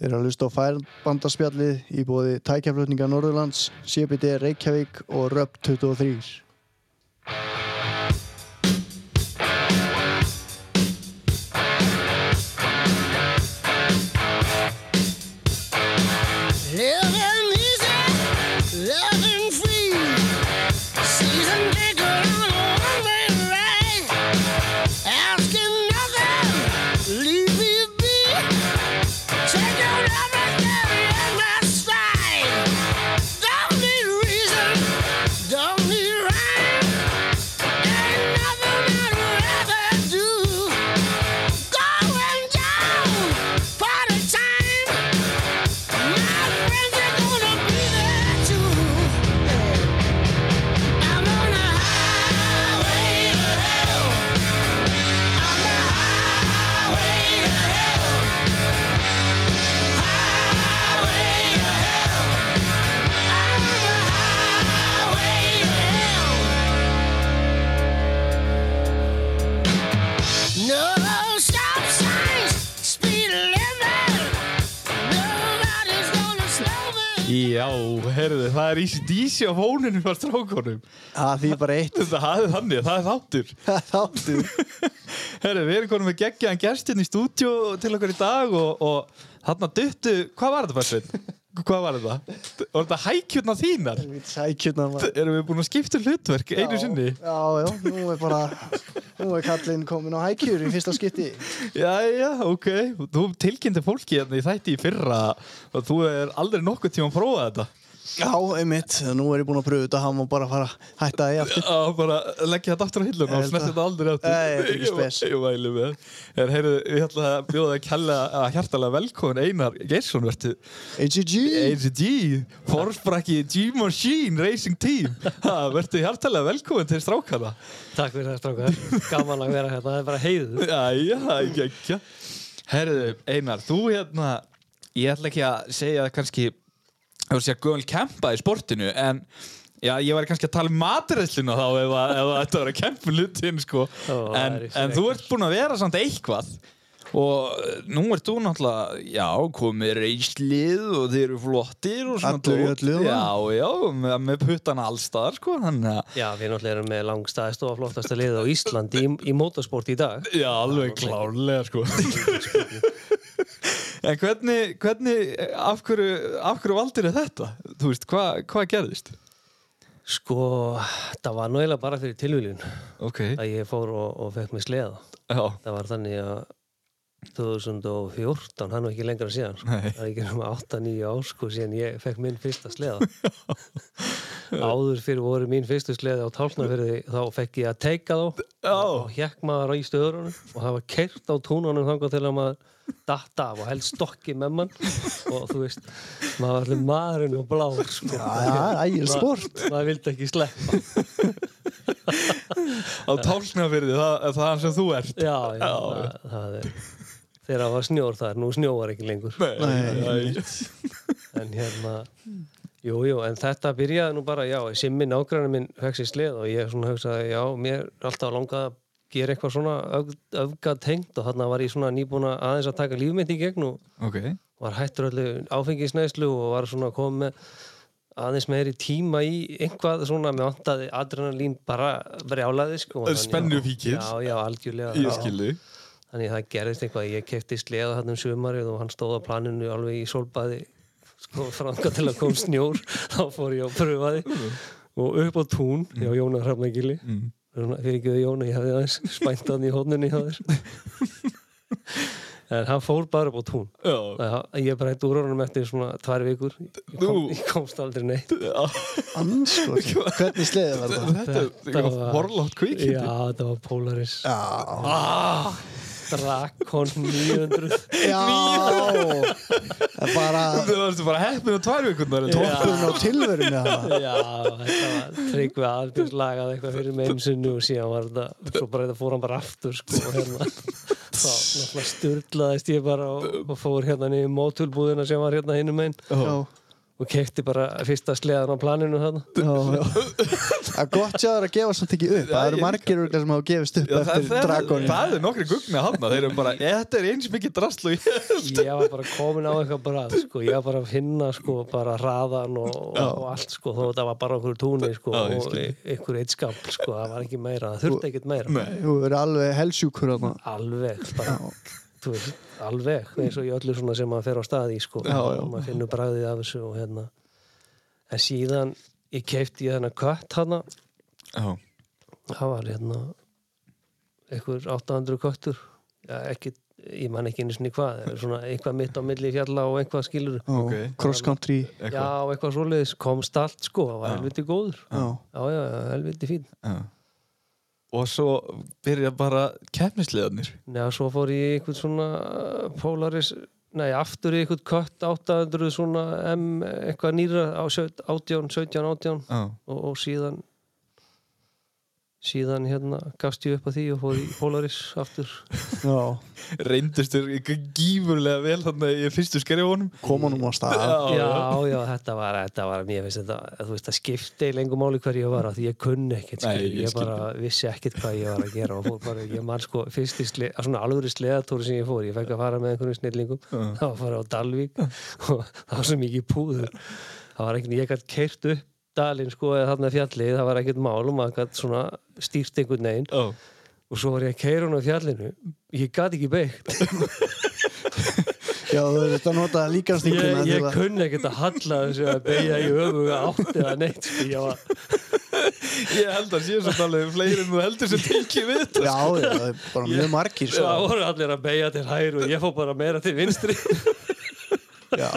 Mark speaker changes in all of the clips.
Speaker 1: Þeir eru að hlusta á færbandarspjallið í bóði tækjaflutninga Norðurlands, CBD Reykjavík og Röp 23.
Speaker 2: Living easy, loving free. Season ticket on a one-way ride. Asking nothing, leave me be. Taking everything in my stride. Don't need reason, don't need rhyme. Ain't nothing I'd rather do. Going down, party time. My friends are gonna be there too. I'm on a highway to hell. On the highway to hell. Highway to hell. I'm on the highway to hell. No stop signs, speed limit. Nobody's gonna slow me.
Speaker 3: Já, herðu, það er Easy DC á fóninu frá strákonum.
Speaker 1: Það því bara eitt
Speaker 3: Þetta hafið þannig, það er þáttur.
Speaker 1: þáttu.
Speaker 3: Herru, við erum konum með geggjaðan gestinn í stúdjó til okkur í dag og, og þarna duttu, hvað var þetta færsveit? Hvað var þetta? Var þetta hækjurna þínar?
Speaker 1: Sækjurna maður.
Speaker 3: Erum við búin að skipta um hlutverk einu sinni?
Speaker 1: Já, já, já, nú er bara, nú er kallinn komin á hækjur í fyrsta skipti.
Speaker 3: Jæja, ok. Þú tilkynnti fólki hérna í þætti í fyrra og þú er aldrei nokkuð tíma að prófa þetta.
Speaker 1: Já, einmitt, nú er ég búin að pröfu þetta, hann má bara fara að hætta því aftur.
Speaker 3: að bara leggja þetta aftur á hillun
Speaker 1: Ég
Speaker 3: og
Speaker 1: held
Speaker 3: snerti
Speaker 1: það.
Speaker 3: þetta aldrei aftur
Speaker 1: Nei, þetta er ekki
Speaker 3: Ég va-
Speaker 1: spes.
Speaker 3: ég væli með er, heyrðu, ég ætla að bjóða að kella að hjartalega velkomin Einar Geirsson vertu
Speaker 1: AGG!
Speaker 3: ACG, Forsprakki G-Machine Racing Team ha, vertu hjartalega velkomin til strákana
Speaker 4: Takk fyrir það, strákar. Gaman að vera hérna. Það er bara heiður.
Speaker 3: Jæja, það er gekkja Herðu, Einar, þú hérna ég ætla ekki að segja að kannski þú veist ég að gömul kempa í sportinu en Já, ég var kannski að tala um matræðsluna þá ef, að, ef að þetta var að kempa lutin sko.
Speaker 4: Ó, það
Speaker 3: en,
Speaker 4: er í
Speaker 3: en þú ert búin að vera samt eitthvað og eh, nú ert þú náttúrulega já, komið reyslið og þeir eru flottir og svona
Speaker 1: Allur í
Speaker 3: dót.
Speaker 1: öllu,
Speaker 3: Já, já, með, með puttana allstaðar sko, þannig að
Speaker 4: Já, við náttúrulega erum með langstæðist og flottasta liðið á Íslandi í, í motorsport í dag.
Speaker 3: Já, alveg klárlega sko En hvernig, hvernig af, hverju, af hverju valdir er þetta? Þú veist, hvað hva gerðist?
Speaker 4: Sko, það var nú eiginlega bara fyrir tilvíljun
Speaker 3: Ok,
Speaker 4: að ég fór og, og fekk mig sleða.
Speaker 3: já,
Speaker 4: Það var þannig að 2014, hann var ekki lengra síðan. sko.
Speaker 3: Nei.
Speaker 4: Það er ekki um 8-9 ár, sko, síðan ég fekk minn fyrsta sleða. Áður fyrir voru mín fyrstu sleði á tálnafyrði, þá fekk ég að teika þá.
Speaker 3: já,
Speaker 4: og hjekk maður í stöðurunum og hafa kert á túnunum þangar til að maður datt af og held stokki með mann og þú veist, maður var allir maðurinn og blár sko.
Speaker 1: Já, já, ægir sport.
Speaker 4: maður vildi ekki sleppa
Speaker 3: á tálknafyrði, það, það er hann sem þú ert
Speaker 4: já, já, Það, það er þegar það var snjór þar, nú snjóar ekki lengur
Speaker 3: Nei,
Speaker 1: Nei.
Speaker 3: nei.
Speaker 4: en hérna Jú, jú, en þetta byrjaði nú bara, já, simmi nágræna minn fekk sér sleð og ég svona hugsaði, já, mér er alltaf langað að gera eitthvað svona öf, öfgatengt og þarna var ég svona nýbúin að aðeins að taka lífmynd í gegn og
Speaker 3: Ok,
Speaker 4: var hættur öllu áfengisnæslu og var svona að koma með aðeins meiri tíma í einhvað svona með vantaði adrenalín bara brjálaði sko þannig að-
Speaker 3: Spennufíkill.
Speaker 4: já, já, algjörlega
Speaker 3: ég skilði
Speaker 4: þannig að það gerðist eitthvað, ég kefti sleða þarna um sumarið og hann stóð á planinu alveg í solbaði sko franga til að kom snjór þá fór ég og pröfaði
Speaker 3: Mm.
Speaker 4: og upp á tún hjá Jónar Hrafnagili mm. fyrir ekki þau Jónar, ég hefði aðeins spænt hann í hónunni hjá þér en hann fór bara upp á tún
Speaker 3: Já,
Speaker 4: Já, ég brætti úr honum eftir svona tvær vikur ég, kom,
Speaker 3: Nú.
Speaker 4: ég komst aldrei neitt
Speaker 1: Anskot, hvernig sleðið var þetta?
Speaker 3: þetta er eitthvað
Speaker 4: var-
Speaker 3: forlátt
Speaker 4: Já,
Speaker 3: kvikindi
Speaker 4: þetta var Polaris
Speaker 1: Já,
Speaker 3: Ah,
Speaker 4: Drakon 900
Speaker 1: já, það er bara
Speaker 3: Þú varstu bara heppin á tvær vikurnar en tólf-
Speaker 1: toppun á tilverunni það.
Speaker 4: Já, þetta var tryggvi aðbjörns lagað eitthvað fyrir með einu sinni og síðan var þetta, svo bara þetta fór hann bara aftur sko, og hérna þá náttúrulega sturlaðist ég bara og, og fór hérna niður mótulbúðina sem var hérna hinum einn
Speaker 1: Já,
Speaker 4: og kefti bara fyrsta sleðan á planinu þarna
Speaker 1: Já, já. Það er gott sjáður að gefa samt ekki upp.
Speaker 3: Já,
Speaker 1: Það eru
Speaker 3: ég
Speaker 1: margir örgla sem hafa gefist upp
Speaker 3: Já, það,
Speaker 1: eftir
Speaker 3: það,
Speaker 1: dragonin.
Speaker 3: það er nokkri gugna hann þeir eru bara, "Eh, þetta er eins mikið drasl og ég
Speaker 4: ég var bara komin á eitthvað brað sko. ég var bara að finna sko, bara raðan og, og allt sko, þó þetta var bara okkur túni sko,
Speaker 3: Já, ég
Speaker 4: og
Speaker 3: skil.
Speaker 4: einhver eitt skafl sko, það var ekki meira, það þurfti ekkert meira
Speaker 1: Þú verður alveg helsjúkur þarna.
Speaker 4: alveg bara, þú veist, alveg eins og í öllu svona sem maður fer á staði sko,
Speaker 1: Já, já.
Speaker 4: og maður finnur bragðið af þessu og hérna en síðan ég keipti ég þennan kött hana
Speaker 3: Já,
Speaker 4: það var hérna einhver 800 köttur Já, ekki, ég man ekki einu sinni hvað svona eitthvað mitt á milli fjalla og einhvað skilur
Speaker 1: Já,
Speaker 3: Ok.
Speaker 1: Cross country.
Speaker 3: eitthvað
Speaker 4: Já, eitthvað svoleiðis, komst allt sko, það var
Speaker 3: Já.
Speaker 4: helviti góður.
Speaker 1: Já.
Speaker 4: Já, já, já, helviti fín.
Speaker 3: Já. Og svo byrja bara keppnisleðanir
Speaker 4: Neða, svo fór ég í eitthvað svona uh, Polaris, nei, aftur í eitthvað kött 800 svona M, eitthvað nýra á saut- 18, 17, 18
Speaker 3: Já,
Speaker 4: og, og síðan síðan hérna gafst ég upp að því og fór í Polaris aftur.
Speaker 1: Já.
Speaker 3: reyndistur gífurlega vel þannig í fyrstu skerjónum
Speaker 1: Komanum á stað.
Speaker 4: Já, já, þetta var, þetta var, mér finnst þetta, þú veist, það skipti lengur máli hver ég var að því ég kunni ekkert,
Speaker 3: Nei,
Speaker 4: skil,
Speaker 3: ég
Speaker 4: ég,
Speaker 3: skil
Speaker 4: bara vissi ekkert hvað ég var að gera og fór bara, ég man sko, fyrst í sle, að svona alvöru sleðatóri sem ég fór, ég fekk að fara með einhverjum snillingum,
Speaker 3: Já.
Speaker 4: þá var að á Dalvík og það var svo mikið púður, það var ekkert, ég gætt keirt upp dalinn sko eða þarna fjallið, það var ekkert mál og maður gætt svona stýrt einhvern veginn
Speaker 3: Já,
Speaker 4: og svo var ég að keira hún á fjallinu, ég gætt ekki beitt
Speaker 1: Já, þú verður að nota líkanstinguna
Speaker 4: Ég,
Speaker 1: til
Speaker 4: ég
Speaker 1: að...
Speaker 4: kunni ekkert að halla þessu að beigja í öfuga átt eða neitt sko, ég var,
Speaker 3: ég held að sé svo alveg fleiri en þú heldur sem tengi við þetta
Speaker 1: Já, já, það er bara mjög margir. sko. Svo.
Speaker 4: það voru allir að beigja til hægri og ég fór bara meira til vinstri
Speaker 1: Já.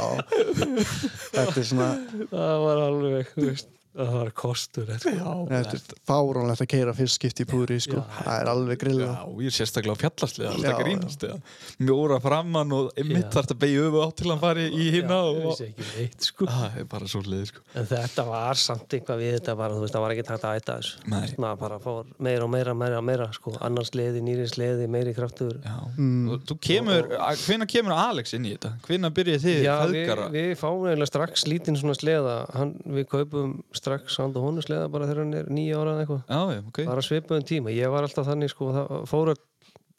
Speaker 1: Þetta er svona...
Speaker 4: það var alveg, þú veist það var kostur sko.
Speaker 1: Þetta er fáránlegt að keira fyrst skipti í púri, sko. Það er alveg grilla.
Speaker 3: Já, ég er sérstaklega á fjallarsliða,
Speaker 1: Já,
Speaker 3: alltaf
Speaker 1: já.
Speaker 3: grínast eða. Mjóra framann og mitt
Speaker 4: Já.
Speaker 3: þarf að beigja öfu átt til hann fari í hinna
Speaker 4: ég
Speaker 3: og... Ah,
Speaker 4: vissi ekki neitt sko
Speaker 3: Það er bara svo leiði, sko.
Speaker 4: en þetta var samt eitthvað við þetta bara, þú veist, það var ekki takt að æta þessu
Speaker 3: Nei.
Speaker 4: það bara fór meira og meira, meira og meira sko, annars leði, nýri sleði, meiri kraftur
Speaker 3: Já. Mm. Þú kemur, hvenna kemur Alex inn í þetta? Hvenna byrjið þið
Speaker 4: Já, við,
Speaker 3: feðgara?
Speaker 4: við fáum eiginlega strax lítinn svona sleða hann, við kaupum strax hann og honum sleða bara þegar hann er nýja ára eða eitthvað
Speaker 3: Já, já, ok.
Speaker 4: bara svipaðum tíma, ég var alltaf þannig sko, það fóru,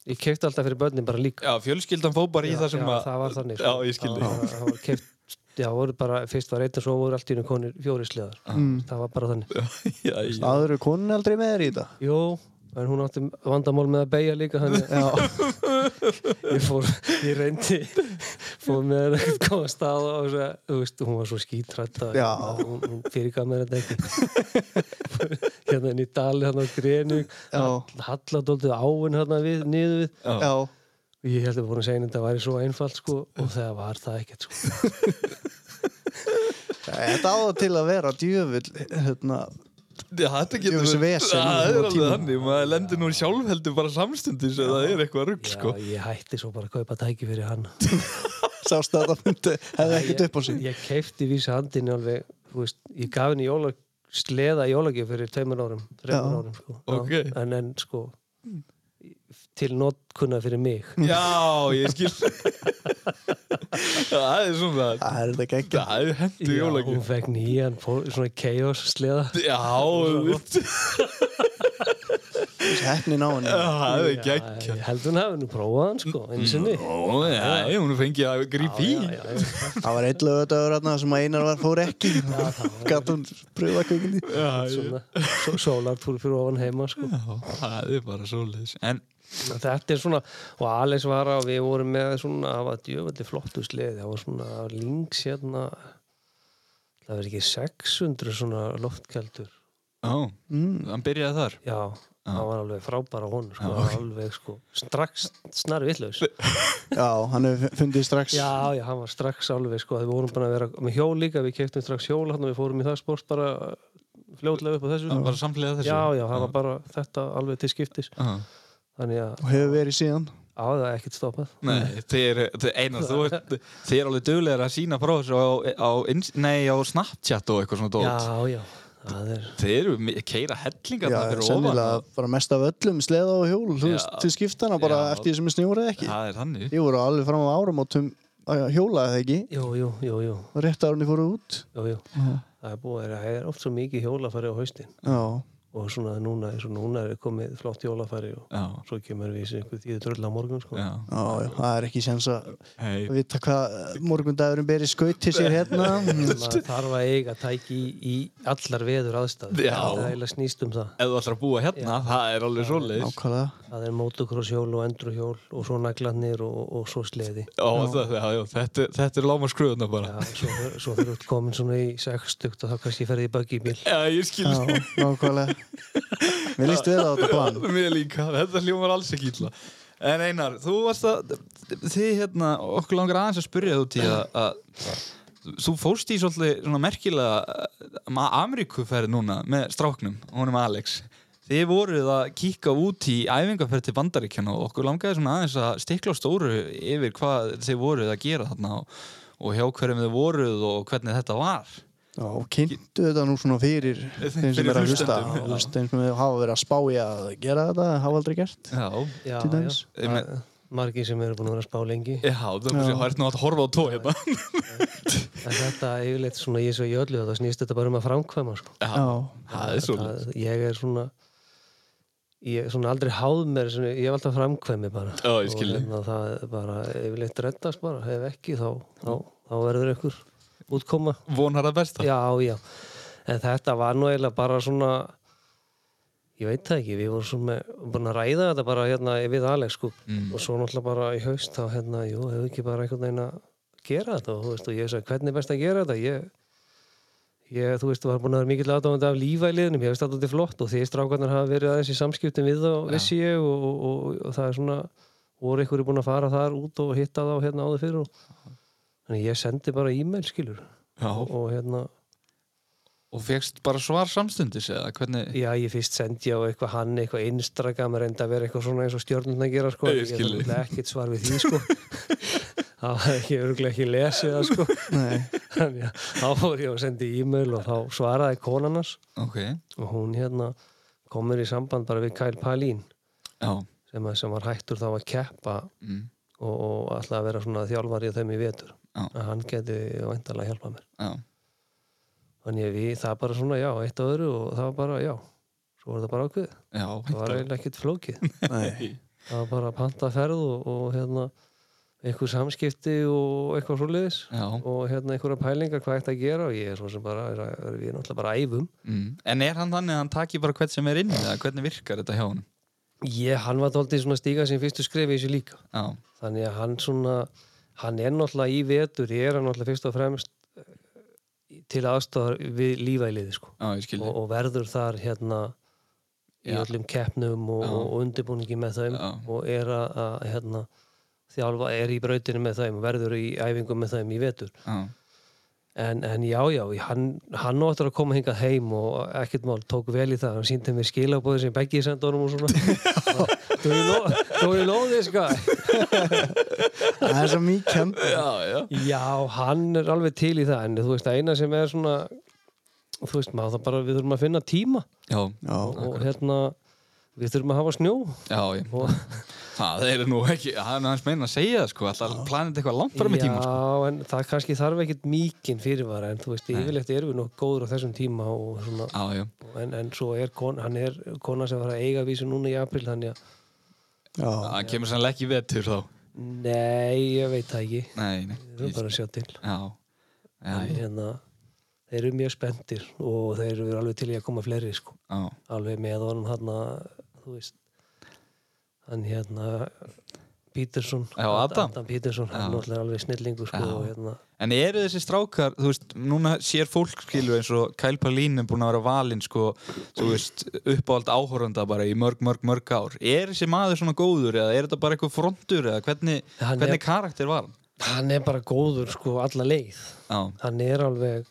Speaker 4: ég keipti alltaf fyrir börnin bara líka,
Speaker 3: Já, fjölskyldan fór bara í það sem
Speaker 4: já,
Speaker 3: að...
Speaker 4: það var þannig sko.
Speaker 3: Já, ég skil
Speaker 4: það var, það var keipt, já, voru bara, fyrst var einn og svo voru allt í einu konir fjóri sleðar,
Speaker 1: Ah. Mm.
Speaker 4: það var bara þannig
Speaker 3: Já, já.
Speaker 1: Aður er konin aldrei með þér í þetta.
Speaker 4: jú, en hún átti vandamál með að beigja líka þannig, já ég fór, ég reyndi fór með henni ekkert góða stað og svo, þú veist, hún var svo skítrætt að
Speaker 1: Já.
Speaker 4: að hún, hún fyrirgaf mér þetta ekki hérna inn í dali, hérna á grenu
Speaker 1: Já.
Speaker 4: halladóldið áin hérna við, niður við
Speaker 1: Já.
Speaker 4: Og Ég held að við vorum að segja henni að þetta væri svo einfalt sko og það var það ekkert sko.
Speaker 1: Þetta áður til að vera djöfull, hérna,
Speaker 3: Já, þetta getur...
Speaker 1: Jöfus vesen í
Speaker 3: Það er
Speaker 1: þessum
Speaker 3: alveg
Speaker 1: tíma.
Speaker 3: þannig, maður lendir nú sjálf heldur bara samstundis eða það er eitthvað rugg,
Speaker 4: Já,
Speaker 3: sko.
Speaker 4: ég hætti svo bara að kaupa tæki fyrir hann.
Speaker 1: sást að það myndi, hefði ekkert upp á sig.
Speaker 4: Ég, ég keipti vísa handinni alveg, þú veist, ég gaf henni jóla, sleða jólagjöf fyrir tveimur árum,
Speaker 1: Já.
Speaker 4: þreimur árum sko. Já,
Speaker 3: Ok.
Speaker 4: En en sko, til notkunna fyrir mig.
Speaker 3: Já, ég skil. Það er svona...
Speaker 1: Það er þetta ekki ekki.
Speaker 3: Það er hendur
Speaker 4: Já,
Speaker 3: jólagjöf.
Speaker 4: hún fekk nýjan, fó- svona chaos sleða.
Speaker 3: Já, veit,
Speaker 1: Hefnin á henni.
Speaker 3: það er
Speaker 4: Já,
Speaker 3: geggja
Speaker 4: Ég held hún hafi nú prófað hann sko, einu sinni.
Speaker 3: Ó, já, já, hún fengi að grípi í
Speaker 4: Já, já, já, já.
Speaker 1: Það var einn lögadagur þarna sem að Einar var fór ekki. Gatt hún pröfa kvikindi.
Speaker 3: Já, já,
Speaker 4: Svona, svo, sólartúr fyrir ofan heima sko.
Speaker 3: það er bara svoleiðis En,
Speaker 4: Þetta er svona, og Alex var að við vorum með svona, það var djöfaldi flottu sleði, það var svona links hérna, það verður ekki 600 svona loftkjaldur,
Speaker 3: ó,
Speaker 1: Mm.
Speaker 3: hann byrjaði þar
Speaker 4: já, það var alveg frábæra honum, sko, já, alveg sko, strax snar vitlaus.
Speaker 1: Já, hann hefur fundið strax.
Speaker 4: Já, já, hann var strax alveg sko, við vorum bara að vera með hjól líka, við keftum strax hjól hann og við fórum í það sport bara fljótlega upp á þessu.
Speaker 3: Hann bara samlega þessu
Speaker 4: Já, já, það var bara þetta alveg til skiptis,
Speaker 3: Já.
Speaker 4: þannig að,
Speaker 1: Og hefur verið síðan.
Speaker 4: á það er ekkert stoppað.
Speaker 3: Nei, þeir, þeir, einar, þú ert Þeir eru alveg duglegar að sína frá þessu á, á, ins- nei, á Snapchat og eitthvað svona
Speaker 4: Já,
Speaker 3: dót
Speaker 4: já, það er...
Speaker 3: Þeir eru mi- keira hellingar
Speaker 1: Já,
Speaker 3: þarna fyrir ofan
Speaker 1: sennilega bara mest af öllum sleða og hjól. Þú veist,
Speaker 3: Já.
Speaker 1: til skiptana bara
Speaker 3: Já.
Speaker 1: eftir því sem er snjórið ekki.
Speaker 3: Það er þannig
Speaker 1: Ég voru alveg fram á áramótum að hjóla það ekki
Speaker 4: Jú, jú, jú, jú,
Speaker 1: rétt árunni fóru út
Speaker 4: jú, jú. Það er búið, það er oft svo mikið hjólafæri á haustin
Speaker 1: já,
Speaker 4: og svona núna, eins og núna er komið flott hjólafæri og
Speaker 3: Já,
Speaker 4: svo kemur við sér einhver tíðu dröll á morgun sko.
Speaker 3: já
Speaker 1: já, já, það er ekki sens að
Speaker 3: Hei,
Speaker 1: vita hvað morgundagurum beri skaut til sér hérna Mm,
Speaker 4: maður þarf að eiga tæki í, í allar veður aðstæð
Speaker 3: Já.
Speaker 4: það er eiginlega snýst um það
Speaker 3: ef þú ætlar að búa hérna, það er alveg svoleiðis
Speaker 1: nákvæmlega
Speaker 4: það er motocrosshjól og endurhjól og svo naglarnir og, og svo sleði
Speaker 3: Ó, það, já, já, þetta, þetta er láma skruðuna bara
Speaker 4: Já, svo, svo þurfum við komin svona í sextugt og þá kannski ferði í böggibíl
Speaker 3: Já, ég skil
Speaker 1: já, nákvæmlega mér líst vel á þetta plan
Speaker 3: Mér líka, þetta hljómar alls ekki illa En Einar, þú varst að Þið hérna, okkur langar aðeins að spyrja þú til að, að Þú fórst í svolítið svona merkilega uh, Ameríkuferð núna með stráknum, honum Alex Þið voruð að kíka út í æfingarferð til Bandaríkjana og okkur langaði svona aðeins að stikla á stóru yfir hvað þið voruð að gera þarna og, og hjá hverjum þið voruð og hvernig þetta var
Speaker 1: já, kynntu þetta nú svona fyrir þeim sem
Speaker 3: Fyrir
Speaker 1: er að hlusta
Speaker 3: hlustendum, já.
Speaker 1: þú veist, þeim sem hafa verið að spája að gera þetta, hafa aldrei gert
Speaker 3: Já,
Speaker 1: Til
Speaker 4: já, já,
Speaker 1: dæmis.
Speaker 3: Ég
Speaker 4: Það- margir sem eru búin að vera að spá lengi
Speaker 3: já það er bara hérna að horfa á tó hérna
Speaker 4: en þetta yfirleitt svona ég svo í öllu þetta snýst þetta bara um að framkvæma sko.
Speaker 1: já,
Speaker 3: það er svolítið
Speaker 4: það, ég er svona ég er svona aldrei háð mér svona, ég hef alltaf framkvæmi bara
Speaker 3: Já, ég
Speaker 4: Og
Speaker 3: skil þig.
Speaker 4: hérna, það er bara yfirleitt reddast bara, ef ekki þá, þá, þá verður ykkur útkoma
Speaker 3: vonar að besta
Speaker 4: já, já, en þetta var nú eiginlega bara svona ég veit það ekki, við vorum svona með- búin að ræða þetta bara hérna við Alex sko. og svo náttúrulega bara í haust þá hérna, jú, hefur ekki bara einhvern veginn að gera þetta og, þú veist, og ég sagði, hvernig er best að gera þetta ég, ég þú veist, var búin að vera mikill aðdáðandi af lífa í liðnum, ég veist þetta er flott og því strákarnar hafa verið aðeins í samskiptum við þá, vissi ég og, og, og, og það er svona, voru ykkur búin að fara þar út og hitta þá hérna áður fyrir og, þannig ég sendi bara e-mail skilur
Speaker 3: Já,
Speaker 4: og hérna
Speaker 3: og fegst bara svar samstundis eða hvernig
Speaker 4: Já, ég fyrst sendi á eitthvað hann, eitthvað Instagram, reynda að vera eitthvað svona eins og stjórnum að gera, sko.
Speaker 3: Ég
Speaker 4: Ég
Speaker 3: skil þig.
Speaker 4: er ekkert svar við því, sko. Það var ekki, örgulega ekki lesið það, sko.
Speaker 1: nei,
Speaker 4: Þannig að þá fór ég og sendi e-mail og þá svaraði konan hans
Speaker 3: ok,
Speaker 4: og hún hérna komur í samband bara við Kyle Palin
Speaker 3: já
Speaker 4: sem, að- sem var hættur þá að keppa
Speaker 3: mm.
Speaker 4: og, og alltaf að vera svona þjálfari á þeim í vetur.
Speaker 3: Já.
Speaker 4: Að hann geti væntalega hjálpað mér.
Speaker 3: já,
Speaker 4: Þannig að við, það bara svona, já, eitt og öðru og það var bara, já, svo var það bara ákveðið.
Speaker 3: já,
Speaker 4: Það var eiginlega ekkert flókið.
Speaker 1: nei,
Speaker 4: það var bara að panta ferð og, og hérna einhver samskipti og eitthvað svoleiðis
Speaker 3: já.
Speaker 4: og hérna einhverja pælingar hvað ætti að gera og ég er svo sem bara, er að, um. er, við náttúrulega bara æfum
Speaker 3: Mm. en er hann þannig að hann taki bara hvern sem er inn eða hvernig virkar þetta hjá hann
Speaker 4: ég, hann var daldið svona stíga sem fyrstu skrifi þessu líka
Speaker 3: já,
Speaker 4: þannig að hann svona hann er náttúrulega í vetur, ég er hann náttúrulega fyrst og fremst eh, til aðstofar við lífæliði sko
Speaker 3: já, ég skil
Speaker 4: og,
Speaker 3: þig.
Speaker 4: og verður þar hérna í
Speaker 3: Já.
Speaker 4: öllum keppnum og,
Speaker 3: Já.
Speaker 4: og undirbúningi með þeim
Speaker 3: Já.
Speaker 4: og er að, að hérna, þjálfa er í brautinu með þeim og verður í æfingu með þeim í vetur
Speaker 3: já,
Speaker 4: en, en já, já, í- hann, hann áttur að koma hingað heim og ekkert mál tók vel í það, hann síndi mér skilabóði sem beggi sendi honum og svona þú er lóð, þú er lóð
Speaker 1: það er svo mikið
Speaker 3: já, já,
Speaker 4: Já, hann er alveg til í það en þú veist, eina sem er svona þú veist, maður það bara, við þurfum að finna tíma
Speaker 3: já,
Speaker 1: já,
Speaker 4: og, og hérna við þurfum að hafa snjó
Speaker 3: já, já.
Speaker 4: og,
Speaker 3: það er nú ekki hann hans meina að segja það sko alltaf planið eitthvað langt fram í
Speaker 4: já,
Speaker 3: tíma sko.
Speaker 4: en það kannski þarf ekkit mikinn fyrirvara en þú veist, yfirleitt erum við nú góður á þessum tíma og svona,
Speaker 3: já, já,
Speaker 4: en, en svo er kon, hann er kona sem var að eiga vísu núna í april þannig að,
Speaker 1: já,
Speaker 3: hann kemur sannlega ekki í vetur þá
Speaker 4: nei, ég veit það ekki
Speaker 3: nei, nei,
Speaker 4: við erum bara að sjá til
Speaker 3: já, já,
Speaker 4: en,
Speaker 3: já,
Speaker 4: hérna, þeir eru mjög spenntir og þeir eru alveg til í að koma fleiri sko,
Speaker 3: já.
Speaker 4: alveg með honum hann þú veist hann hérna Peterson,
Speaker 3: Já, Adam.
Speaker 4: Adam Peterson, hann
Speaker 3: Já.
Speaker 4: náttúrulega er alveg snillingu sko,
Speaker 3: Já.
Speaker 4: og hérna
Speaker 3: En eru þessi strákar, þú veist, núna sér fólk skilur eins og Kyle Palin er búin að vera valinn sko, þú veist, uppáhald áhorranda bara í mörg, mörg, mörg ár. Er þessi maður svona góður eða er þetta bara eitthvað frontur eða hvernig,
Speaker 4: Hann
Speaker 3: hvernig
Speaker 4: er-
Speaker 3: karakter var hann?
Speaker 4: hann er bara góður sko alla leið
Speaker 3: Já,
Speaker 4: hann er alveg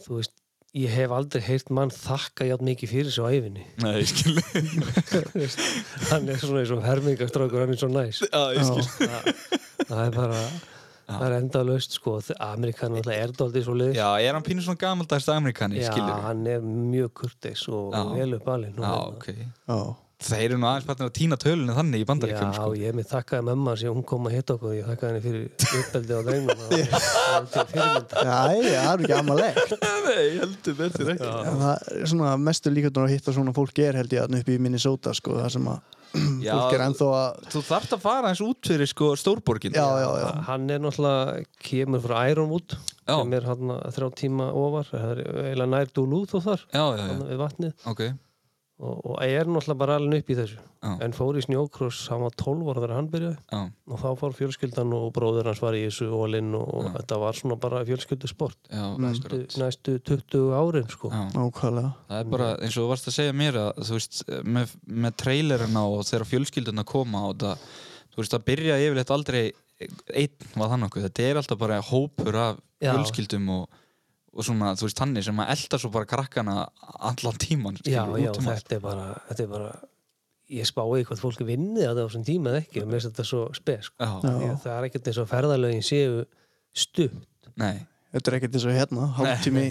Speaker 4: þú veist, ég hef aldrei heyrt mann þakka játn mikið fyrir svo æfinni
Speaker 3: nei, ég skil.
Speaker 4: hann er svona eins og hermingastrákur hann er svo næs
Speaker 3: Já, ég skil.
Speaker 4: það, það er bara það er enda löst sko Amerikan alltaf er daldið svo leið
Speaker 3: Já, er hann pínu svona gamaldags amerikani, skilur?
Speaker 4: hann er hérna. mjög kurteis og
Speaker 3: Já.
Speaker 4: vel upp alinn
Speaker 3: Já, ok.
Speaker 1: já
Speaker 3: þeir eru nú aðeins partnir að týna tölunni þannig í bandaríkjum
Speaker 4: hérna, Já,
Speaker 3: sko.
Speaker 4: ég með þakkaði mamma sem hún kom að hitta okkur ég þakkaði henni fyrir uppbeldi á drengnum það var- það var til fyrirmynd
Speaker 1: Æ, það er ekki amalegt
Speaker 3: Nei, heldur betur ekki Já,
Speaker 1: Það er svona mestu líkjöndur að hitta svona fólk er held ég að upp í Minnesota sko, það sem að fólk er ennþá að
Speaker 3: Þú þarft að fara eins út fyrir sko stórborgin
Speaker 1: Já, já, já,
Speaker 4: Hann er náttúrulega, kemur frá Ironwood
Speaker 3: Já.
Speaker 4: sem er hann þrjá tíma ofar það er eiginlega nær Duluth og þar
Speaker 3: já, já,
Speaker 4: þarna
Speaker 3: já.
Speaker 4: við vatnið
Speaker 3: ok
Speaker 4: og, og er náttúrulega bara alveg upp í þessu
Speaker 3: Já.
Speaker 4: en fór í snjókross, hann var 12 ára þegar hann byrjaði
Speaker 3: Já,
Speaker 4: og þá fór fjölskyldan og bróður hans var í þessu ólinn og, og þetta var svona bara fjölskyldusport
Speaker 3: já,
Speaker 4: næstu,
Speaker 3: mm.
Speaker 4: næstu 20 árin sko
Speaker 3: já
Speaker 1: nákvæmlega
Speaker 3: Það er bara eins og þú varst að segja mér að þú veist, með, með trailerina og þegar fjölskylduna koma og það, þú veist, það byrja yfirleitt aldrei einn var þann okkur, þetta er alltaf bara hópur af
Speaker 4: Já.
Speaker 3: fjölskyldum og, og svona, þú veist, þannig sem að elda svo bara krakkana allan tíman
Speaker 4: já, já,
Speaker 3: um
Speaker 4: þetta er bara, þetta er bara ég spái hvað fólk vinni að það á þessum tíma eða ekki, mér finnst þetta svo spes sko.
Speaker 3: Já,
Speaker 1: Já.
Speaker 4: Ég- það er ekkert eins og ferðalögin séu stutt
Speaker 3: nei
Speaker 1: Þetta er ekkert eins og hérna, hálftími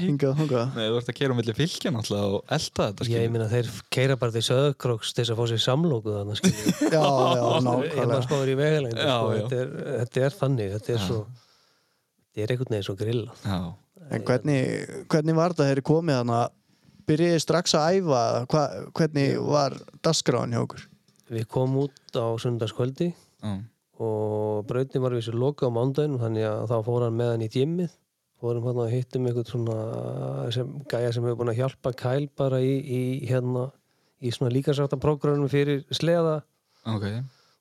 Speaker 1: hingað og hungað
Speaker 3: Nei, þú ert að keira á milli fylgjan alltaf og elda þetta
Speaker 4: ég
Speaker 3: skilur.
Speaker 4: meina þeir keira bara til söðkróks til þess að fá sér samlóku þannig skilur
Speaker 1: Já, já,
Speaker 4: ef maður
Speaker 1: nákvæmlega
Speaker 4: spáður í vegalænd
Speaker 3: Já,
Speaker 4: sko.
Speaker 3: já.
Speaker 4: þetta, er- þetta er þannig, þetta er svo þetta er einhvern veginn svo grilla
Speaker 3: Já,
Speaker 1: En hvernig, hvernig var það þeirri komið þarna byrjiði strax að æfa eða hva, hvernig var dasgráin hjá okkur
Speaker 4: við komum út á sundarskvöldi
Speaker 3: já,
Speaker 4: og brautin var við sér loka á mándaginn þannig að þá fór hann með hann í djemmið fórum hann og hittum einhvern svona sem, gæja sem hefur búin að hjálpa Kæl bara í, í hérna í svona líkansrætta prógrunum fyrir sleða
Speaker 3: ok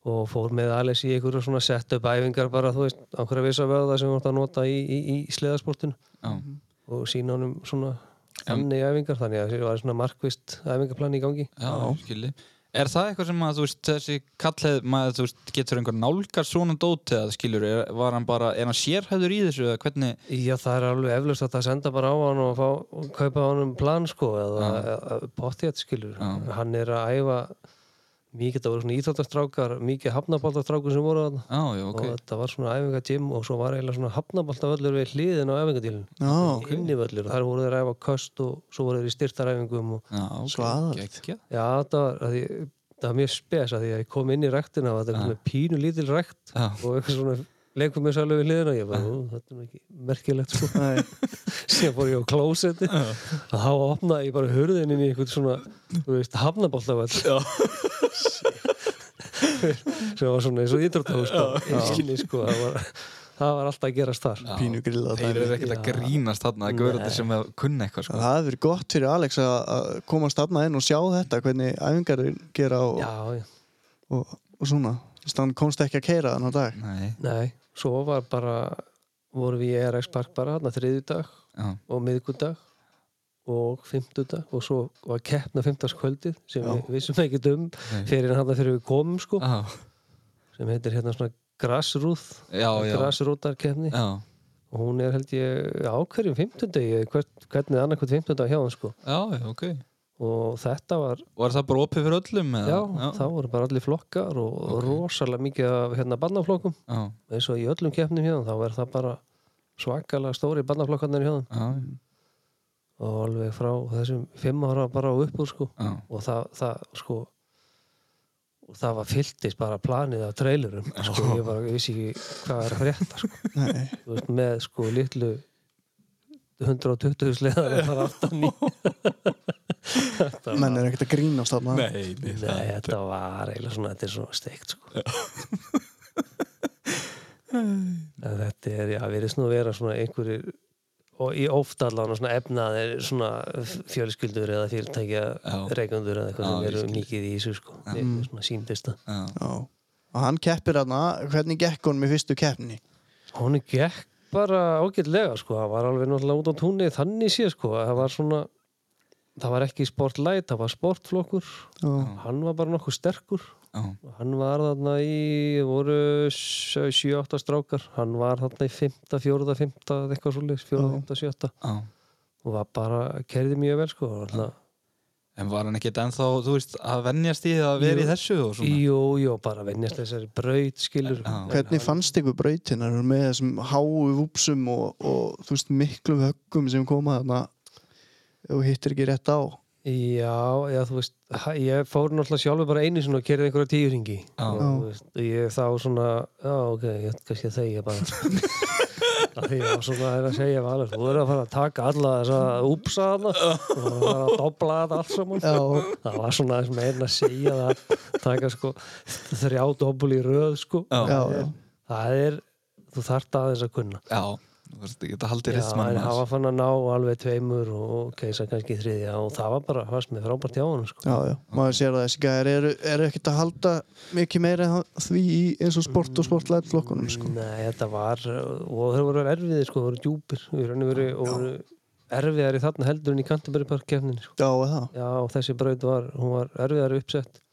Speaker 4: og fór með Alex í einhverju svona set-up æfingar bara þú veist, okkur að vissa vöða sem hann að nota í, í, í sleðasportinu
Speaker 3: Já,
Speaker 4: Mhm. og sína honum svona þannig æfingar, þannig að það var svona markvist æfingarplan í gangi
Speaker 3: já, skilji Er það eitthvað sem að, þú veist, þessi kallið maður, þú veist, getur einhver nálgar svona dóti að skilur, er, var hann bara er hann sérhæður í þessu eða hvernig
Speaker 4: Já, það er alveg eflust að það senda bara á hann og, fá, og kaupa á hann plan sko eða ja. potthjátt skilur
Speaker 3: Já.
Speaker 4: hann er að æfa mikið, það voru svona íþjóttastrákar mikið hafnabaltastrákur sem voru hann
Speaker 3: Já, já, ok
Speaker 4: og þetta var svona æfingatjum og svo var eiginlega svona hafnabaltavöllur við hliðin á æfingatílun
Speaker 1: Já,
Speaker 4: innivöllur, þar voru þeir að æfa köst og svo voru þeir í styrtaræfingum og
Speaker 3: Já, ok,
Speaker 1: Svo aðalt.
Speaker 3: geggja
Speaker 4: já, það var, að því, það var mjög spes að því að ég kom inn í rektina og þetta
Speaker 3: Já.
Speaker 4: var ja. pínu lítil rekt
Speaker 3: Já,
Speaker 4: og eitthvað svona leikum við sérlega við hliðina og ég bara, "Ú, þetta er nú ekki merkilegt sko
Speaker 1: nei,
Speaker 4: síðan fór ég á klósetti og þá opnaði ég bara hurðin inn í einhvern svona, þú veist, hafnabóllavall sem var svona eins og ídrúttahús einskinni, sko, það var það var alltaf að gerast þar
Speaker 3: já.
Speaker 1: pínu grillað
Speaker 3: Þeir eru
Speaker 1: dæmi.
Speaker 3: ekkert að grínast þarna að göra þetta sem að kunna eitthvað sko.
Speaker 1: Það hefði verið gott fyrir Alex að, að komast þarna inn og sjá þetta hvernig æfingar þeir gera og,
Speaker 4: já, já,
Speaker 1: og, og svona Þannig hann komst ekki að keira þannig dag
Speaker 3: Nei,
Speaker 4: nei, svo var bara vorum við í ERX Park bara þarna þriðjudag
Speaker 3: já,
Speaker 4: og miðgudag og fimmtudag og svo var keppna fimmtagskvöldið sem
Speaker 1: Já.
Speaker 4: við vissum ekki um fyrir hann fyrir við komum sko
Speaker 3: já,
Speaker 4: sem heitir hérna svona grassrúð
Speaker 3: já, já,
Speaker 4: grassrútarkefni
Speaker 3: já.
Speaker 4: og hún er held ég á hverjum 15 degi, hvernig annað hvern 15 dag hjá hann sko
Speaker 3: Já, já, ok
Speaker 4: og þetta var,
Speaker 3: Og er það bara opið fyrir öllum?
Speaker 4: já,
Speaker 3: eða?
Speaker 4: þá voru bara allir flokkar og rosalega mikið af hérna barnaflokkum
Speaker 3: já,
Speaker 4: eins og í öllum keppnum hjá hann, þá er það bara svakalega stóri barnaflokkarnir hjá hann
Speaker 3: já,
Speaker 4: og alveg frá þessum 5 ára bara og upp úr sko
Speaker 3: já
Speaker 4: og það, það sko og það var fylltist bara planið af trailerum sko, ég bara ég vissi ekki hvað er að frétta sko. Þú veist, með sko litlu 120 sleðar að fara aftan í þetta var,
Speaker 1: Menn er ekkert að grínast þarna
Speaker 3: Nei, nei,
Speaker 4: nei, þetta var eiginlega svona, þetta er svona steikt sko En þetta er, já, við erum svona að vera svona einhverjir og í oft allan svona efnaðir svona fjölskyldur eða fyrirtækja
Speaker 3: Já.
Speaker 4: reikundur eða eitthvað
Speaker 3: Já,
Speaker 4: sem
Speaker 3: ég
Speaker 4: eru
Speaker 3: skil.
Speaker 4: mikið í þessu sko, Ég- svona síndist það
Speaker 3: Já,
Speaker 1: Já. Og hann keppir þarna, hvernig gekk honum í fyrstu keppni?
Speaker 4: Hún gekk bara ágætlega sko, það var alveg náttúrulega út á túnni þannig sé sko, það var svona það var ekki sportlæt, það var sportflokkur
Speaker 1: Já,
Speaker 4: hann var bara nokkuð sterkur
Speaker 3: já,
Speaker 4: hann var þarna í voru 7-8 strákar hann var þarna í 5. 4. 5. eitthvað svolítið, 4. 5. 7.
Speaker 3: já
Speaker 4: og var bara, kerði mjög vel sko alltaf,
Speaker 3: En var hann ekkert ennþá, þú veist, að venjast í það að vera í þessu og svona?
Speaker 4: jú, jú, bara vennjast þessari braut skilur
Speaker 3: Já.
Speaker 4: En
Speaker 1: Hvernig fannst ykkur brautin? Er hún með þessum háu vúpsum og, og þú veist miklu höggum sem koma þarna og hittir ekki rétt á?
Speaker 4: hann- Já, já, þú veist, ha- ég fór náttúrulega sjálfur bara einu svona og kerði einhverja tíu ringi.
Speaker 3: Já.
Speaker 4: Og, þú veist, og ég þá svona, já, ok, ég ætti kannski að þegja bara. Af Því ég var svona að er að segja valur, þú er að fara að taka alla þess að úpsa alla og þú er að fara að dobla þetta allt saman.
Speaker 1: Já.
Speaker 4: Það var svona þess meirinn að segja það, taka sko þrjá dobbul í röð sko.
Speaker 1: já,
Speaker 4: Það
Speaker 1: já.
Speaker 4: er- Það er, þú þarft aðeins að kunna.
Speaker 3: Já, þú veist, ég geta haldið
Speaker 4: Já, en
Speaker 3: ristmann
Speaker 4: hann var fann að ná alveg tveimur og keisa kannski þriðja og það var bara, fannst mér frábært hjá hann sko.
Speaker 1: Já, já, maður sér að þessi gæðar eru, eru ekkert að halda mikið meira en það- því í eins og sport og sportlætt flokkunum sko.
Speaker 4: Nei, þetta var, og þeir voru erfiðir sko, þeir voru djúpir í raun og veru og voru erfiðari þarna heldur en í Kantabergpark kefninu sko.
Speaker 1: Já, er það
Speaker 4: Já, og þessi braut var, hún var erfiðari uppsett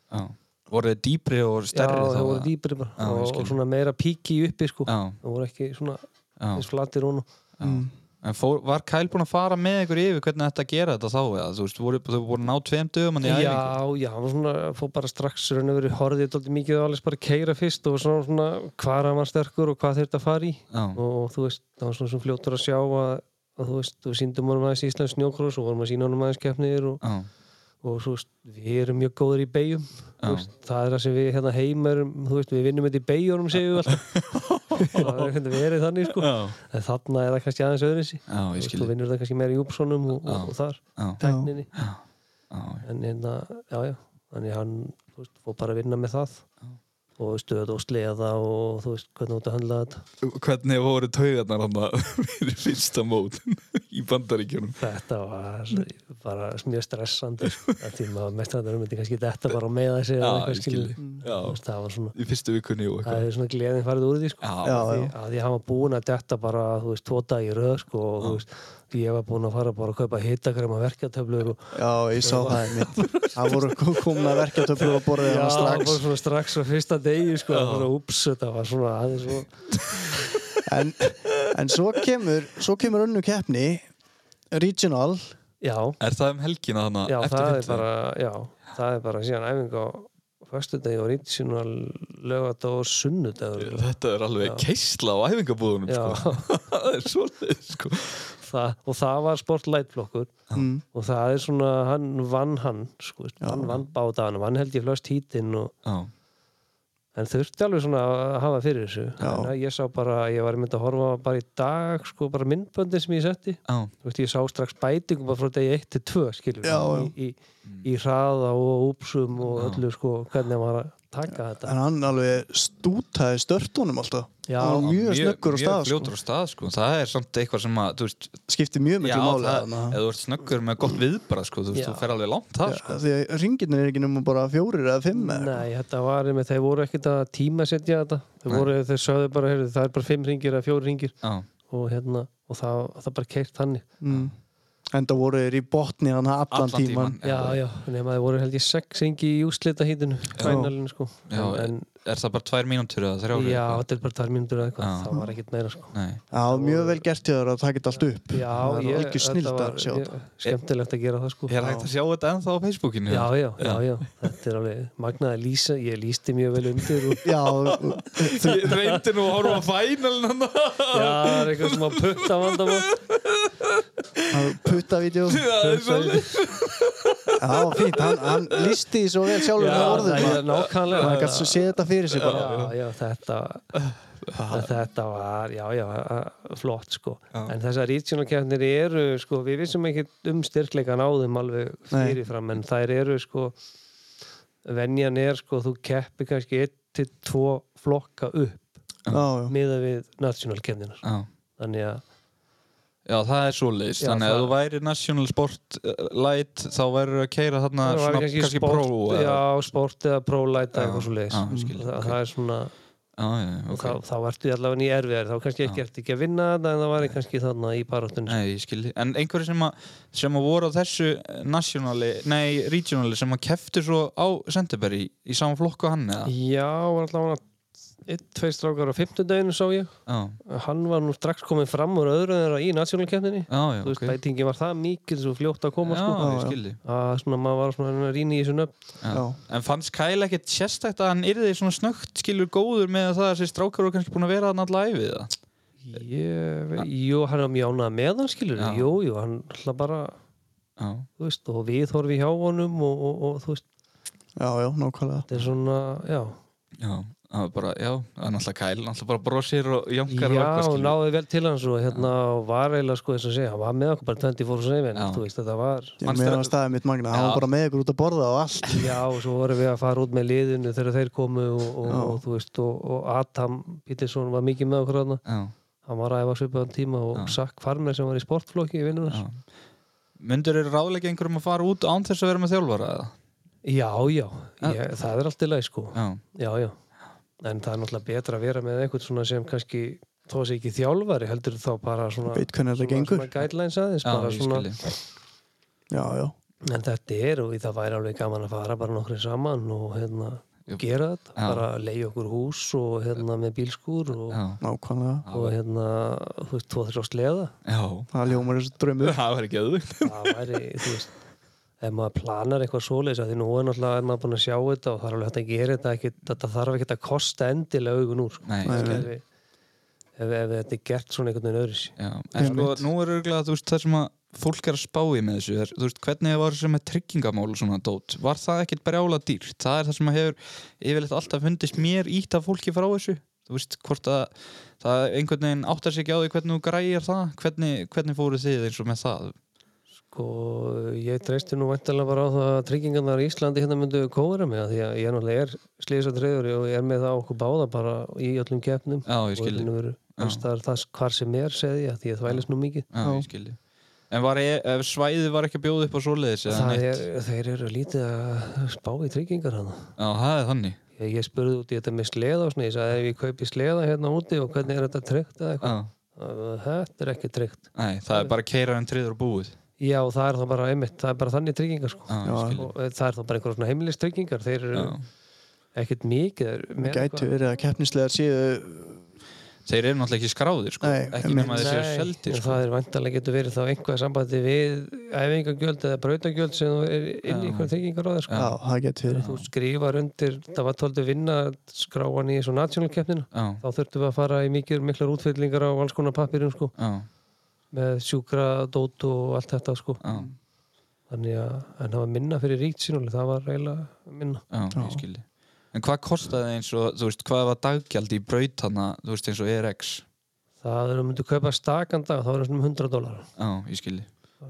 Speaker 3: Voru þið dýpri og stærri
Speaker 4: Já,
Speaker 3: þá,
Speaker 4: þeir voru
Speaker 3: eða?
Speaker 4: dýpri bara
Speaker 3: Já, ég
Speaker 4: og,
Speaker 3: skil.
Speaker 4: og svona meira píki í uppi sko.
Speaker 3: Já,
Speaker 4: Það voru ekki svona
Speaker 3: já,
Speaker 4: eins flatir hún
Speaker 3: já.
Speaker 4: mm.
Speaker 3: En fór, var Kæl búinn að fara með ykkur yfir hvernig þetta gera þetta þá eða, þú veist, voru, þau voru ná tveim dögum hann í
Speaker 4: Já,
Speaker 3: æfingu?
Speaker 4: já, hann var svona, fór bara strax raun og verið horfið dóldi mikið og alveg bara keira fyrst og svona, svona hvað hann var sterkur og hvað þurfti að fara í
Speaker 3: Já,
Speaker 4: og þú veist, það var svona svona fljótur að sjá að, að þú veist, við síndum honum aðeins Íslands snjókross og vorum að sína honum aðeins keppnir og,
Speaker 3: já,
Speaker 4: og þú veist, við erum mjög góðir í beigjum
Speaker 3: Já.
Speaker 4: þú veist, það er það sem við hérna heima erum, þú veist, við vinnum þetta í beigjunum segjum við alltaf það er hérna verið þannig sko
Speaker 3: Já.
Speaker 4: en þarna er það kannski aðeins öðruvísi
Speaker 3: já,
Speaker 4: Þú
Speaker 3: ég
Speaker 4: veist,
Speaker 3: skil
Speaker 4: þú
Speaker 3: þig.
Speaker 4: vinnur það kannski meira í Júpssonum og, og, og þar,
Speaker 3: Já,
Speaker 4: tækninni
Speaker 3: já,
Speaker 4: en hérna, já já þannig hann, þú veist, fór bara að vinna með það og stöð og sleða og þú veist, hvernig þú ert að handla þetta
Speaker 3: Hvernig voru taugarnar hann fyrir fyrsta mót í bandaríkjunum?
Speaker 4: Þetta var bara mjög stressandi sko. að því maður mestrandarum myndi kannski þetta bara á meða sig eða
Speaker 3: Já,
Speaker 4: eitthvað
Speaker 3: ég skil
Speaker 4: skilur.
Speaker 3: þig.
Speaker 4: Þú
Speaker 3: Já,
Speaker 4: veist, Það var svona,
Speaker 3: í fyrstu vikunni og
Speaker 4: það
Speaker 3: eitthvað.
Speaker 4: er svona gleðin farið úr því sko.
Speaker 1: Já,
Speaker 4: Því
Speaker 1: já,
Speaker 4: að ég hafa búin að detta bara, þú veist, tvo dag í röð sko og þú veist, ég var búin að fara bara að kaupa hitakrema verkjatöflu sko. og
Speaker 1: já, ég sá það einmitt Það voru komin að verka töflu og borðið
Speaker 4: Já,
Speaker 1: hana
Speaker 4: það var
Speaker 1: strax
Speaker 4: svona strax á fyrsta degi sko, það var svona ups, þetta var svona aðeins og
Speaker 1: en, en svo kemur svo kemur önnu keppni Regional
Speaker 4: Já,
Speaker 3: Er það um helgina þannig?
Speaker 4: já, það er bara, já, það er bara síðan æfing á föstudegi og rýtisinn og lögadag og sunnudagur
Speaker 3: Þetta er alveg keisla á æfingabúðunum sko. Það er svolítið sko.
Speaker 4: það, og það var sportlætflokkur
Speaker 1: mm.
Speaker 4: og það er svona, hann vann hann sko, veist, hann vann bátaðan, hann held ég flöst hítinn og
Speaker 3: Já,
Speaker 4: en þurfti alveg svona að hafa fyrir þessu
Speaker 1: Já.
Speaker 4: en ég sá bara, ég var mynd að horfa bara í dag, sko, bara myndböndin sem ég setti
Speaker 3: já,
Speaker 4: þú veist, ég sá strax bætingum bara frá degi 1 til 2, skilur
Speaker 1: Já, já.
Speaker 4: í, í, í hraða og úpsum og öllu, sko, hvernig maður að taka þetta
Speaker 1: en hann alveg stútaði störtunum alltaf
Speaker 4: Já.
Speaker 1: hann var mjög snöggur og
Speaker 3: mjög
Speaker 1: stað sko.
Speaker 3: fljótur á stað sko. það er samt eitthvað sem að þú veist,
Speaker 1: skipti mjög
Speaker 3: já,
Speaker 1: miklu máli
Speaker 3: það,
Speaker 1: þarna.
Speaker 3: eða þú ert snöggur með gott viðbrað sko, þú, veist,
Speaker 4: Já.
Speaker 3: þú fer alveg langt það sko.
Speaker 1: Já, því að ringirnir er ekki nema bara fjórir eða fimm eða eitthvað.
Speaker 4: Nei, þetta var með, þeir voru ekkert að tíma setja þetta þeir,
Speaker 3: Nei.
Speaker 4: voru, þeir sögðu bara, heyrðu, það er bara fimm ringir eða fjóri ringir
Speaker 3: Já,
Speaker 4: og hérna, og það, það bara keirt hannig
Speaker 1: mm. en það voru þeir í botni hann allan
Speaker 3: allan
Speaker 1: tíman
Speaker 3: tíman
Speaker 4: Já, já, nema það voru held ég sex ringi í úslita hítinu, kvænalinu sko
Speaker 3: Já,
Speaker 4: en,
Speaker 3: er það bara tvær mínútur eða
Speaker 4: en
Speaker 3: þrjár
Speaker 4: já, þetta er bara tvær mínútur eða eitthvað,
Speaker 3: Já.
Speaker 4: það var ekkert meira sko
Speaker 3: Nei.
Speaker 1: Já, mjög vel gert hjá þér að taka þetta allt upp
Speaker 4: Já,
Speaker 1: Það er
Speaker 4: ég,
Speaker 1: algjör snilld
Speaker 4: þetta
Speaker 1: að sjá
Speaker 4: ég- skemmtilegt að gera það sko
Speaker 3: er hægt að sjá þetta ennþá á Facebookinu
Speaker 4: Já, já, já, já, þetta er alveg magnaði lýsa, ég lýsti mjög vel undir og
Speaker 1: Já, og-
Speaker 3: ég reyndi nú að horfa á fænalin hann
Speaker 4: já, það er eitthvað sem að putta vandamál
Speaker 1: það puttavídeó Já,
Speaker 4: Já,
Speaker 1: fínt, hann, hann lísti því svo vel sjálfur með orðum
Speaker 4: það er
Speaker 1: að-
Speaker 4: nákvæmlega
Speaker 1: hann gætt svo séð þetta fyrir sig bara
Speaker 4: Já, já, þetta þetta var, já, já flott, sko, en þessar regionalkeppnir eru, sko, við vissum ekki um styrkleikan á þeim alveg
Speaker 1: Nei.
Speaker 4: fyrirfram, en þær eru, sko venjan er, sko, þú keppir kannski 1-2 flokka upp
Speaker 1: Já, já,
Speaker 4: miða við nationalkeppninar,
Speaker 3: já.
Speaker 4: þannig að
Speaker 3: já, það er svo leist
Speaker 4: Já,
Speaker 3: þannig að
Speaker 4: það-
Speaker 3: þú væri national sport uh, light þá væru að keira þarna
Speaker 4: það var
Speaker 3: svona, kannski
Speaker 4: sport,
Speaker 3: pro eða-
Speaker 4: já, sport eða prólæta eitthvað svo leiðis,
Speaker 3: já, ég skil,
Speaker 4: það,
Speaker 3: ok.
Speaker 4: það er svona
Speaker 3: já, já, já,
Speaker 4: og
Speaker 3: ok
Speaker 4: þá, þá ertu allavega í erfiðar þá kannski ekki ertu ekki að vinna þetta en það var kannski þarna í baráttunni
Speaker 3: Nei, ég skilji. En einhverju sem að, sem að voru á þessu eh, nationali, nei, regionali sem að keftu svo á Senterberg í, í sama flokku hann eða?
Speaker 4: Já, var allavega einn, tveir strákar á fimmtudaginu sá ég
Speaker 3: Já,
Speaker 4: hann var nú strax kominn fram úr öðru þeirra í nationalkeppninni
Speaker 3: já, já,
Speaker 4: þú veist,
Speaker 3: ok.
Speaker 4: okay. bætingi var það mikil svo fljótt að koma
Speaker 3: Já,
Speaker 4: sko.
Speaker 3: ég
Speaker 1: já.
Speaker 3: skilji.
Speaker 4: að svona maður var svona rýni í þessu nöfn
Speaker 1: já,
Speaker 3: En fannst Kyle ekkert sérstækt að hann yrði svona snögt skilur góður með það að þessi strákar voru kannski búin að vera hann alltaf æfið það?
Speaker 4: ég, veit- Jú, hann var mjánað með hann skilur
Speaker 3: Já.
Speaker 4: Jú, jú, hann alltaf bara
Speaker 3: já,
Speaker 4: þú veist, og viðhorfi hjá honum og, og, og þú veist,
Speaker 1: já, já, nákvæmlega
Speaker 4: þetta er svona, já
Speaker 3: já, það var bara, já, það er náttúrulega kæl, náttúrulega bara brosir og jankar og
Speaker 4: Já,
Speaker 3: eitthvað,
Speaker 4: og
Speaker 3: skilur.
Speaker 4: náði vel til hans og hérna og var eiginlega sko þess að segja, hann var með okkur bara 24-7
Speaker 3: Já.
Speaker 4: þú veist, þetta var
Speaker 1: Ég
Speaker 3: Manstu-
Speaker 1: meðan að staðið mitt magna, hann
Speaker 3: Já.
Speaker 1: var bara með ykkur út að borða og allt
Speaker 4: Já, og svo vorum við að fara út með liðinu þegar þeir komu og, og,
Speaker 1: Já.
Speaker 4: og þú veist, og, og Adam Pítilsson var mikið með okkur hana
Speaker 3: Já,
Speaker 4: hann var að æfa svipaðan tíma og
Speaker 3: Já.
Speaker 4: Sack Farmer sem var í sportflokki í vinnunar
Speaker 3: já. Myndur eru ráðleika einhverjum að fara út án þess að vera með þjálfara eða?
Speaker 4: Já, já, ég, það er allt í lagi sko
Speaker 3: Já,
Speaker 4: Já, já, en það er náttúrulega betra að vera með einhvern svona sem kannski þó sé ekki þjálfari, heldur þá bara svona,
Speaker 1: veit hvernig þetta
Speaker 4: svona,
Speaker 1: gengur
Speaker 4: svona guidelines aðeins,
Speaker 3: já,
Speaker 4: bara
Speaker 3: ég
Speaker 4: svona
Speaker 3: skilji.
Speaker 1: Já, já,
Speaker 4: En þetta er og það væri alveg gaman að fara bara nokkri saman og hérna
Speaker 3: Jú.
Speaker 4: gera þetta,
Speaker 3: Já.
Speaker 4: bara leiði okkur hús og hérna með bílskúr og,
Speaker 3: Já,
Speaker 1: nákvæmlega
Speaker 4: og hérna, þú veist, tvo þrjá sleða
Speaker 3: já.
Speaker 1: Það ljómar þessu drömmu
Speaker 3: Það var ekki öðvögt.
Speaker 4: það væri, þú veist ef maður planar eitthvað svoleiðis að því nú er náttúrulega er maður búin að sjá þetta og það er alveg hægt að gera þetta ekki, þetta þarf ekki að kosta endilega augun úr sko.
Speaker 3: Nei,
Speaker 1: Nei,
Speaker 4: ef,
Speaker 1: nei.
Speaker 4: við- ef, ef þetta er gert svona einhvern veginn öðris
Speaker 3: Já, en sko,
Speaker 1: Einmitt.
Speaker 3: nú er örgulega, þú veist, það sem að fólk er að spá í með þessu, er, þú veist, hvernig var þessu með tryggingamál og svona dót, var það ekkert brjála dýrt, það er það sem að hefur yfirleitt alltaf fundist mér ítt af fólki frá þessu, þú veist, hvort að það einhvern veginn áttar sig ekki á því hvernig þú græjar það, hvernig, hvernig fóruð þið eins og með það,
Speaker 4: sko, ég treysti nú væntalega bara á það að tryggingarnar í Íslandi hérna myndu kóra mig að því að ég náttúrulega er slísatreyður og ég er með það á okkur báða bara í öllum keppnum
Speaker 3: já, ég
Speaker 4: og
Speaker 3: skilji,
Speaker 4: öllum veru, það er það hvar sem er segði ég að því að þvælist nú mikið
Speaker 3: já, ég skilji, en var, e- ef svæðið var ekki að bjóða upp á svoleiðis eða
Speaker 4: það
Speaker 3: neitt,
Speaker 4: er, þeir eru lítið að spá í tryggingar hana
Speaker 3: já, það er þannig,
Speaker 4: ég, ég spurði út í þetta með sleða og svona ég sagði ef ég kaupi sleða hérna úti og hvernig er þetta tryggt eða
Speaker 3: já,
Speaker 4: eitthvað þetta er ekki tryggt
Speaker 3: nei, það er bara keira en triður og búið,
Speaker 4: já það er þá bara einmitt, það er bara þannig tryggingar sko.
Speaker 3: já, ég
Speaker 1: Já.
Speaker 3: skilji,
Speaker 4: og eh, það er þá bara einhverjum svona heimilistryggingar þeir eru
Speaker 3: já.
Speaker 4: ekkert mikið þeir eru með
Speaker 1: Gæti verið að keppnislegar séu
Speaker 3: Þeir eru náttúrulega ekki skráðir sko.
Speaker 1: Nei,
Speaker 3: ekki
Speaker 1: einmitt.
Speaker 3: nema þeir séu
Speaker 4: Nei,
Speaker 3: seldir
Speaker 4: en
Speaker 3: sko.
Speaker 4: það er vantarlega getur verið þá einhvað sambandi við æfingagjöld eða brautagjöld sem þú er inn
Speaker 3: Já.
Speaker 4: í einhver tryggingar á þér sko.
Speaker 1: Já, það gæti verið
Speaker 4: þú skrifar undir, það var tóldi vinna að skráan í svo national keppnina
Speaker 3: Já,
Speaker 4: þá þurftum við að fara í mikil miklar útfyllingar á alls konar pappirum sko
Speaker 3: já,
Speaker 4: með sjúkra, dót og allt þetta sko
Speaker 3: já,
Speaker 4: þannig að en það var minna fyrir ríktsinuleg það var eiginlega minna
Speaker 3: já, ég skilji En hvað kostaði eins og, þú veist, hvað var daggjald í braut hana, þú veist, eins og E ERX
Speaker 4: það er að myndu kaupa stakan dag þá er það svona um 100 dólar
Speaker 3: Já, ég skilji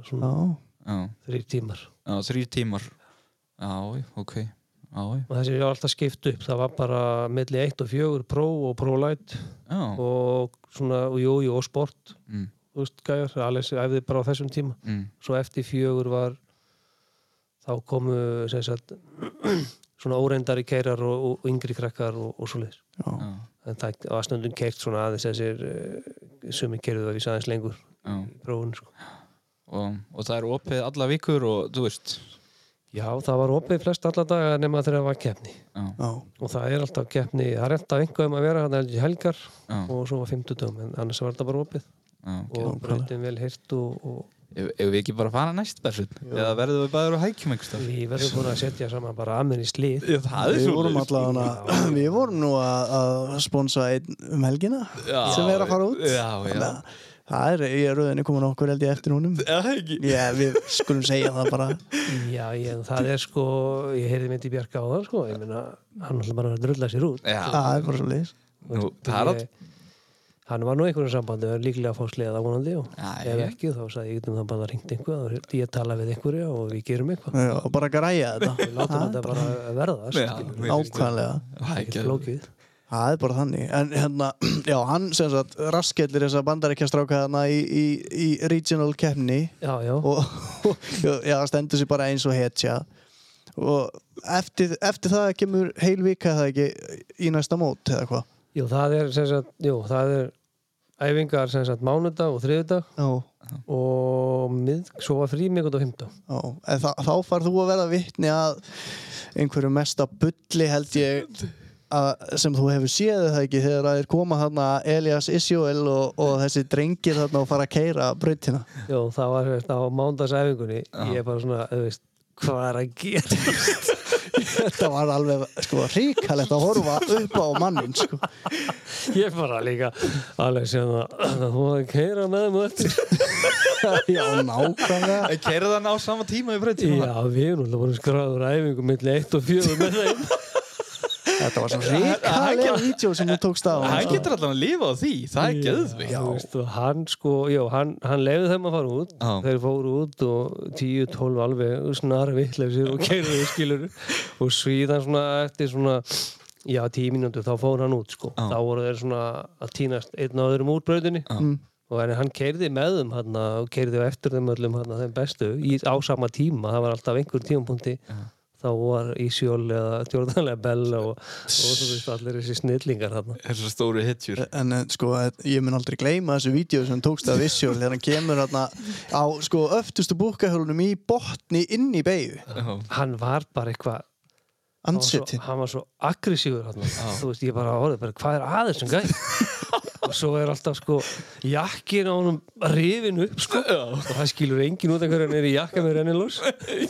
Speaker 4: svona
Speaker 1: Já,
Speaker 3: Já,
Speaker 4: þrýr tímar
Speaker 3: já þrýr tímar Já, ok Já, já,
Speaker 4: og þessi er alltaf skipt upp það var bara milli 1 og 4 pro og pro light
Speaker 3: já,
Speaker 4: og svona, og jú, jú, og sport
Speaker 3: mm,
Speaker 4: þú veist, gæjar, Alex æfði bara á þessum tíma
Speaker 3: mm,
Speaker 4: svo eftir fjögur var þá komu sem sagt, svona óreindari keirar og, og yngri krakkar og, og svoleiðis
Speaker 1: já,
Speaker 3: já,
Speaker 4: en það var stundum keirt svona aðeins þessir uh, sumi keirðu að vísa aðeins lengur
Speaker 3: já
Speaker 4: í prófun sko.
Speaker 3: og, og það er opið alla vikur og, þú veist
Speaker 4: Já, það var opið flest alla daga nema þegar það var keppni
Speaker 3: Já,
Speaker 1: já,
Speaker 4: og það er alltaf keppni, það er alltaf einhverjum að vera þannig að helgar
Speaker 3: já,
Speaker 4: og svo var fimmtudum en annars var þetta bara opið
Speaker 3: já
Speaker 4: og breytum vel hirt og, og
Speaker 3: Ef ef við ekki bara fara næst bersun Eða verðum við bæður og hækjum einhvers þar
Speaker 4: Við verðum búin að setja saman bara amen í slið
Speaker 3: Það
Speaker 1: Við vorum
Speaker 3: svoleiðis.
Speaker 1: allavega hana, við vorum nú að, að sponsa einn um helgina
Speaker 3: Já,
Speaker 1: sem er að fara út
Speaker 3: já, já.
Speaker 1: Þannig að Það er, ég er rauðinni komin okkur held ég eftir húnum
Speaker 3: Já, ekki
Speaker 1: Já, við skulum segja það bara
Speaker 4: Já, ég, það er sko, ég heyrði myndi í Bjarka á það sko, ég meina, hann ætla bara að drulla sér út.
Speaker 3: Já,
Speaker 1: Það er bara svo leiðis
Speaker 3: nú, það er allt
Speaker 4: Ég- Hann var nú í einhverjum sambandi, það er líklega að fá sleða vonandi og
Speaker 3: Já,
Speaker 4: ef
Speaker 3: já.
Speaker 4: ekki þá sagði ég getum það bara ringt einhver, þá ég tala við einhverja og við gerum eitthvað.
Speaker 1: og bara græja þetta
Speaker 4: Við látum þetta bara verða, skilur,
Speaker 1: Ákvæðlega
Speaker 3: Það er
Speaker 4: ekki
Speaker 3: ekki
Speaker 4: flókið.
Speaker 1: Það er bara þannig En hérna, já, hann sem sagt raskellir þessa bandaríkja strákaðana í, í, í regional keppni
Speaker 4: Já, já,
Speaker 1: og já, stendur sér bara eins og hetja og eftir, eftir það kemur heil vika er það ekki í næsta mót eða hvað
Speaker 4: jú, það er sem sagt, jú, það er æfingar sem sagt mánudag og þriðudag
Speaker 1: já,
Speaker 4: og mið, svo var frí mikult og himta.
Speaker 1: já, en þa þá far þú að verða vitni að einhverju mesta bulli held ég að, sem þú hefur séð er það ekki þegar það er koma þarna Elias Isjóel og, og þessi drengir þarna og fara að keira brautina
Speaker 4: Jó, það var veist, á mándagsæfingunni ég er bara svona, þú veist, hvað er að gera
Speaker 1: þetta var alveg sko ríkalegt að horfa upp á mannin sko.
Speaker 4: Ég bara líka alveg sem að að þú hafði keira með mig eftir
Speaker 1: já, nákvæmlega
Speaker 3: En keira þann á sama tíma í breytíma
Speaker 4: Já, við erum alltaf búin skráður æfingu milli 1 og 4 með þeim
Speaker 1: þetta var svo ríkalega vídeo sem þú tókst á
Speaker 3: Hann getur allan að lifa á því, það er geðvig
Speaker 4: Já, þú veist, og hann sko, já, hann, hann leiði þeim að fara út
Speaker 3: Já.
Speaker 4: þeir fóru út og 10-12 alveg snara vittleysir og keirðu í skilur og svíðan svona eftir svona já, 10 mínútur, þá fór hann út sko þá voru þeir svona að týnast einn á öðrum úr brautinni og en hann keirði með þeim hann og keirði eftir þeim öllum hann þeim bestu í, á sama tíma, það var alltaf einhver tímapunkti þá var Ísjól eða Jordanlega Bell og, og þú veist allir þessi snillingar hann
Speaker 3: Þessar stóru hitjur
Speaker 1: en eh, sko, ég mun aldrei gleyma þessu vídeo sem tókst af Vissjól þegar hann kemur hérna á sko öftustu búkahölunum í botni inn í beigju
Speaker 4: hann var bara eitthvað hann var svo-
Speaker 1: ansettin
Speaker 4: hann var svo aggressífur hann. þú veist, ég bara horfði bara, hvað er aðeins sem gæði og svo er alltaf sko jakkin á honum rifin upp sko og það skilur engin út einhverjan er í jakka með rennilós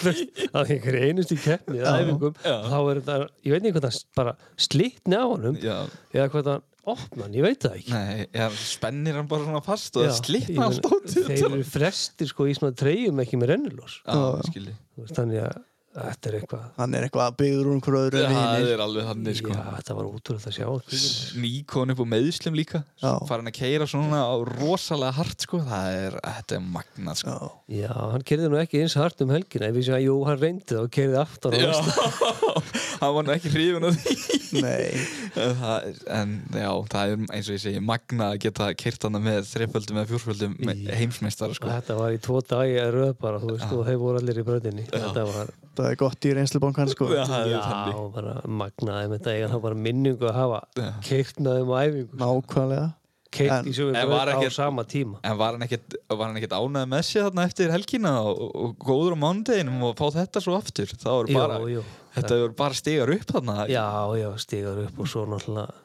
Speaker 4: að einhver einustu keppni eða æfingum þá er þetta, ég veit ekki hvað það bara slitni á honum
Speaker 3: Já.
Speaker 4: eða hvað það opna hann, ég veit það ekki
Speaker 3: Nei, já, spennir hann bara svona fast og
Speaker 4: Já,
Speaker 3: það
Speaker 4: ég
Speaker 3: slitna
Speaker 4: meina,
Speaker 3: allt ótið
Speaker 4: þeir eru frestir sko í svona treyjum ekki með rennilós
Speaker 3: Já, skilji
Speaker 4: þannig að þetta er eitthvað
Speaker 1: hann er eitthvað byggður úr einhverju öðru
Speaker 3: Það
Speaker 1: vini
Speaker 3: er alveg þannig sko
Speaker 4: Já, þetta var útrúlega að sjá kvíkina.
Speaker 3: Nikon upp á meðslum líka
Speaker 1: Já.
Speaker 3: fara hann að keira svona á rosalega hart sko. það er, þetta er magnað sko.
Speaker 4: Já, hann kerði nú ekki eins hart um helgina ef ég sé að jú, hann reyndi það og kerði aftan
Speaker 3: Já.
Speaker 4: og
Speaker 3: hann var nú ekki hrifun af því
Speaker 1: nei,
Speaker 3: Það er- en já, það er eins og ég segi magnað að geta keirt hann með þreiföldum eða fjórföldum með heimsmeistar
Speaker 4: og
Speaker 3: sko.
Speaker 4: þetta var í tvo dagi að röð bara, þú veist, og þeir voru allir í bröðinni þetta var,
Speaker 1: það er gott í reynslubankan sko
Speaker 3: það
Speaker 4: já,
Speaker 3: er þannig
Speaker 4: og bara magnaði með þetta, ég hann bara minningu að hafa keirt með þeim á æfingu,
Speaker 1: nákvæmlega
Speaker 4: keirt í sömu
Speaker 3: En
Speaker 4: bröð
Speaker 3: var
Speaker 4: á
Speaker 3: ekkert-
Speaker 4: sama tíma
Speaker 3: En var hann ekkert, var hann ekkert ánægð með sér þarna eftir helgina og, og góður á mánudeginum og fá þetta svo aftur? Það voru
Speaker 4: Jú,
Speaker 3: bara,
Speaker 4: jú.
Speaker 3: þetta voru bara stigar upp þarna.
Speaker 4: Já, já, stigar upp og svo náttúrulega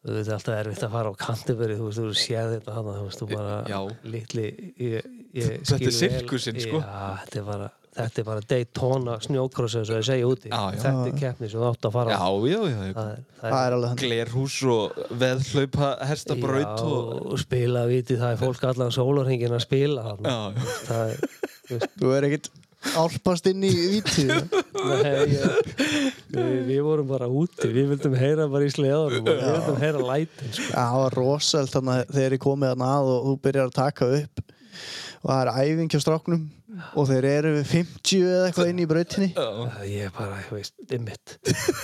Speaker 4: þú veit, alltaf erfitt að fara á Canterbury þú veist, þú séð þetta hana, þú veist, þú bara
Speaker 3: Já.
Speaker 4: litli, ég,
Speaker 3: Þetta
Speaker 4: ég
Speaker 3: er
Speaker 4: skil vel-
Speaker 3: sirkusinn, sko.
Speaker 4: Já, þetta er bara, þetta er bara Daytona snjókrossa, eins og ég segja úti
Speaker 3: Já, já.
Speaker 4: þetta er keppni sem þú átt að fara á
Speaker 3: já, já, já. já.
Speaker 4: það er, það
Speaker 1: það er alveg hann
Speaker 3: Glerhús og veðhlaupa, hestabraut
Speaker 4: já,
Speaker 3: og...
Speaker 4: og spila vitið, það er fólk allan sólarhingin að spila hana.
Speaker 3: Já, já.
Speaker 4: það er þú veist,
Speaker 1: þú er ekkert álpast inn í vítið
Speaker 4: Nei, ég, við, við vorum bara úti, við vildum heyra bara í sleðanum og við vildum heyra lætin sko.
Speaker 1: Já, það var rosalt þannig að þegar ég komið þarna að og þú byrjar að taka upp og það er æfing hjá stráknum og þeir eru við 50 eða eitthvað inn í brautinni
Speaker 3: sko.
Speaker 4: Það ég bara, ég veist, dimmitt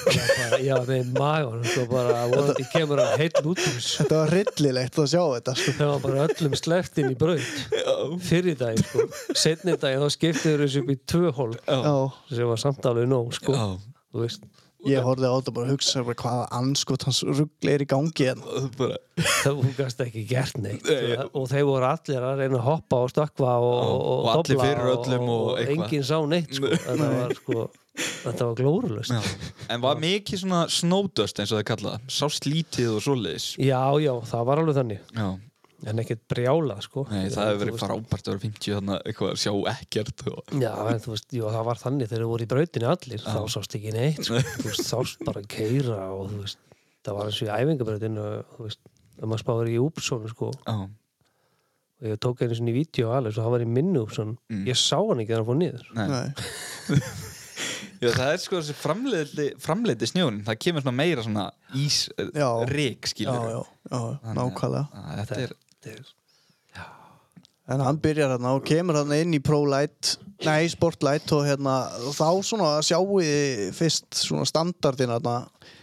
Speaker 4: ég var með magan sko, bara, vonandi kemur að heill út úr þessu.
Speaker 1: Þetta var rillilegt að sjá þetta sko.
Speaker 4: það var bara öllum sleppt inn í braut fyrir daginn, sko, setni daginn þá skiptiður þessu upp í tvö hól
Speaker 1: Já,
Speaker 4: sem var samt alveg nóg, sko
Speaker 3: Já.
Speaker 4: þú veist,
Speaker 1: ég horfði á þetta bara að hugsa bara, hvaða anskot hans ruggli er í gangi hérna. en
Speaker 3: Og Bara,
Speaker 4: það hún gast ekki gert neitt
Speaker 3: Nei, já.
Speaker 4: og þeir voru allir að reyna að hoppa og stökkva og, og,
Speaker 3: og allir
Speaker 4: dobla
Speaker 3: fyrir öllum og
Speaker 4: og
Speaker 3: eitthvað.
Speaker 4: enginn sá neitt, sko þetta var, sko, þetta var glórulust
Speaker 3: já. En var mikið svona snowdust eins og það kallaða, sást lítið og svoleiðis.
Speaker 4: já, já, það var alveg þannig
Speaker 3: Já,
Speaker 4: en ekkert brjála, sko
Speaker 3: Nei, það hefur
Speaker 4: Þú
Speaker 3: verið
Speaker 4: veist,
Speaker 3: frábært að vera 50 þarna, eitthvað að sjá ekkert og...
Speaker 4: Já, en þú veist, jú, það var þannig þegar þú voru í brautinu allir, þá sást ekki neitt sko. þú veist, sást bara að keira og þú veist, það var eins og í æfingabrautinu þú veist, ef maður spáður í Úpsson sko,
Speaker 3: Já.
Speaker 4: og ég tók einu svona í vídeo alveg, svo það var í minni Úpsson
Speaker 3: Mm.
Speaker 4: ég sá hann ekki þegar hann fór niður
Speaker 1: Nei.
Speaker 3: Já, það er sko þessi framleiti, framleiti snjón það kemur svona meira svona
Speaker 1: Já.
Speaker 3: eh, ísrik
Speaker 1: Já,
Speaker 3: skilur
Speaker 1: já, já, nákvæmlega
Speaker 3: Þetta er,
Speaker 1: En hann byrjar hérna og kemur hérna inn í ProLight Nei, Sportlight og hérna og þá svona sjáu þið fyrst svona standardin hérna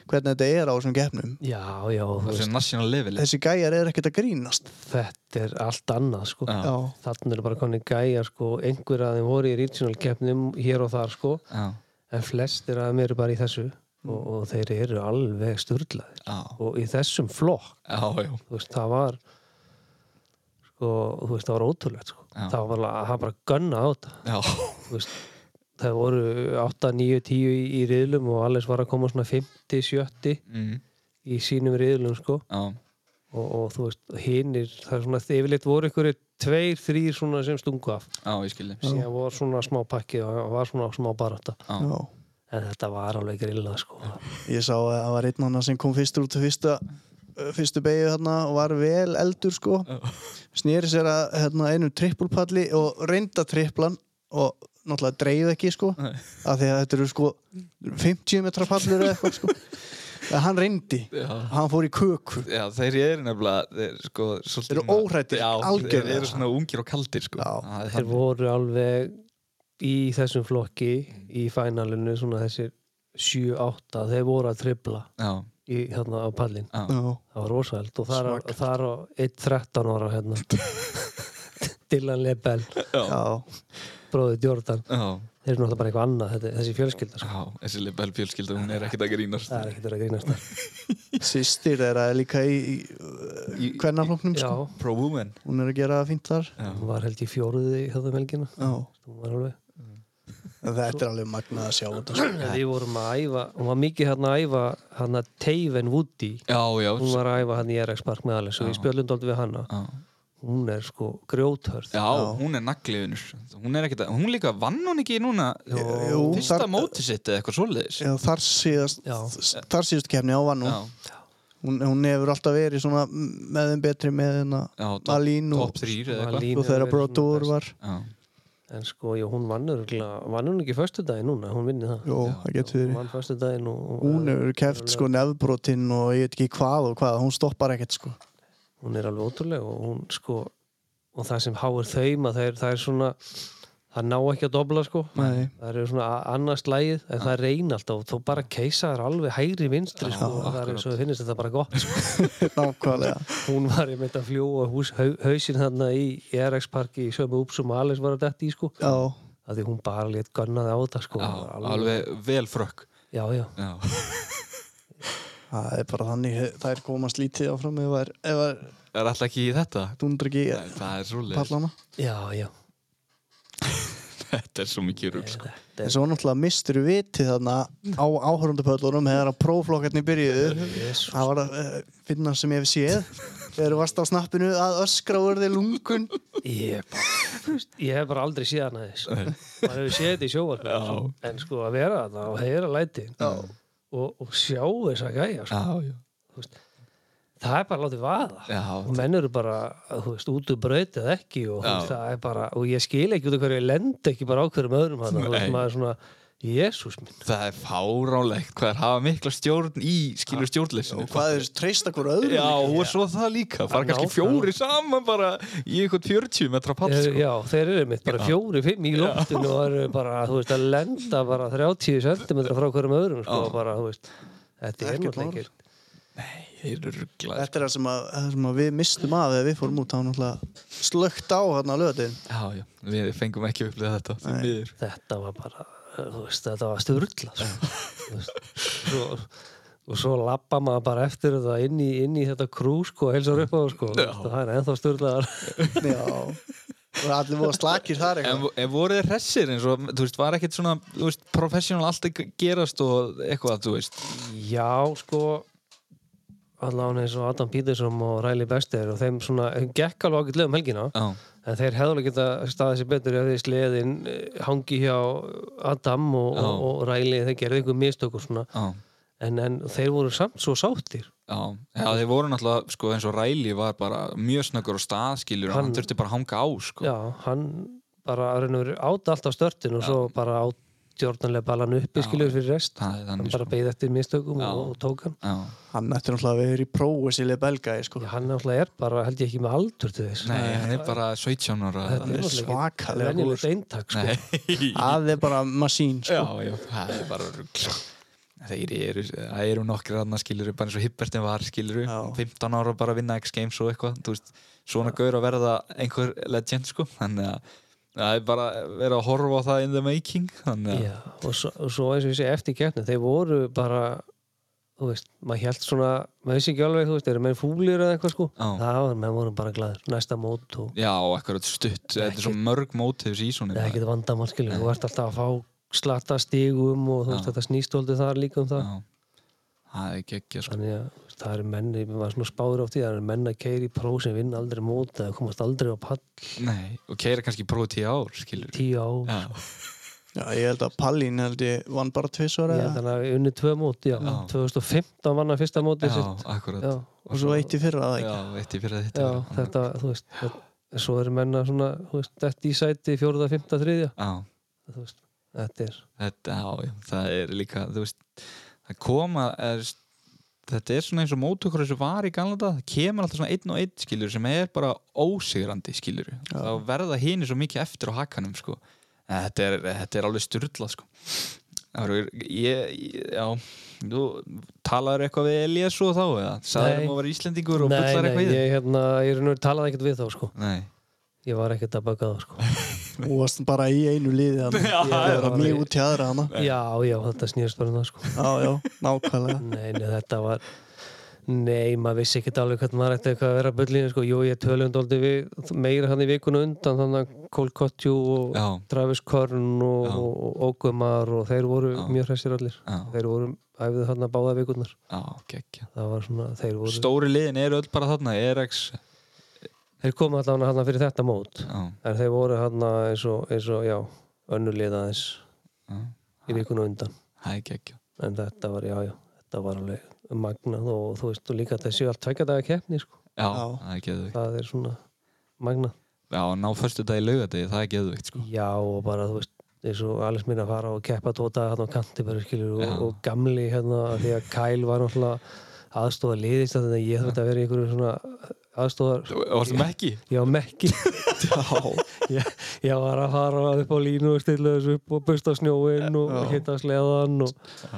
Speaker 1: hvernig þetta er á þessum gefnum
Speaker 4: já, já, þú
Speaker 3: það
Speaker 4: veist,
Speaker 3: er national level
Speaker 1: Þessi gæjar er ekkert að grínast
Speaker 4: þetta er allt annað sko.
Speaker 3: Já.
Speaker 1: Já,
Speaker 4: þannig er bara konin gæja sko, einhver að þeim voru í regional keppnum hér og þar, sko
Speaker 3: Já,
Speaker 4: en flestir að þeim eru bara í þessu
Speaker 3: Mm.
Speaker 4: og, og þeir eru alveg sturlaðir
Speaker 3: já,
Speaker 4: og í þessum flokk
Speaker 3: já, já.
Speaker 4: þú veist, það var sko, þú veist, það var ótrúlegt sko.
Speaker 3: Já.
Speaker 4: það var bara, það var bara gunna á þetta
Speaker 3: já.
Speaker 4: þú veist, það voru 8, 9, 10 í, í riðlum og alles var að koma svona 50, 70
Speaker 3: Mm.
Speaker 4: í sínum riðlum, sko
Speaker 3: já.
Speaker 4: og, og þú veist, hinnir, það er svona yfirleitt voru ykkur tveir, þrýr svona sem stungu af
Speaker 3: já ég skilji
Speaker 4: síðan var svona smá pakki og var svona smá barata
Speaker 1: já,
Speaker 4: en þetta var alveg grilla sko.
Speaker 1: Ég sá að það var einn annar sem kom fyrst út fyrsta, fyrstu beigju hérna og var vel eldur sko snýri sér að hérna, einum trippulpalli og reynda tripplan og náttúrulega dreif ekki sko af því að þetta eru sko 50 metra pallir eða eitthvað sko en hann reyndi,
Speaker 3: Já.
Speaker 1: hann fór í köku
Speaker 3: Já, þeir eru nefnilega þeir, sko, svolítið
Speaker 1: Þeir eru
Speaker 3: svona-
Speaker 1: óhræddir,
Speaker 3: Já,
Speaker 1: algjörlega.
Speaker 3: Þeir eru svona ungir og kaldir sko.
Speaker 1: Já.
Speaker 3: Það er
Speaker 4: þeir
Speaker 3: þannig.
Speaker 4: voru alveg í þessum flokki í fænalinu svona þessir 7-8 þeir voru að tripla
Speaker 3: Já,
Speaker 4: í, hérna, á pallin
Speaker 3: já.
Speaker 1: Já.
Speaker 4: það var rosalega og þar, þar á 1-13 ára hérna Dylan Lebel,
Speaker 1: Já,
Speaker 4: bróðið Jordan
Speaker 3: Já,
Speaker 4: þeir eru náttúrulega bara eitthvað annað þetta, þessi fjölskylda sko.
Speaker 3: já, þessi lebel fjölskylda hún er ekkert að grínast
Speaker 4: það er ekkert verið að grínast þar
Speaker 1: sýstir þeirra er líka í, í
Speaker 3: Í-
Speaker 1: kvennaflóknum
Speaker 4: já,
Speaker 1: sko.
Speaker 3: Pro woman
Speaker 1: hún er að gera það fínt þar
Speaker 3: Já,
Speaker 4: hún var held í fjóruði hérna melgina
Speaker 1: Já.
Speaker 4: hún var alveg
Speaker 1: þetta er alveg magnað að sjá þetta sko.
Speaker 4: En Við vorum að æfa, hún var mikið hérna að æfa hérna Taven Woody
Speaker 3: já, já,
Speaker 4: hún var að æfa hérna í RX Park með alveg svo við spjöldum dálítið við hanna
Speaker 3: já.
Speaker 4: hún er sko grjóthörð
Speaker 3: já hún er nagliðunur Hún er ekkert að, hún líka vann hún ekki núna eh,
Speaker 1: Jú,
Speaker 3: Fyrsta
Speaker 1: þar-
Speaker 3: móti sitt eða eitthvað svoleiðis
Speaker 1: Já, þar síðast
Speaker 4: Já.
Speaker 1: þar síðast kemni á vann hún
Speaker 3: Já,
Speaker 1: hún, hún hefur alltaf verið svona með þeim betri með henn
Speaker 3: já,
Speaker 1: að
Speaker 3: top,
Speaker 1: Malín og,
Speaker 3: top 3 eða eitthvað
Speaker 4: Malín
Speaker 1: og þeirra
Speaker 4: hefur verið
Speaker 1: Brodur
Speaker 4: svona
Speaker 1: var
Speaker 3: Já,
Speaker 4: en sko, já, hún vann örgulega vann hún ekki fyrstu daginn núna, hún vinnir það
Speaker 1: Jó, það getur
Speaker 4: hún
Speaker 1: verið
Speaker 4: vann fyrstu daginn og, og
Speaker 1: Hún hefur keft sko nefbrotinn og ég veit ekki hvað og hvað, hún stoppar ekkert sko
Speaker 4: hún er alveg ótrúlega og hún sko og það sem háir þeim að það er, það er svona það ná ekki að dobla sko
Speaker 1: Nei,
Speaker 4: það eru svona annars lægið en það reyna alltaf og þó bara keisa er alveg hægri vinstri sko, og það er eins og þau finnist þetta bara gott sko.
Speaker 1: nákvæmlega
Speaker 4: hún var ég meint að fljóa hús, hau, hausinn þarna í RX parki í sömu úpsum og Alice var að detti í sko
Speaker 1: Já,
Speaker 4: að því hún bara létt gunnaði á það sko
Speaker 3: já,
Speaker 4: Það var
Speaker 3: alveg vel frökk
Speaker 4: já, já,
Speaker 3: Já,
Speaker 1: það er bara þannig það er komast lítið áfram ef það er, ef það er
Speaker 3: það er alltaf ekki í þetta
Speaker 1: dundra ekki
Speaker 3: Nei, Það er svoleiðis
Speaker 1: pallana
Speaker 4: já, já
Speaker 3: Þetta er svo mikið rugg sko.
Speaker 4: þetta
Speaker 1: En
Speaker 4: er
Speaker 1: svo náttúrulega mistur við vitið þarna á áhörundapöllunum hefur að próflokkarnir byrjuðu
Speaker 4: Jesus.
Speaker 1: Það var að uh, finna sem ég hef séð Þegar þú varst á snappinu að öskra og verði lungun
Speaker 4: ég, er bara, þú veist, ég hef bara aldrei séð hann aðeins maður hefur séð þetta í sjóvarpinu en sko að vera þarna og heyra læti og, og sjá þess að gæja sko.
Speaker 3: Já, já
Speaker 4: það er bara látið vaða
Speaker 3: Já,
Speaker 4: og menn eru bara, þú veist, út úr braut eða ekki og þú
Speaker 3: Já.
Speaker 4: veist, það er bara, og ég skil ekki út af hverju, ég lend ekki bara á hverjum öðrum hann, þú veist,
Speaker 3: Nei.
Speaker 4: maður er svona Jésús minn,
Speaker 3: Það er fáránlegt hvað er hafa mikla stjórn í skilur stjórnleysinu. sko.
Speaker 1: Hvað er treysta hver öðru
Speaker 3: Já, og svo það líka. Fara
Speaker 4: Ná,
Speaker 3: kannski
Speaker 4: það-
Speaker 3: fjóri saman bara í eitthvað 40 metra pall,
Speaker 4: er,
Speaker 3: sko.
Speaker 4: já, þeir eru mitt bara fjóri, fimm í loftinu og eru bara, þú veist, að lenda bara 30 cm frá hverjum öðrum, sko, bara, þú veist þetta er
Speaker 1: Ekkert
Speaker 4: náttúrulega
Speaker 1: mál.
Speaker 4: ekki
Speaker 3: Þeir eru rugglaðir.
Speaker 1: Þetta er það sem, að, það sem að við mistum af þegar við fórum út, þá náttúrulega slögt á hérna löðin.
Speaker 3: Já, já, við fengum ekki upplið þetta. því miður.
Speaker 4: þetta var bara eh, þú veist, þetta var styrla svo, og svo lappa maður bara eftir þetta inn í, inn í þetta krú sko, heilsar upp á það, sko, Þú veist, og það er ennþá styrlaðar
Speaker 1: Já. Og allir voru slakir þar
Speaker 3: En,
Speaker 1: eitthvað.
Speaker 3: en voru þeir hressir eins og, þú veist, var ekkert svona, þú veist, professional allt að gerast og eitthvað, þú veist.
Speaker 4: já, sko allan eins og Adam Peterson og Riley Bester og þeim svona, þeim gekk alveg ágætlega um helgina
Speaker 3: Já,
Speaker 4: en þeir hefðu alveg geta staðið sér betur ef þeir sleðin eh, hangi hjá Adam og,
Speaker 3: Já.
Speaker 4: og, og Riley þeir gerði einhver mistök og svona
Speaker 3: já,
Speaker 4: en, en þeir voru samt svo sáttir
Speaker 3: já. Já, þeir voru náttúrulega, sko, eins og Ræli var bara mjög snöggur á staðskilur og
Speaker 4: Hann-
Speaker 3: hann þurfti bara að hanga á, sko.
Speaker 4: Já, hann bara raunur, át allt á störtin og svo bara át Jordanlega ballan uppi skilur fyrir rest
Speaker 3: Það er
Speaker 4: hann
Speaker 3: þannig,
Speaker 4: bara
Speaker 3: sko.
Speaker 4: beigð eftir mistökum
Speaker 3: Já.
Speaker 4: og, og tók hann
Speaker 3: Já.
Speaker 1: Hann ætti náttúrulega að vera í prófi síðlega belgæði, sko.
Speaker 4: Já, hann náttúrulega er bara, held ég ekki með aldur til þess
Speaker 3: Nei, hann er bara 17 ára.
Speaker 4: Þetta
Speaker 1: er
Speaker 4: náttúrulega ekki
Speaker 1: svakalega
Speaker 4: venjulegt eintak sko.
Speaker 3: Nei.
Speaker 1: Það er bara masín, sko.
Speaker 3: Já, já, það er bara rugl Þeir eru, það eru nokkri rannar skiluru, bara eins og Hippertin var skiluru
Speaker 1: Já.
Speaker 3: 15 ára bara að vinna X Games og eitthvað þú veist, svona gaur að verða einhver legend sko, þannig að það er bara verið að horfa á það in the making þannig að,
Speaker 4: Já, og svo, og svo eins og ég segi eftir keppni þeir voru bara þú veist, maður held svona, maður vissi ekki alveg þú veist, eru menn fúlir eða eitthvað sko
Speaker 3: Já.
Speaker 4: það var, menn voru bara glæður, næsta mót og
Speaker 3: já, akkurat stutt þetta er svo mörg mótið sísoni
Speaker 4: það er ekkert vandamál skilur, þú ert alltaf að fá slatta stigum og þú veist, þetta snýst aldrei þar líka um það
Speaker 3: það er geggja sko
Speaker 4: þannig að þú veist, það eru menn ég var svona spáður á því, það eru menn að keiri pró sem vinna aldrei mót eða komast aldrei á pall
Speaker 3: Nei, og keira kannski prófið 10 ár skiluru
Speaker 4: tíu á,
Speaker 3: Já,
Speaker 1: Já, ég held að Pallín held ég vann bara tvisvara
Speaker 4: Ég held
Speaker 1: eða
Speaker 4: hann að unni tvö mót, já,
Speaker 3: Já.
Speaker 4: 2015 vann hann fyrsta móti
Speaker 3: já,
Speaker 4: sitt
Speaker 3: akkurat
Speaker 4: já,
Speaker 1: og svo eitt í fyrra það ekki.
Speaker 3: já, eitt í fyrir að
Speaker 4: já,
Speaker 3: þetta var-
Speaker 4: þetta, þú veist þetta, svo eru menna svona, þú veist, þetta í sæti fjóruða, fymta, þriðja
Speaker 3: já,
Speaker 4: þú veist, þetta er
Speaker 3: þetta, já, já, það er líka þú veist, það koma er, þetta er svona eins og mótökur þessu var í gamla dag, það kemur alltaf svona einn og einn skilur sem er bara ósigrandi skilur, þá verða hini svo mikið eftir á hakanum sko En þetta er, þetta er alveg styrla sko Það eru- ég, ég, já þú talaður eitthvað við Elias og þá eða, sagður
Speaker 4: Nei.
Speaker 3: um að vera Íslendingur og bullar eitthvað í þig
Speaker 4: ég, hérna, ég er nú talaði ekkert við þá, sko
Speaker 3: Nei,
Speaker 4: ég var ekkert að baka þá, sko
Speaker 1: Þú varst bara í einu liði þannig.
Speaker 3: Já,
Speaker 1: Það var
Speaker 4: já.
Speaker 1: mjög út í aðra hana.
Speaker 4: já, já, þetta snýrst bara um það, sko
Speaker 1: Já, já, nákvæmlega.
Speaker 4: nei, nei, þetta var nei, maður vissi ekkert alveg hvernig maður ætti eitthvað að vera að bullinu, sko, jú, ég tölund aldrei við, meira hann í vikuna undan þannig að Cole Cottew og
Speaker 3: já,
Speaker 4: Travis Korn og,
Speaker 3: Já.
Speaker 4: og, og Ogumar og þeir voru
Speaker 3: Já.
Speaker 4: mjög hressir allir
Speaker 3: já,
Speaker 4: þeir voru, æfðu þarna báða vikurnar
Speaker 3: já, gekkja
Speaker 4: það var svona, þeir voru
Speaker 3: Stóri liðin eru öll bara þarna, ERX
Speaker 4: þeir komu allavega hann fyrir þetta mót
Speaker 3: Já,
Speaker 4: en þeir voru hann eins og, eins og já, önnulið aðeins
Speaker 3: já,
Speaker 4: í vikuna undan
Speaker 3: það er gekkja
Speaker 4: en þetta var, já, já, þetta var alveg magnað og þú veist, og líka þessi allt tvekja daga keppni, sko,
Speaker 3: Já,
Speaker 1: Já.
Speaker 3: það er geðveikt.
Speaker 4: það er svona magnað,
Speaker 3: Já, ná förstu dag í laugadegi, það er geðveikt sko.
Speaker 4: já, og bara, þú veist eins og alveg minn að fara og keppa tóta hann á kanti bara skilur og,
Speaker 3: Já.
Speaker 4: og gamli hérna, af því að Kyle var náttúrulega aðstofa liðist þannig að ég þurfti að vera í einhverju svona aðstofar
Speaker 3: Varstu með ekki?
Speaker 4: Já, mekki. ég, ég var að fara upp á línu og stilla þessu upp og busta snjóin og
Speaker 1: Já.
Speaker 4: hitta sleðan og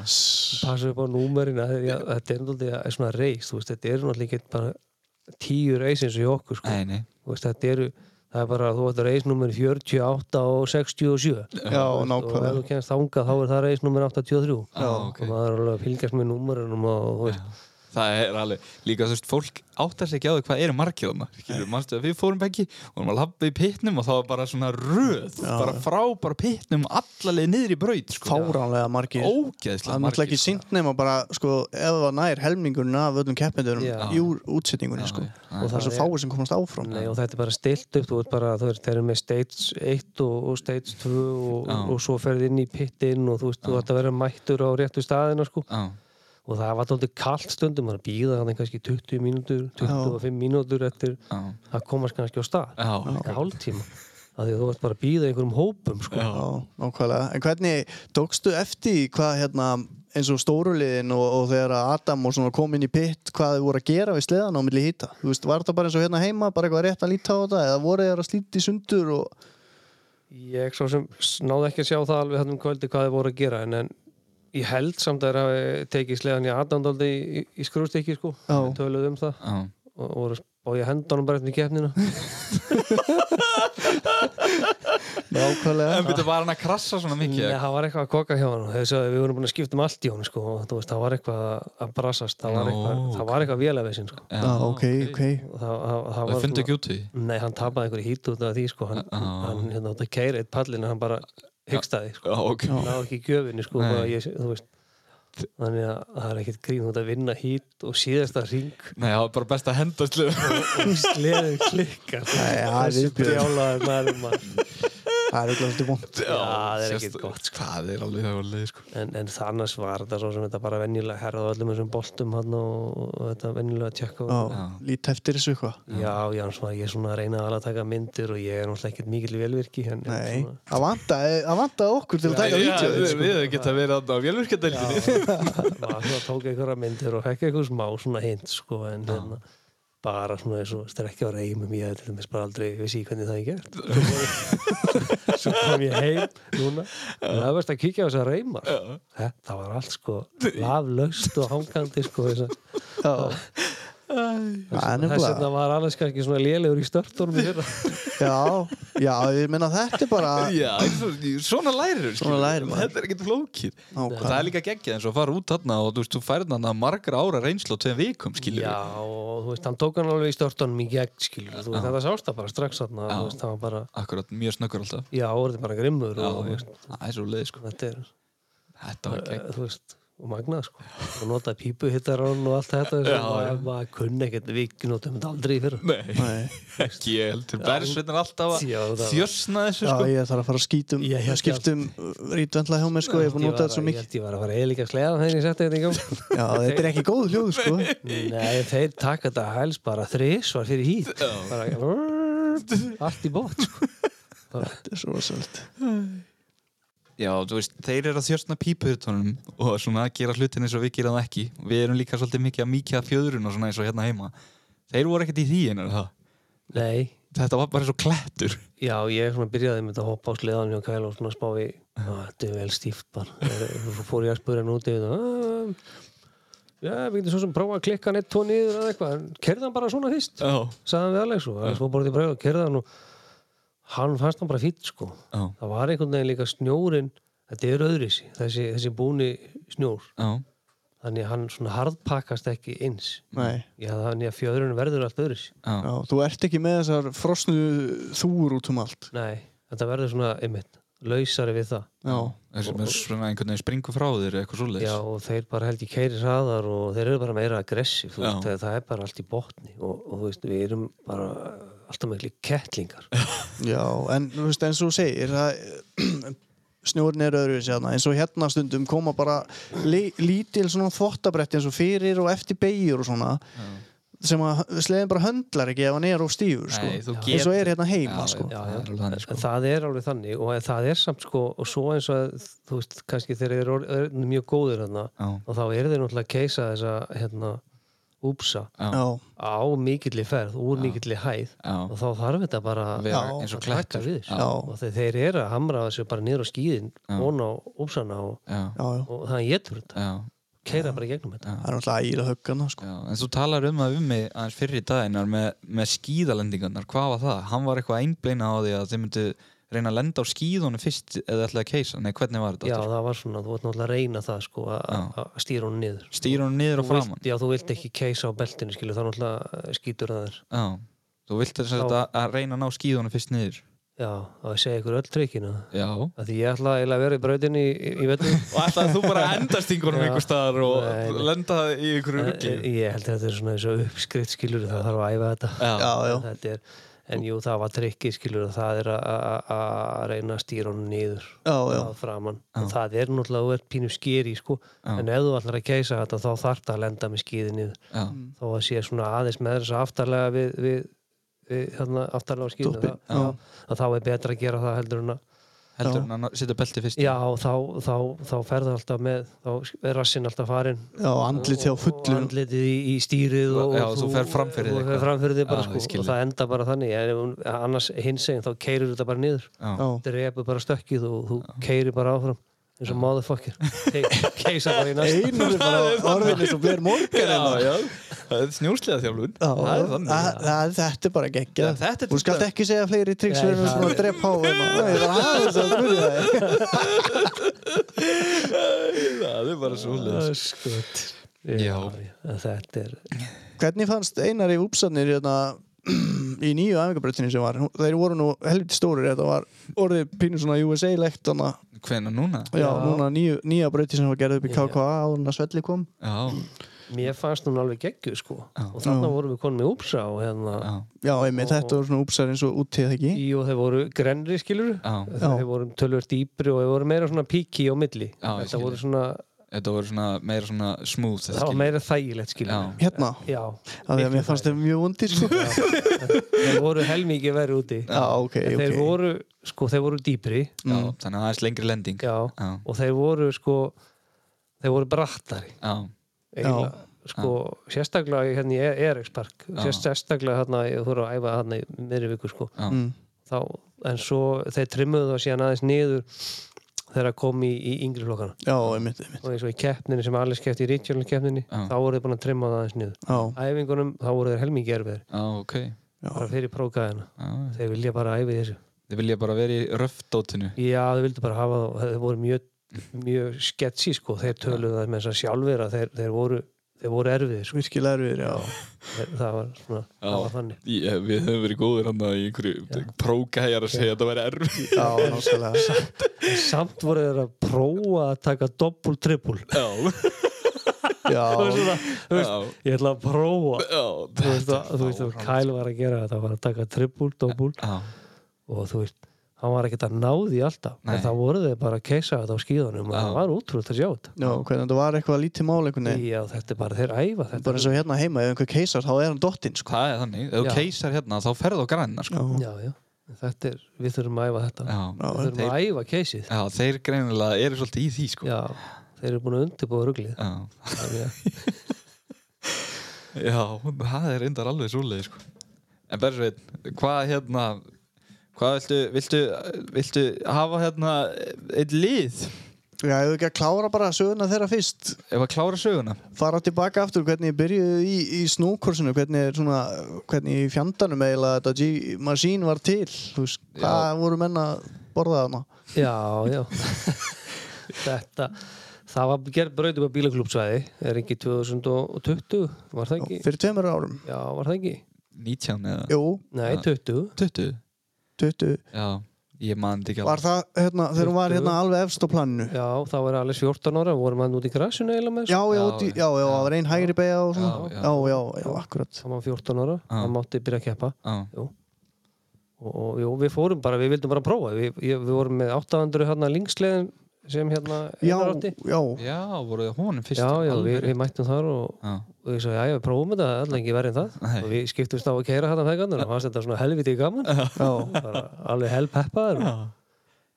Speaker 1: S-
Speaker 4: passa upp á númerin. Þetta er náttúrulega svona reis, þú veist, þetta eru náttúrulega ekki bara tíu reis eins og hjá okkur, sko.
Speaker 3: Nei, nei
Speaker 4: Þú Veist, þetta eru, það er bara, þú ætti reis númer 48 og 67.
Speaker 1: Já,
Speaker 4: Og ef þú
Speaker 1: nákvæmlega.
Speaker 4: kemst þangað, þá er það reis númer 83.
Speaker 3: Já, ok
Speaker 4: Og maður er alveg að fylgjast með númerinum og, þú veist,
Speaker 3: Það er alveg, líka þú veist, fólk áttar sig ekki á því hvað eru margir þarna Skilur, manstu að við fórum ekki og erum að labba í pittnum og það var bara svona röð
Speaker 1: Já.
Speaker 3: bara frá bara pittnum allaleg niður í braut sko.
Speaker 1: Fáránlega margir. Það
Speaker 3: Ógeðslega
Speaker 1: er náttúrulega ekki sínt nema bara, sko, ef það var nær helmingurinn af öllum keppindurum
Speaker 4: Já.
Speaker 1: í úr- útsetningunni,
Speaker 3: Já,
Speaker 1: sko.
Speaker 3: já, já.
Speaker 1: Og það er svo fáið sem komast áfram.
Speaker 4: Nei, og þetta er bara stilt upp, þú ert bara, þú veist, þeir eru með stage 1 og, og stage 2 og,
Speaker 3: Já.
Speaker 4: og svo ferði inn í pittin og þú veist, þú ætti að vera mættur á réttu staðina, sko.
Speaker 3: Já,
Speaker 4: Og það var tóldið kallt stundum, maður býða hann kannski 20 mínútur, 25 mínútur eftir
Speaker 3: já,
Speaker 4: að komast kannski á stað.
Speaker 3: já,
Speaker 4: Ekki hálftíma. Af því að þú ert bara að býða einhverjum hópum, sko.
Speaker 3: já.
Speaker 1: Já, nákvæmlega. En hvernig tókstu eftir í hvað hérna eins og stóruliðin og, og þegar að Adam og svona kom inn í pitt hvað þau voru að gera við sleðan á milli hýta? Þú veist, var það bara eins og hérna heima, bara eitthvað rétt að líta á þetta eða voru þeir að slíti sundur og...
Speaker 4: Ég svo sem s- náði ekki að sjá það alveg hann um kvöldi hvað þið voru að gera, en, en ég held samt að það tekið slegan í aðdandaldi í, í skrústekki, sko.
Speaker 1: Já.
Speaker 4: Við töluðum um það.
Speaker 3: já.
Speaker 4: og voru og ég henda honum bara eftir keppnina
Speaker 1: Nákvæmlega.
Speaker 3: En byrja, var hann að krassa svona mikið?
Speaker 4: Nei, það var eitthvað að koka hjá hann þess að við vorum búin að skipta um allt í hann sko. og þú veist, það var eitthvað að brassast það var
Speaker 3: Nú,
Speaker 4: eitthvað, það
Speaker 3: ok.
Speaker 4: var eitthvað vélæfisinn sko.
Speaker 1: Já, ok, ok.
Speaker 4: Og það, það, það
Speaker 3: Það
Speaker 4: var
Speaker 3: fundu ekki út í því?
Speaker 4: nei, hann tapaði einhverju hít út af því sko. hann,
Speaker 3: Já.
Speaker 4: hann hérna átt að keira eitt pallin hann bara hyggstaði sko.
Speaker 3: Já, ok
Speaker 1: Já.
Speaker 4: hann náði ekki í gjöfinni sko,
Speaker 3: Nei.
Speaker 4: bara ég, þú veist þannig að það er ekkert grín út að vinna hít og síðasta ring
Speaker 3: Nei, það var bara best að henda slið
Speaker 4: og sleðu klikkar
Speaker 1: Nei, það er
Speaker 4: þessi
Speaker 1: viðbjóður.
Speaker 4: brjálaður maður maður
Speaker 1: Það er eitthvað svolítið vond.
Speaker 4: það er ekkert gott,
Speaker 3: sko. Það er alveg það alveg sko.
Speaker 4: En, en það annars var þetta svo sem þetta bara venjulega herðað á öllum þessum boltum hann og, og þetta venjulega tjekka
Speaker 1: Já,
Speaker 4: og,
Speaker 3: Já.
Speaker 1: lít eftir þessu eitthvað.
Speaker 4: Já, já, hans var ég svona að reyna að alveg taka myndir og ég er náttúrulega ekkert mikil velvirki en, en
Speaker 1: Nei,
Speaker 4: svona,
Speaker 1: það vantaði vanta okkur til að taka sko.
Speaker 3: Já,
Speaker 1: vítjóð.
Speaker 3: við- Við hefum getað verið þarna á vélvirkadeildinni
Speaker 4: maður svona tók einhverja myndir og fekk einhver smá svona hint sko, en hérna, bara svona eins og strekja á reymum ég hafði til dæmis bara aldrei vissi ég hvernig það er gert Svo bara- svo kom ég heim núna og það verðist að kíkja á þessar reymar þetta var allt sko laflaust og hangandi sko þessar
Speaker 1: Já, Það er
Speaker 4: Þess
Speaker 1: nefnilega-
Speaker 4: vegna var Alex kannski svona lélegur í störtunum í fyrra.
Speaker 1: já, já, ég meina þetta er bara...
Speaker 3: Já, svo- svona lærir
Speaker 1: Svona lærir maður.
Speaker 3: Þetta er ekkert flókið
Speaker 1: Nákvæmlega.
Speaker 3: Það er líka geggjað eins og að fara út þarna og þú veist, þú færð þarna margra ára reynslu á tveim vikum, skilur
Speaker 4: Já, og þú veist, hann tók hann alveg í störtunum í gegn, skilur. Þú veist, þetta sást það bara strax þarna,
Speaker 3: Já.
Speaker 4: þú veist, það var bara,
Speaker 3: Akkurat, mjög snöggur alltaf
Speaker 4: já, orðið bara grimmur og, þú
Speaker 3: Já,
Speaker 4: veist,
Speaker 3: það er svo leið, sko
Speaker 4: þetta er,
Speaker 3: Þetta var geggjað
Speaker 4: Eh, þú veist, og magnað sko og notaði pípuhittarann og allt þetta
Speaker 3: Já,
Speaker 4: og
Speaker 3: já.
Speaker 4: maður, maður kunni ekkert, við notum þetta aldrei fyrir
Speaker 3: Nei,
Speaker 1: Nei.
Speaker 3: ekki ég heldur Bergsveinn er alltaf
Speaker 4: Já, það
Speaker 3: að
Speaker 4: var-
Speaker 3: þjörsna þessu
Speaker 1: Já,
Speaker 3: sko
Speaker 1: ég þarf að fara að skýtum
Speaker 4: Ég held ég
Speaker 1: skiptum rítvendla hjá mér sko, ég er búin að nota þetta svo
Speaker 4: Ég
Speaker 1: mikið
Speaker 4: held ég var að fara eðlika sleða þegar ég setti þetta í gang
Speaker 1: Já, þetta er ekki góð hljóð sko
Speaker 4: Nei, þeir taka þetta hæls bara þris var fyrir hít bara, allt í bótt sko.
Speaker 1: Þetta er svo svolít
Speaker 3: Já, þú veist, þeir eru að þjörsna pípuhutunum um og svona að gera hlutin eins og við gera það ekki Við erum líka svolítið mikið að mýkja fjöðrun og svona eins og hérna heima Þeir voru ekkert í því en það
Speaker 4: Nei,
Speaker 3: Þetta var bara svo klettur
Speaker 4: já, ég svona byrjaði með þetta að hoppa á sleðan hjá kæl og svona spá í "Á, Þetta er vel stíft bara Svo fór ég að spura hann úti og það, "Ah, Já, við getum svo sem prófa að klikka hann eitt tvo niður eða eitthvað Kerði hann bara svona fyrst
Speaker 3: Já,
Speaker 4: sagði hann við Alex og Alex var bara til að pröfa að kerða hann og hann fannst hann bara fýtt sko
Speaker 3: já,
Speaker 4: það var einhvern veginn líka snjórin þetta er öðrisi, þessi, þessi búni snjór
Speaker 3: já
Speaker 4: þannig að hann svona harðpakast ekki eins
Speaker 1: Nei,
Speaker 4: já þannig að fjöðrun verður allt öðrisi
Speaker 1: já, þú ert ekki með þessar frosnu þúur út um allt
Speaker 4: nei, þetta verður svona einmitt lausari við það
Speaker 1: Já,
Speaker 3: Þessi með svona einhvern veginn springu frá þér eða eitthvað svoleiðis
Speaker 4: já og þeir bara held ég keiri hraðar og þeir eru bara meira aggressiv þú
Speaker 3: Já.
Speaker 4: veist, það, það er bara allt í botni og, og þú veist, við erum bara alltaf með líka kettlingar
Speaker 1: já, en þú veist eins og þú segir það, snjórin er öðruvísi hérna eins og hérna stundum koma bara li, lítil svona þvottabretti eins og fyrir og eftir beigjur og svona sem að sleðin bara höndlar ekki ef hann er og stífur sko.
Speaker 3: Nei, þú
Speaker 1: eins og
Speaker 3: getur-
Speaker 1: er hérna heima
Speaker 3: Já,
Speaker 1: sko.
Speaker 3: já, það er alveg þannig, sko.
Speaker 4: En það er alveg þannig og það er samt sko og svo eins og að, þú veist kannski þeir eru orð- eru mjög góður hérna
Speaker 3: Já,
Speaker 4: og þá eru þeir náttúrulega að keisa þessa hérna úpsa
Speaker 3: já,
Speaker 1: Já,
Speaker 4: á mikilli ferð úr mikilli hæð
Speaker 3: já
Speaker 4: og þá þarf þetta bara
Speaker 3: Að
Speaker 4: að
Speaker 3: vera
Speaker 1: Já,
Speaker 3: eins og
Speaker 4: taka
Speaker 3: klettur
Speaker 4: við sko.
Speaker 3: Já,
Speaker 1: Já.
Speaker 4: og þeir, þeir eru að hamra þessu bara niður á skíðin
Speaker 3: Já.
Speaker 4: von á úpsana og,
Speaker 3: já,
Speaker 1: já, já
Speaker 4: og það getur þetta
Speaker 3: já
Speaker 4: keira bara í gegnum þetta
Speaker 1: Það er náttúrulega ægilega höggana sko.
Speaker 3: Já, en þú talar um það um mig aðeins fyrir daginnar með, með skíðalendingarnar, hvað var það? Hann var eitthvað að einblina á því að þið myndu reyna að lenda á skíðunum fyrst eða ætlaði að keisa, nei hvernig var þetta?
Speaker 4: já
Speaker 3: aftur?
Speaker 4: það var svona, þú vart náttúrulega að reyna það sko að- að að stýra hún niður
Speaker 3: Stýra hún niður og
Speaker 4: Þú
Speaker 3: framann
Speaker 4: vilt, já þú vilt ekki keisa á beltinu skilu þá náttúrulega eh, skýtur það þér
Speaker 3: Já, þú vilt þess að, að reyna að ná skíðunum fyrst niður
Speaker 4: já og ég segja ykkur öll trykkina
Speaker 3: Já Og
Speaker 4: að því ég ætla eiginlega að vera í brautinni í, í vetur
Speaker 3: ætlaði þú bara að enda stingunum
Speaker 4: Já.
Speaker 3: einhver staðar og
Speaker 4: Nei, nei.
Speaker 3: lenda í einhverju ruggi
Speaker 4: Eh, Ég held að þetta er svona eins og uppskritt skilur það þarf að æfa þetta
Speaker 3: Já,
Speaker 1: Já, já,
Speaker 4: þetta er, En jú, það var trikki skilur það er að- að að reyna að stýra honum niður
Speaker 1: já, já,
Speaker 4: að framann og það er náttúrulega þú ert pínu skýri sko.
Speaker 3: Já.
Speaker 4: en ef þú ætlar að keisa þetta þá þarf það að lenda með skýði niður
Speaker 3: já,
Speaker 1: Mm.
Speaker 4: þó að sé svona aðeins með þess aftarlega við, við, við hérna, aftarlega á skýðinu
Speaker 1: Dópin,
Speaker 4: þá,
Speaker 1: já.
Speaker 4: þá- þá er betra að gera það heldur en að
Speaker 3: heldur hún að ná- setja belti fyrst
Speaker 4: já, þá, þá, þá ferða alltaf með þá er rassinn alltaf farinn
Speaker 1: já andlit hjá
Speaker 4: og
Speaker 1: fullum
Speaker 4: andlitið í, í stýrið og,
Speaker 3: Já, þú fer fram fyrir
Speaker 4: og
Speaker 3: þig
Speaker 4: fer
Speaker 3: eitthvað.
Speaker 4: fram fyrir þig bara,
Speaker 3: Já, ég
Speaker 4: sko,
Speaker 3: skil
Speaker 4: og það enda bara þannig en ef hún- annars hins eginn þá keirir þetta bara niður
Speaker 1: Já,
Speaker 3: já,
Speaker 4: drepur bara stökkið og þú keirir bara áfram eins og motherfucker Ke- keisa bara í næsta
Speaker 1: einur er bara orðin eins og Blair Morgan
Speaker 3: já,
Speaker 1: hérna.
Speaker 3: já. Það er snjóslega þjálfun
Speaker 1: Já,
Speaker 3: Það er þannig
Speaker 4: Ah.
Speaker 1: að- að- Þetta er bara geggja
Speaker 3: Já, þetta er
Speaker 1: Þú skalt
Speaker 3: þetta-
Speaker 1: ekki segja fleiri triks
Speaker 4: Nei,
Speaker 1: við erum
Speaker 4: það-
Speaker 1: svona að drepa á hérna. þeim Nei, ég var aðeins að spyrja það
Speaker 3: Það er bara svo
Speaker 4: Það er skot. já,
Speaker 3: Já.
Speaker 4: já, þetta er
Speaker 1: Hvernig fannst einar í úpsarnir hérna, í nýju æfingabrötinu sem var Þeir voru nú helviti stórir Þetta var orðið pínu svona USA-legt Þannig að
Speaker 3: Hvenær núna?
Speaker 1: Já,
Speaker 4: Já.
Speaker 1: núna nýju, nýja brauti sem var gerð upp í KKA áður en að Svelli kom
Speaker 3: Já,
Speaker 4: mér fannst hún alveg geggju sko og þarna vorum við konum í Úpsa og hérna
Speaker 3: já,
Speaker 1: Já, einmitt, þetta voru svona úpsar eins og útið ekki
Speaker 4: í og þeir voru grenri skilur
Speaker 3: já
Speaker 4: þeir voru tölvöld dýpri og þeir voru meira svona píki á milli
Speaker 3: Já, ég
Speaker 4: þetta
Speaker 3: skil.
Speaker 4: voru svona,
Speaker 3: Þetta voru svona meira svona smooth þetta
Speaker 4: það var
Speaker 3: skil-
Speaker 4: meira þægilegt skilur
Speaker 3: Já.
Speaker 1: Hérna,
Speaker 4: Já,
Speaker 1: af því að
Speaker 4: miklu
Speaker 1: mér fannst þeim mjög vondir sko. Já,
Speaker 4: þeir voru helmingi verið úti
Speaker 1: ok,
Speaker 4: En
Speaker 1: ok
Speaker 4: þeir voru, sko, þeir voru dýpri
Speaker 3: Já, þannig að það er slengri lending
Speaker 4: Mm. já,
Speaker 3: Já.
Speaker 4: og þeir voru, sko þeir voru brattari
Speaker 3: Já,
Speaker 4: eiginlega, sko, sérstaklega í- hérna í E- Eriks Park
Speaker 3: Já.
Speaker 4: Sérst- sérstaklega hérna, ég voru að æfa hérna í miðri viku, sko
Speaker 3: já,
Speaker 1: Mm.
Speaker 4: Þá, en svo þeir trimmuðu það síðan aðeins niður þegar að kom í, í yngri flokkana
Speaker 1: Já, einmitt, einmitt
Speaker 4: og eins og í keppninni sem Alice keppti í Richard keppninni,
Speaker 3: Já.
Speaker 4: þá voru þeir búin að trimma það aðeins niður
Speaker 1: Já,
Speaker 4: æfingunum, þá voru þeir helmingi erfiðir
Speaker 3: já, ok já.
Speaker 4: bara fyrir prókaðina, þeir vilja bara æfi þessu
Speaker 3: Þið vilja bara vera í röfdótinu
Speaker 4: Já, þau vildu bara hafa það, þau voru mjög, mjög sketsi sko, þeir töluðu það með þess að sjálfir að þeir, þeir voru þeir voru erfiðir sko.
Speaker 1: virkilega erfiðir, já
Speaker 4: það var svona, það var þannig
Speaker 3: Ég, við höfum verið góðir hann í einhverju prógæjar að segja að þetta væri erfið
Speaker 1: já, náttúrulega
Speaker 4: En samt voru þeir að prófa að taka doppul, trippul
Speaker 3: Já,
Speaker 1: já,
Speaker 4: svona, þú veist,
Speaker 3: já,
Speaker 4: ég ætla að prófa
Speaker 3: já
Speaker 4: þú veist, að, þú veist, að
Speaker 3: fáránlegt.
Speaker 4: Kyle var að gera þetta hann var að taka trippul, doppul
Speaker 3: Já,
Speaker 4: og þú veist, hann var ekkert að ná því alltaf
Speaker 3: Nei.
Speaker 4: en það voru þeir bara að keisa þetta á skíðunum og
Speaker 3: Já.
Speaker 4: það var útrúlega að sjá þetta
Speaker 1: já, hvernig þetta var eitthvað lítið mál einhvern veginn
Speaker 4: Já, þetta er bara þeir æfa þetta
Speaker 1: bara eins og hérna heima, ef einhver keisar þá er hann dottinn sko.
Speaker 3: það er þannig, ef þú
Speaker 4: Já.
Speaker 3: keisar hérna þá ferðu á græna sko.
Speaker 1: já,
Speaker 4: Já, já, þetta er, við þurfum að æfa
Speaker 1: já,
Speaker 3: Já,
Speaker 4: þetta Við þurfum að æfa keisið
Speaker 3: já, þeir greinilega eru svolítið í því sko.
Speaker 4: Já, þeir eru búin að undirbúa ruglið
Speaker 3: Já.
Speaker 4: Þannig að-
Speaker 3: já, það er reyndar alveg svoleið sko. En Bergsveit, hvað hérna hvað viltu, viltu, viltu hafa hérna eitt lið
Speaker 1: já, ef við ekki að klára bara söguna þeirra fyrst
Speaker 3: ef að klára söguna?
Speaker 1: fara tilbaka aftur hvernig ég byrjuði í, í snúkursinu hvernig er svona, hvernig í fjandanum eiginlega þetta G-Machine var til þú veist, hvað voru menn að borða þarna
Speaker 4: Já, já Þetta Það var gerð brautum að bílaklúpsvæði er ekki 2020 Var það ekki?
Speaker 1: fyrir tveimur árum
Speaker 4: Já, var það ekki?
Speaker 3: 19 eða
Speaker 1: Jú,
Speaker 4: Nei,
Speaker 3: Já.
Speaker 4: 20
Speaker 3: 20?
Speaker 1: 20
Speaker 3: Já, ég man þetta ekki
Speaker 1: var það hérna, þegar hún var
Speaker 4: 20.
Speaker 1: hérna alveg efst á planinu
Speaker 4: Já, þá var alveg 14 ára vorum hann út í grasinu eiginlega með
Speaker 1: já, já,
Speaker 3: Já,
Speaker 1: út í- já, já, það var einn hægri beigja og svona
Speaker 3: Já, já.
Speaker 1: já, já, já, akkurat
Speaker 4: Það var 14 ára,
Speaker 3: Já.
Speaker 4: hann mátti byrja að keppa
Speaker 3: Já,
Speaker 4: og, og jú, við fórum bara, við vildum bara prófa við, ég, við vorum með 800 hérna linksleðin sem hérna
Speaker 1: já,
Speaker 4: Einar átti.
Speaker 1: já,
Speaker 3: já voruð þið honum fyrst
Speaker 4: já, já við,
Speaker 3: alveg.
Speaker 4: við mættum þar og,
Speaker 3: Já,
Speaker 4: og ég sagði, já, við prófum þetta, það er allan ekki verið en það
Speaker 3: Nei.
Speaker 4: og við skiptumst á að keira hérna þegarnir og fannst þetta svona helviti gaman bara alveg helpeppaður og,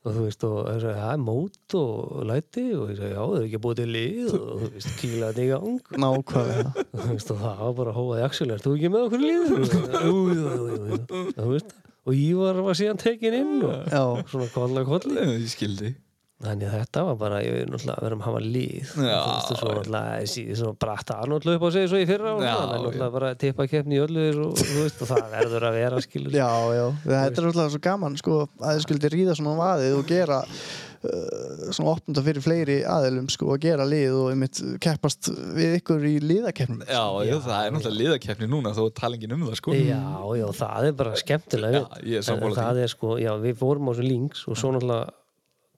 Speaker 4: og þú veist, og það er mót og læti og ég sagði, já, þau eru ekki búið til lið og þú veist, kýla þetta í gang
Speaker 1: nákvæmlega
Speaker 4: og þú veist, og það var bara hóað í axil er þú ekki með okkur í lið? Jú, jú, jú, jú, jú. Og þú veist, og Ívar var síðan tekin inn og
Speaker 1: já,
Speaker 4: svona kolla kolli
Speaker 3: ég skildi
Speaker 4: Þannig að þetta var bara, ég er náttúrulega að vera að hafa líð
Speaker 3: Já.
Speaker 4: Þú veist, og svo náttúrulega síðan svona bratta hann náttúrulega upp á sig svo í fyrra og
Speaker 3: Já,
Speaker 4: svona, hann er náttúrulega bara að tippa keppni í öllu og, þú veist, og það verður að vera skilur
Speaker 1: já, já þetta er alltaf svo gaman sko, að þið skuldi ríða svona á vaðið og gera uh, svona opnunda fyrir fleiri aðilum sko, að gera lið og einmitt keppast við ykkur í liðakeppnum
Speaker 3: Já, já, það er náttúrulega liðakeppni núna þó er talingin um það sko
Speaker 4: Já, já, það er bara skemmtilega
Speaker 3: Já, ég er
Speaker 4: En- en
Speaker 3: sammála
Speaker 4: það er sko, já, við fórum á svo links og svo náttúrulega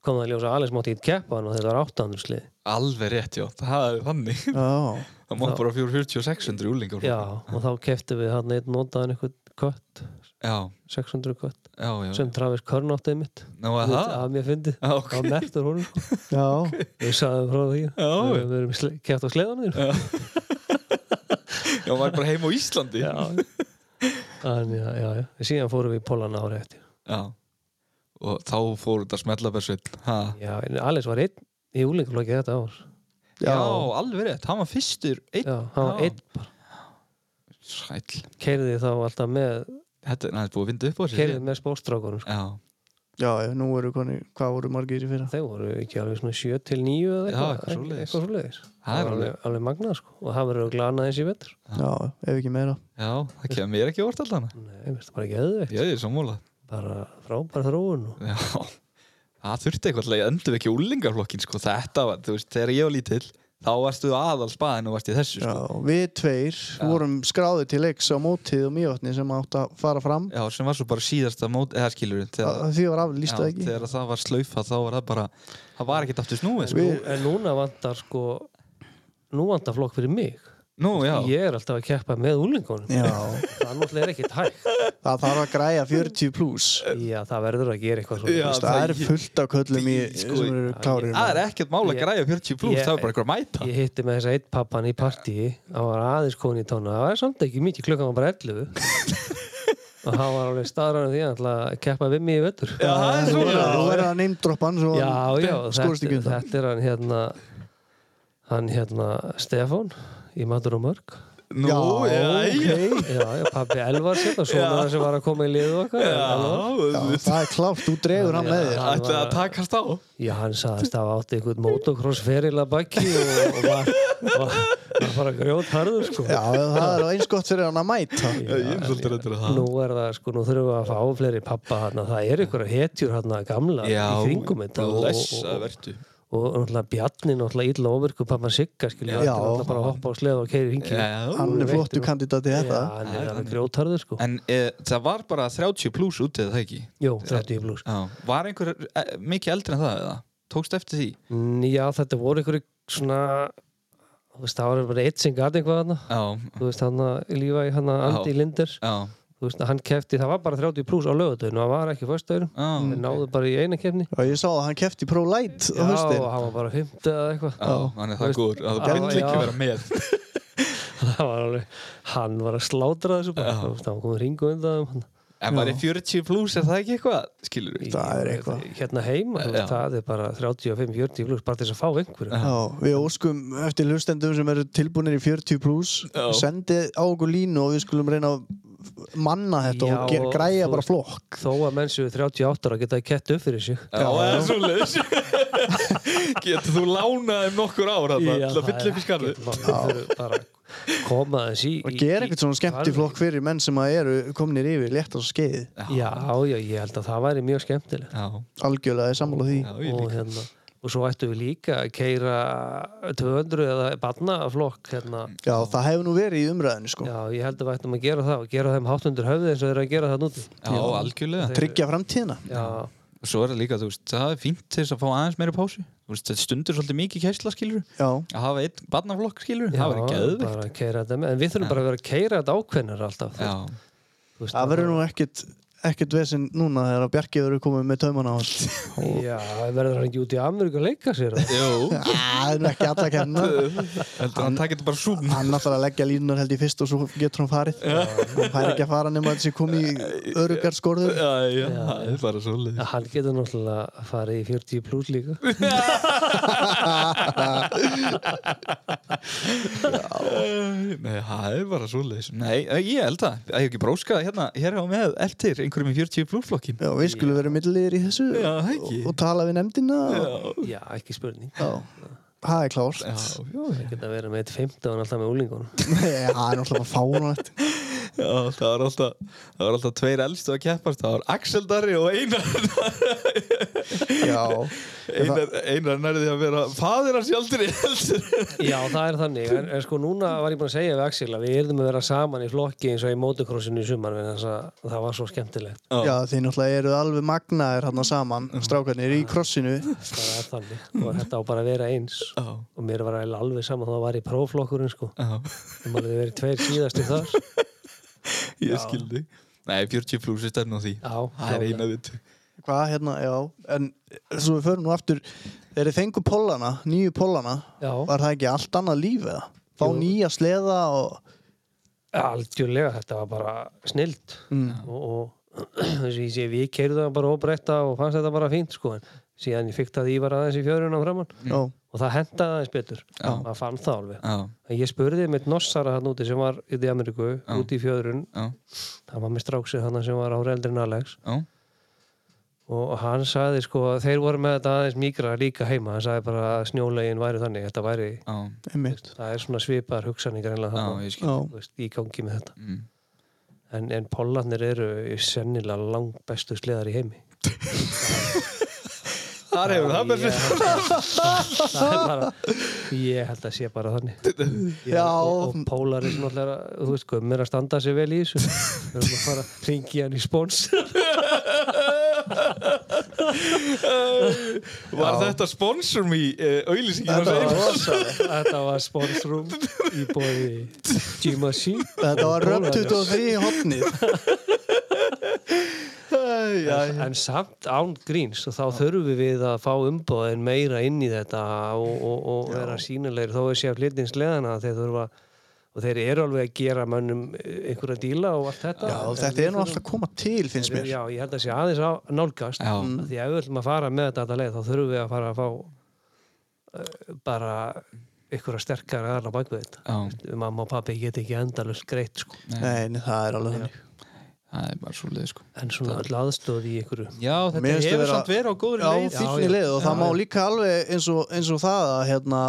Speaker 4: kom það að ljósa að Alex mátti ekki keppa hann og þetta var 800 slið
Speaker 3: Alveg rétt, já, það er þannig
Speaker 1: já,
Speaker 3: Það má bara 440 og 600 úlingar
Speaker 4: Já, og þá kefti við hann einn notaðan eitthvað kött,
Speaker 3: já,
Speaker 4: 600 kött
Speaker 3: já, já
Speaker 4: sem Travis Körn áttið mitt
Speaker 3: Nú að það
Speaker 4: að mér fyndið,
Speaker 3: Já, ok.
Speaker 4: á mertur honum sko.
Speaker 1: já,
Speaker 4: Ég sagði frá því
Speaker 3: Já, já.
Speaker 4: Við erum sle- keppt á sleðanum þínu
Speaker 3: Já, maður er bara heima á Íslandi
Speaker 4: Já Þannig að, já, já En Síðan fórum við í Pólan ári eftir
Speaker 3: Já. Og þá fór þetta smellabærsveit ha.
Speaker 4: Já, en Alex var einn í úlingaflokki þetta ár
Speaker 3: já, alveg rétt, hann var fyrstur einn
Speaker 4: Já, hann var
Speaker 3: Já.
Speaker 4: einn bara
Speaker 3: Sæll,
Speaker 4: Keirði þá alltaf með
Speaker 3: þetta er næst búið að vinda upp á sig
Speaker 4: Keirði með spórstrákunum sko.
Speaker 3: Já,
Speaker 1: já, já, nú eru koni hvað voru margir í fyrra
Speaker 4: Þeir voru ekki alveg svona 7 til 9 eða
Speaker 3: Já,
Speaker 4: eitthvað
Speaker 3: eitthvað svoleiðis.
Speaker 4: Eitthvað svoleiðis
Speaker 3: það er alveg
Speaker 4: alveg, alveg magnað sko Og það verður að glana þessi vettur
Speaker 1: já, ef ekki meira
Speaker 3: Já, það kemur mér ekki orð alltaf
Speaker 4: Nei, veist það bara ekki eðveikt
Speaker 3: Já, ég er sammála
Speaker 4: Bara frábær þróun og...
Speaker 3: Já, það þurfti eitthvað til að endur ekki úlingarflokkin sko. Þetta var, þú veist, þegar ég var lítill þá varstu aðal spaðin og varst í þessu
Speaker 1: já,
Speaker 3: sko.
Speaker 1: við tveir vorum skráðið til leiks á mótið og mývatni sem átt að fara fram
Speaker 3: Já, sem var svo bara síðasta mót eða skilur þegar,
Speaker 1: Að því var aflýst
Speaker 3: já,
Speaker 1: það ekki
Speaker 3: þegar það var slaufa þá var það bara það var ekkert aftur snúið sko.
Speaker 1: Við-
Speaker 4: Nú- En núna vantar sko Nú vantar flokk fyrir mig
Speaker 3: Nú, já,
Speaker 4: Ég er alltaf að keppa með úlingunum
Speaker 1: já,
Speaker 4: Það náttúrulega er ekkert hægt
Speaker 1: það þarf að græja 40 pluss
Speaker 4: Já, það verður að gera eitthvað
Speaker 3: Já,
Speaker 4: svona
Speaker 1: það,
Speaker 3: það-
Speaker 1: er fullt af köllum í,
Speaker 3: Í, sko,
Speaker 1: sem eru klárir
Speaker 3: það er ekkert mála að
Speaker 4: Ég-
Speaker 3: græja 40 pluss,
Speaker 4: ég-
Speaker 3: það er bara eitthvað að mæta
Speaker 4: Ég hitti með þessa eitt pappan í partíi Það var aðeins koni í tóna Það var samt ekki mikið, klukkan var bara 11 Og hann var alveg staðræðan því að hann ætlaði að keppa við mig í vettur
Speaker 3: Já, það er
Speaker 1: Nú
Speaker 3: svona
Speaker 1: er það- nú er það neymdroppan svo
Speaker 4: já, já
Speaker 1: skórst
Speaker 4: þetta,
Speaker 1: ekki undan
Speaker 4: þetta er hann hérna Hann hérna Stefán í Matur og Mörg
Speaker 3: Nú, já, já,
Speaker 1: ok.
Speaker 4: Já, já, pappi Elvar sérna Svona
Speaker 3: Já.
Speaker 4: hann sem var að koma í liðu okkar Elvar.
Speaker 1: Já,
Speaker 3: já
Speaker 1: það er klárt, þú dregur hann með þér
Speaker 4: Já.
Speaker 3: Ætti að
Speaker 4: var-
Speaker 3: takast á
Speaker 4: Já, hann sagðist að átti einhvern motocross feril að bakki og, og var, var, var bara grjót harður sko.
Speaker 1: já, það er eins gott fyrir hann að mæta
Speaker 3: Ég er svolítið reyndur að
Speaker 4: Nú
Speaker 3: það
Speaker 4: er það sko, nú þurfum við að fá fleiri pappa hann það er einhverja hetjur hann gamla í kringum þetta og,
Speaker 3: blessa
Speaker 4: og,
Speaker 3: vertu
Speaker 4: og náttúrulega Bjarni náttúrulega illa ofurku pappa Sigga skilja, hann
Speaker 1: Já.
Speaker 4: er náttúrulega bara að hoppa á sleða og keiri hringi
Speaker 1: hann
Speaker 4: Hún er
Speaker 1: er flottu
Speaker 4: veittur.
Speaker 1: kandidat í þetta
Speaker 4: hann er alveg grjótarður sko
Speaker 3: En e, það var bara 30 pluss út eða það ekki
Speaker 4: Jó, 30 pluss
Speaker 3: Já, var einhver e, mikið eldri en það eða? Tókst eftir því?
Speaker 4: Mm, Já, þetta voru einhverju svona þú veist, það var bara eitt sem gæti eitthvað hana
Speaker 3: Já,
Speaker 4: þú veist, hann að lífa í hann að Andi Linder
Speaker 3: já,
Speaker 4: þú veist, hann kefti, það var bara 30 pluss á lögutöðinu, hann var ekki föstuður
Speaker 3: já
Speaker 4: þeir náðu bara í eina kefni
Speaker 1: og ég sá að hann kefti Pro Light á
Speaker 4: Já,
Speaker 1: höstin
Speaker 4: hann var bara 50 eða eitthvað
Speaker 3: Já, hann er
Speaker 4: Þú
Speaker 3: það
Speaker 4: veist,
Speaker 3: góður að
Speaker 4: já,
Speaker 3: þú vill ekki
Speaker 4: já.
Speaker 3: vera með
Speaker 4: það var alveg, hann var að slátra þessu bara,
Speaker 3: Já.
Speaker 4: þú veist, hann kom ringu undan þeim.
Speaker 3: En var ég 40 pluss er það ekki eitthvað? Skilur við?
Speaker 1: Það er eitthvað.
Speaker 4: hérna heima, þú
Speaker 3: Já.
Speaker 4: veist, það er bara 35-40 pluss, bara til þess að fá einhverju
Speaker 1: Já, við óskum eftir hlustendum sem eru tilbúinir í 40 pluss
Speaker 3: Já.
Speaker 1: sendið á okkur línu og við skulum reyna að manna þetta
Speaker 4: Já,
Speaker 1: og ge-
Speaker 4: og
Speaker 1: græja
Speaker 4: þú
Speaker 1: bara
Speaker 4: veist-
Speaker 1: flokk
Speaker 4: þó að menn séu 38 ára geta kett upp fyrir sig
Speaker 3: Já, það er svo leiðis Getur þú lánað um nokkur ár þarna
Speaker 4: Já,
Speaker 3: til að fylla
Speaker 4: það er
Speaker 3: upp í skarðu
Speaker 4: ekkert mál. Þeir eru bara að koma þess í
Speaker 1: og
Speaker 4: í-
Speaker 1: gera
Speaker 4: í-
Speaker 1: eitthvað svona skemmt í flokk fyrir menn sem að eru komnir yfir létt á skeið
Speaker 4: já, já, ég held að það væri mjög skemmtilegt
Speaker 3: Já,
Speaker 1: algjörlega er sammála því
Speaker 3: já, ég
Speaker 4: og
Speaker 3: líka
Speaker 4: hérna og svo ættum við líka að keira 200 eða barnaflokk hérna.
Speaker 1: Já, það hefur nú verið í umræðinu sko
Speaker 4: já, ég held að við ættum að gera það og gera þeim hátt undir höfði eins og þeir eru að gera það núti
Speaker 3: Já, algjörlega
Speaker 1: Tryggja framtíðina
Speaker 4: já,
Speaker 3: Og svo er það líka, þú veist, það er fínt til þess að fá aðeins meiri pásu Þú veist, þetta stundur svolítið mikið kæsla, skilur
Speaker 1: Já,
Speaker 3: Að hafa einn barnaflokk, skilur
Speaker 4: já
Speaker 3: Það verður geðveikt
Speaker 4: bara að keira þetta með en við þurfum bara að vera að keira þetta ákveðnir alltaf
Speaker 3: Já,
Speaker 4: Þú veist,
Speaker 1: það verður nú ekkit ekkert vesinn núna þegar að Bjarki verður komið með taumana á allt
Speaker 4: já, verður hann ekki út í Ameríku að leika sér eða?
Speaker 3: jú
Speaker 1: Já, Það er nú ekki alla kemna
Speaker 3: Heldur hann takit bara zoom
Speaker 1: Hann ætlar að leggja línunar held í fyrst og svo getur hann farið Hann fær ekki að fara nema þessi komið í örugar skorður
Speaker 3: Já, já, það er bara svo leiðis
Speaker 4: Já, hann getur náttúrulega farið í 40 pluss líka
Speaker 3: Nei, það er bara svo leiðis Nei, ég held það, það er ekki bróskað hérna Hér á með eftir einhverjum í 40 blúflokkin
Speaker 1: Já, við skulum vera millilegir í þessu
Speaker 3: Já, það
Speaker 1: og,
Speaker 3: ekki.
Speaker 1: og tala við nefndina og,
Speaker 4: já, ekki spurning
Speaker 1: Já, það er klárt
Speaker 3: Já, já,
Speaker 4: geta að vera með 1.15 alltaf með úlingunum
Speaker 1: Nei, Það er náttúrulega bara fánulegt
Speaker 3: já, það var alltaf Það var alltaf tveir elstu að keppast Það var Axel Darri og Einar
Speaker 1: Já,
Speaker 3: Einar, Einar nærði að vera Fadir hans í aldrei eldur
Speaker 4: Já, það er þannig, en, en sko núna var ég búin að segja við Axel að við yrðum að vera saman í flokki eins og í motocrossinu í sumar en þess að það var svo skemmtilegt
Speaker 1: já þið náttúrulega eru alveg magnaðir hann saman strákarnir í krossinu
Speaker 4: það er þannig, og þetta á bara að vera eins
Speaker 3: Já,
Speaker 4: og mér var eiginlega alveg saman þá var ég próflokkurinn sko,
Speaker 3: já,
Speaker 4: það maður verið tveir síðasti þar
Speaker 3: ég skildi Nei, 40 pluss er stærn á því
Speaker 4: Já,
Speaker 3: Það er eina vitt
Speaker 1: Hvað hérna, já En svo við förum nú aftur Þegar þið fengu pollana, nýju pollana
Speaker 4: Já,
Speaker 1: Var það ekki allt annað líf eða? Fá
Speaker 4: Jú.
Speaker 1: nýja sleða og
Speaker 4: algjörlega, þetta var bara snilt
Speaker 1: mm.
Speaker 4: og, og þess að ég sé við keirðum það bara óbreytta og fannst þetta bara fínt sko en síðan ég fikk það Ívar aðeins í fjörunum framann
Speaker 1: já,
Speaker 4: og það hendaði aðeins betur,
Speaker 3: Já.
Speaker 4: maður fann það alveg
Speaker 3: Já,
Speaker 4: En Ég spurði mitt nossara hann úti sem var út í Ameríku,
Speaker 3: Já.
Speaker 4: úti í fjöðrun
Speaker 3: já,
Speaker 4: hann var með stráksið hann sem var ára eldri en Alex
Speaker 3: já
Speaker 4: og hann sagði sko að þeir voru með þetta aðeins mýgra líka heima, hann sagði bara að snjólegin væri þannig, þetta væri
Speaker 3: Já,
Speaker 1: einmitt
Speaker 4: það er svona svipaðar hugsaningar
Speaker 3: já,
Speaker 4: einlega
Speaker 3: ég skil
Speaker 1: Já,
Speaker 4: veist, í gangi með þetta
Speaker 3: Mm.
Speaker 4: en, en pollarnir eru sennilega langt bestu sleðar í heimi
Speaker 3: Þar hefur það
Speaker 4: Ég
Speaker 3: betur
Speaker 4: held að- það er bara ég held að sé bara þannig ég,
Speaker 1: Já.
Speaker 4: og, og Pólar er náttúrulega þú veist, Gummi er að standa sig vel í þessu við erum að fara að ringi hann í spons
Speaker 3: Var þetta sponsor me uh, auðlýsingin á
Speaker 1: Þetta var
Speaker 3: segjum?
Speaker 1: rosaleg.
Speaker 4: þetta var spons room í bóði G-Machine
Speaker 1: Þetta var röp
Speaker 4: Pólar, já.
Speaker 1: 23 í hotnið
Speaker 4: en, en samt án gríns og þá þurfum við að fá umbóðin meira inn í þetta og, og, og vera sínilegri þó við séum hlutins leðana þeir þurfa og þeir eru alveg að gera mönnum eh, einhverja díla og allt þetta
Speaker 1: Já, þetta er nú alltaf að koma til finnst mér
Speaker 4: Já, ég held að sé aðeins á nálgast
Speaker 3: Já.
Speaker 4: Af því að ef við ætlum að fara með þetta alla leið þá þurfum við að fara að fá uh, bara einhverja sterkar aðra bakvið þetta
Speaker 3: Já,
Speaker 4: mamma og pappi get ekki endalust greitt sko.
Speaker 1: Nei, nei, það er alveg þannig
Speaker 3: það er bara svo leið sko
Speaker 4: en svona öll aðstóð í einhverju
Speaker 3: Já, þetta
Speaker 1: Mér finnst
Speaker 3: hefur
Speaker 1: vera-
Speaker 3: samt verið á góðri
Speaker 1: Já,
Speaker 3: leið
Speaker 1: fínni
Speaker 4: já.
Speaker 1: leið og það má líka alveg eins og, eins og það að hérna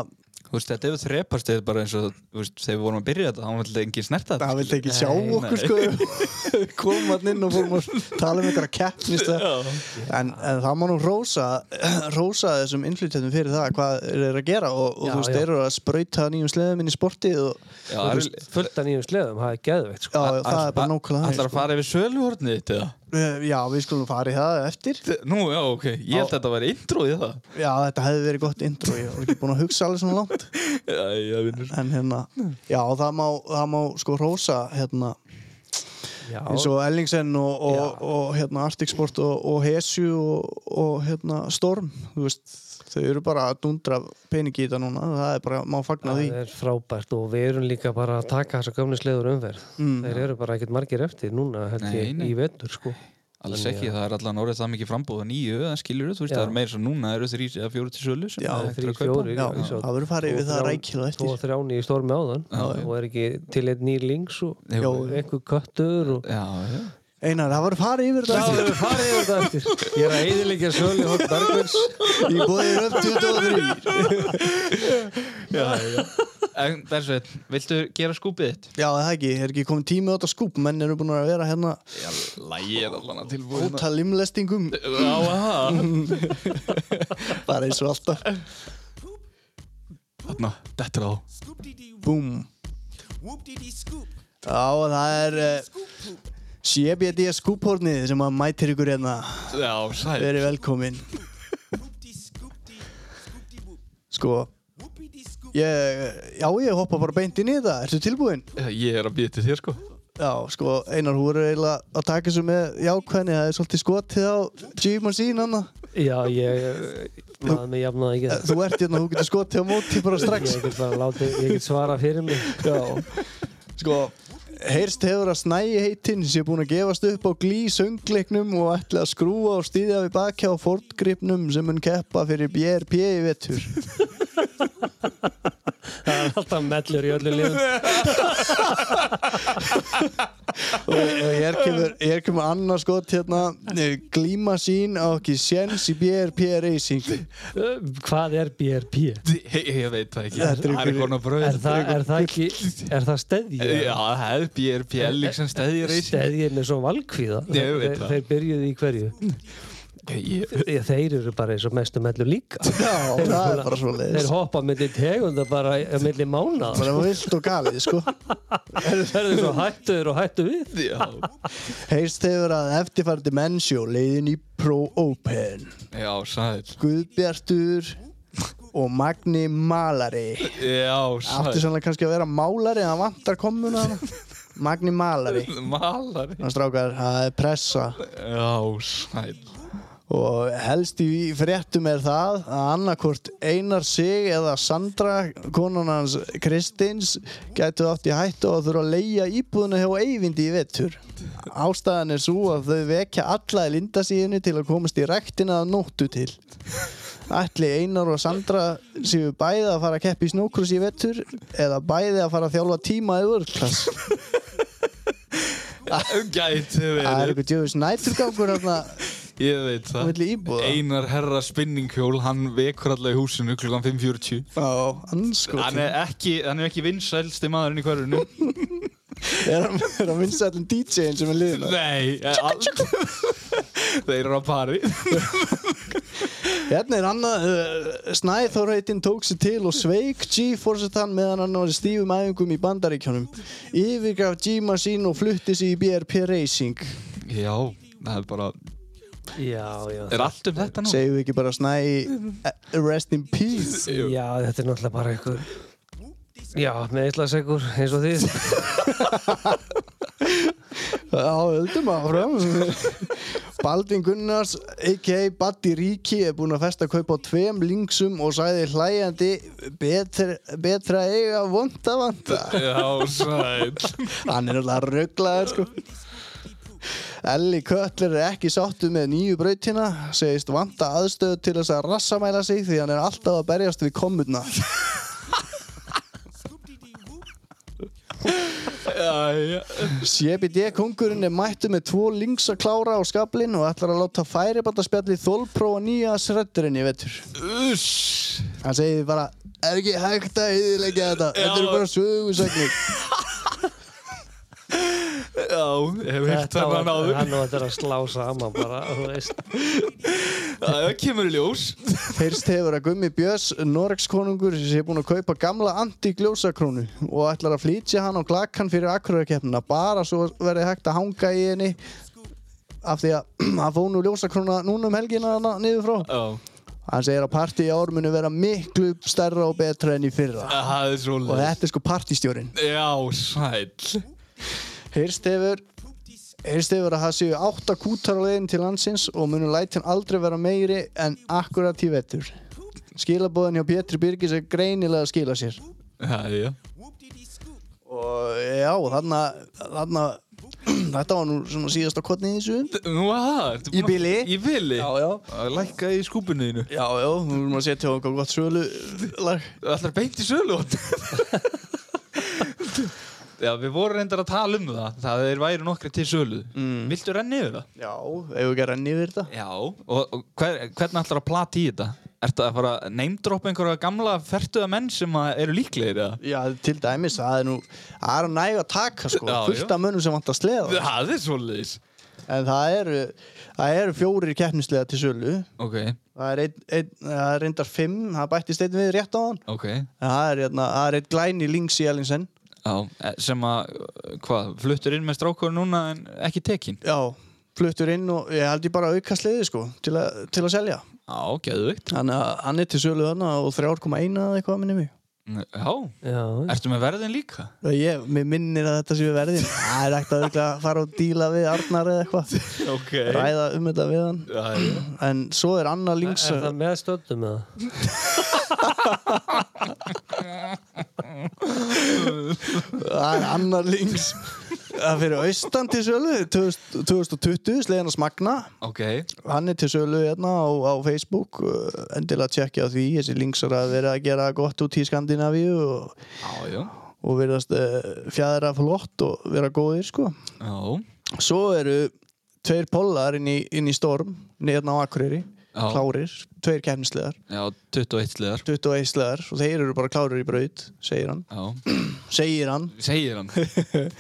Speaker 3: Þú veist, þetta hefur þrepast eða bara eins og þú veist, þegar við vorum að byrja þetta, hann vildi engin snerta þetta
Speaker 1: Það vildi ekki sjá
Speaker 4: Nei,
Speaker 1: okkur
Speaker 3: nei.
Speaker 1: sko við komum hann inn og fórum að tala um einhverja keppnist en, en það má nú rósa rósa þessum innflytjöndum fyrir það hvað þeir eru að gera og, og
Speaker 4: Já,
Speaker 1: þú veist,
Speaker 4: já.
Speaker 1: þeir eru að sprauta nýjum sleðum inn í sportið og
Speaker 3: Já, það er-
Speaker 4: fullt af nýjum sleðum, það er geðveikt sko.
Speaker 1: já, það er bara nákvæmlega
Speaker 3: Allar
Speaker 1: þannig,
Speaker 3: að fara yfir söluhornið þitt eða?
Speaker 1: sko. Já, við skulum fara í það eftir
Speaker 3: Nú, já, ok, ég held að þetta væri introið það
Speaker 1: Já, þetta hefði verið gott intro ég var ekki búin að hugsa alveg svona langt
Speaker 3: Jæja, vinnur
Speaker 1: en hérna, já, það má, það má sko rósa hérna
Speaker 4: Já,
Speaker 1: eins og Ellingsen og, og,
Speaker 4: Já.
Speaker 1: og hérna Arctic Sport og, og Hesu og, og hérna Storm þú veist, þau eru bara að dundra peningi í þetta núna, það er bara, má fagna
Speaker 4: það
Speaker 1: því
Speaker 4: er frábært og við erum líka bara að taka þessar gamlu sleður umverð. Þeir eru bara ekkert margir eftir núna held ég
Speaker 3: Nei, nei.
Speaker 4: í vetur sko.
Speaker 3: Alls
Speaker 4: Þannig
Speaker 3: ekki,
Speaker 4: að-
Speaker 3: það er allan orðið það mikið frambúð að nýju, það skilur þú veist,
Speaker 4: Já.
Speaker 3: það er meira svo núna eru þrýr eða fjóru til sölu sem
Speaker 1: Já,
Speaker 3: það er hægt
Speaker 4: þrír,
Speaker 3: að kaupa.
Speaker 4: fjórir,
Speaker 1: já,
Speaker 4: ég sá
Speaker 1: það verður farið yfir það rækilega
Speaker 4: Tvo
Speaker 1: eftir
Speaker 4: og þrjáni í stormi áðan
Speaker 3: Já, já.
Speaker 4: og er ekki til einn nýr links og
Speaker 3: Jú.
Speaker 4: og einhver köttur og
Speaker 3: Já, já.
Speaker 1: Einar, það verður farið yfir
Speaker 4: Já,
Speaker 1: það
Speaker 4: við
Speaker 1: eftir
Speaker 4: erum farið yfir þetta eftir Ég er að eiðilegja sölu hótt Bergvins
Speaker 1: í bóðið upp 23
Speaker 3: En þessu, viltu gera skúpið þitt?
Speaker 1: Já, það ekki, er ekki komið tími á þetta skúp menn eru búin að vera hérna
Speaker 3: Já, lægi er allan að tilbúið
Speaker 1: ótal imlestingum
Speaker 3: Já, aha.
Speaker 1: bara eins og alltaf,
Speaker 3: Þarna, þetta er á
Speaker 2: Scoop dee dee
Speaker 1: búm
Speaker 2: whoop dee dee scoop.
Speaker 1: Já, það er uh,
Speaker 2: Scoop poop.
Speaker 1: CBD skúphornið sem að mætir ykkur hérna
Speaker 3: Já, sæl
Speaker 1: verið velkomin
Speaker 2: Whoop dee scoop dee. Scoop dee whoop.
Speaker 1: sko,
Speaker 2: Whoopie dee scoop.
Speaker 1: Ég, já, ég hoppa bara beint inn í þetta. Ertu tilbúinn?
Speaker 3: Ég er að býja til þér sko
Speaker 1: Já, sko, Einar, hún er eiginlega að taka þessu með jákvæðni. Það er svolítið skotið á Jim og sín hann.
Speaker 4: Já, ég maður mig jafnaði ekki það
Speaker 1: Þú ert hérna, þú getur skotið á móti bara strax.
Speaker 4: Ég get bara látið, ég get svara fyrir mig
Speaker 1: Já, sko, heyrst hefur að snæi heitinn sé búin að gefast upp á glý söngleiknum og ætla að skrúa og stýðja við bakja á fordgripnum sem mun keppa fyrir BRP í vetur.
Speaker 4: Það er alltaf mellur í öllu liðum
Speaker 1: og og hér Eh, kemur, hér kemur annað skot hérna eh, glíma sín á ekki séns í BRP Racing
Speaker 4: Uh, Hvað er BRP?
Speaker 3: Ég, ég veit það ekki
Speaker 1: Þetta er
Speaker 3: Það er
Speaker 1: ykkur-
Speaker 3: konar bröð
Speaker 4: Er það, er það ekki, er það
Speaker 3: Já,
Speaker 4: steðji?
Speaker 3: það er BRP Ellingsen stæði reysi
Speaker 4: Steðjir með svo valkvíða
Speaker 3: Ég veit
Speaker 4: Þeir-
Speaker 3: það.
Speaker 4: Þeir byrjuðu í hverju?
Speaker 3: Ég
Speaker 4: Ég- Þeir eru bara eins og mestu mellur líka
Speaker 1: Já,
Speaker 4: Þeir eru
Speaker 1: það er bara svo
Speaker 4: Þeir
Speaker 1: leiðis
Speaker 4: hoppa milli tegunda bara milli mánaða
Speaker 1: bara vilt og galið sko
Speaker 4: Það er svo hættuður og hættu við
Speaker 3: Já,
Speaker 1: heyrst hefur að eftirfærdi mennsjó leiðin í Pro Open
Speaker 3: já, sæl
Speaker 1: Guðbjartur og Magni Malari
Speaker 3: Já,
Speaker 1: aftur
Speaker 3: sæl
Speaker 1: sannlega kannski að vera Málari en það vantar komuna hana. Magni Malari
Speaker 3: Malari
Speaker 1: hann strákar, það er pressa
Speaker 3: Já, sæl
Speaker 1: Og helst í fréttum er það að annarkvort Einar Sig eða Sandra, konan hans Kristins, gætu átt í hættu og þurfa að leia íbúðuna hjá Eyvindi í vettur. Ástæðan er svo að þau vekja alla í lindasíðinu til að komast í rektina að nóttu til. Ætli Einar og Sandra séu bæði að fara að keppi í snókrus í vettur eða bæði að fara að þjálfa tíma í vörklass.
Speaker 3: Um
Speaker 1: Það
Speaker 3: Gæti
Speaker 1: er
Speaker 3: verið
Speaker 1: eitthvað djöfis næturgangur hérna.
Speaker 3: Ég veit
Speaker 1: Á
Speaker 3: það
Speaker 1: milli íbúða.
Speaker 3: Einar herra spinninghjól, hann vekur allavega í húsinu klukkan 5.40
Speaker 1: Á, anskotin.
Speaker 3: Hann er ekki, hann er ekki vinsælsti maðurinn í hverjunu
Speaker 1: Er hann, er hann vinsællin DJ-in sem er liðin
Speaker 3: Nei eh, al- Þeir eru á pari
Speaker 1: Hérna er annað uh, Snæþórheitin tók sér til og sveik G-forsetan meðan hann var í stífum æfingum í bandaríkjónum Yfirgaf G-masín og flutti sig í BRP Racing
Speaker 3: Já, það er bara
Speaker 4: Já, já
Speaker 3: Er allt um þetta nú?
Speaker 1: Segjum við ekki bara Snæ eh, Rest in peace
Speaker 3: Jú.
Speaker 4: Já, þetta er náttúrulega bara einhver Já, með eittlasegur eins og þið
Speaker 1: Já, höldum áfram Baldvin Gunnars a.k.a. Buddy Ríki er búinn að festa kaupa á tveim linksum og sagði hlæjandi betra, betra eiga vonda vanda
Speaker 3: Já, sæl
Speaker 1: Hann er alltaf rugglaður sko Elli Köttler er ekki sáttu með nýju brautina segist vanta aðstöðu til þess að rassamæla sig því hann er alltaf að berjast við kommurna
Speaker 3: Já, Jæja.
Speaker 1: CBD kongurinn er mættu með tvo links að klára á skablinn og ætlar að láta færibandaspjalli þólprófa nýja srötturinn í vetur.
Speaker 3: Uss.
Speaker 1: Hann segir bara, er ekki hægt að yðurleggja þetta, þetta eru
Speaker 3: Já.
Speaker 1: bara sögursækning.
Speaker 3: Já, ég hef hitt
Speaker 4: Þetta var
Speaker 3: þennan áður.
Speaker 4: hann og þetta er að slá saman bara, þú veist.
Speaker 3: Það kemur í ljós.
Speaker 1: Fyrst hefur að Gummi Björns, Noregskonungur, sé búin að kaupa gamla anti-gljósakrónu og ætlar að flýtja hann á glakkan fyrir akkurarkeppnina bara svo verði hægt að hanga í henni af því að hann fóð nú ljósakróna núna um helgina þarna niður frá.
Speaker 3: Já,
Speaker 1: Hann segir að partí í ár muni vera miklu stærra og betra enn í fyrra
Speaker 3: það er svo
Speaker 1: og þetta er sko partístjórin.
Speaker 3: Já, sæl.
Speaker 1: Heyrst hefur Heyrst hefur að það séu átta kútar á leiðin til landsins og munu lætin aldrei vera meiri en akkurat í vettur. Skilabóðin hjá Pétri Birgis er greinilega að skila sér.
Speaker 3: Jæja.
Speaker 1: Og já, þarna, þarna, þetta var nú svona síðasta kotnið í þessu.
Speaker 3: Nú að það,
Speaker 1: Í
Speaker 3: ertu búin að-
Speaker 1: bili.
Speaker 3: Í bili?
Speaker 1: já.
Speaker 3: Að Lækka í skúpinu þínu.
Speaker 1: Já, já, nú erum við að setja okkur gott sölu lag.
Speaker 3: Það ætlar beint í sölu. Já, við vorum reyndar að tala um það. Það er væri nokkri til sölu. Mm. Viltu renni yfir það?
Speaker 1: Já, ef við gerum renni yfir þetta.
Speaker 3: Já. Og, og hver, hvernig ætlar að plata í þetta? Ertu að fara að neymdroppa einhverja gamla fertuða menn sem að eru líklegir eða?
Speaker 1: Já, til dæmis, það er nú, það er næg að taka sko,
Speaker 3: Já, já.
Speaker 1: fullt af mönnum sem vant að sleða.
Speaker 3: Það er svoleiðis.
Speaker 1: En það eru, það eru fjórir keppnislega til sölu.
Speaker 3: Ok,
Speaker 1: Það er, ein, ein, það er reyndar fimm, það bættist einn við rétt á hann.
Speaker 3: ok.
Speaker 1: En það er, hérna, það er einn glæni Lings í Ellinsen.
Speaker 3: Já, eh, sem að, hvað, fluttur inn með strákur núna en ekki tekin?
Speaker 1: Já, fluttur inn og ég held ég bara auka sliði sko, til, a, til að selja.
Speaker 3: Já, geðvikt.
Speaker 1: Þannig að hann er til sölu þarna og 3,1 eða eitthvað minni mig.
Speaker 3: Já,
Speaker 4: Já,
Speaker 3: ertu með verðin líka?
Speaker 1: Og Ég, mér minnir að þetta séu verðin. Það er ekkert að auka fara og díla við Arnar eða eitthvað.
Speaker 3: Ok.
Speaker 1: Ræða um þetta við hann. En svo er Anna
Speaker 4: er
Speaker 1: Lings.
Speaker 4: það með stöldum eða?
Speaker 1: Það er Anna Lings. Það fyrir austan til sölu 2000 2020, sliðin að smagna.
Speaker 3: Ok,
Speaker 1: hann er til sölu hérna á, á Facebook uh, endilega tjekkja á því þessi links er að vera að gera gott út í Skandinavíu og,
Speaker 3: já, já.
Speaker 1: og verðast uh, fjæðra flott og vera góðir sko
Speaker 3: Já,
Speaker 1: svo eru tveir pollar inn í, inn í Storm hérna á Akureyri,
Speaker 3: Já.
Speaker 1: klárir tveir kemnislegar,
Speaker 3: já, 21 sleðar.
Speaker 1: 21 slegar og þeir eru bara klárir í braut, segir hann
Speaker 3: Já,
Speaker 1: segir hann
Speaker 3: segir hann.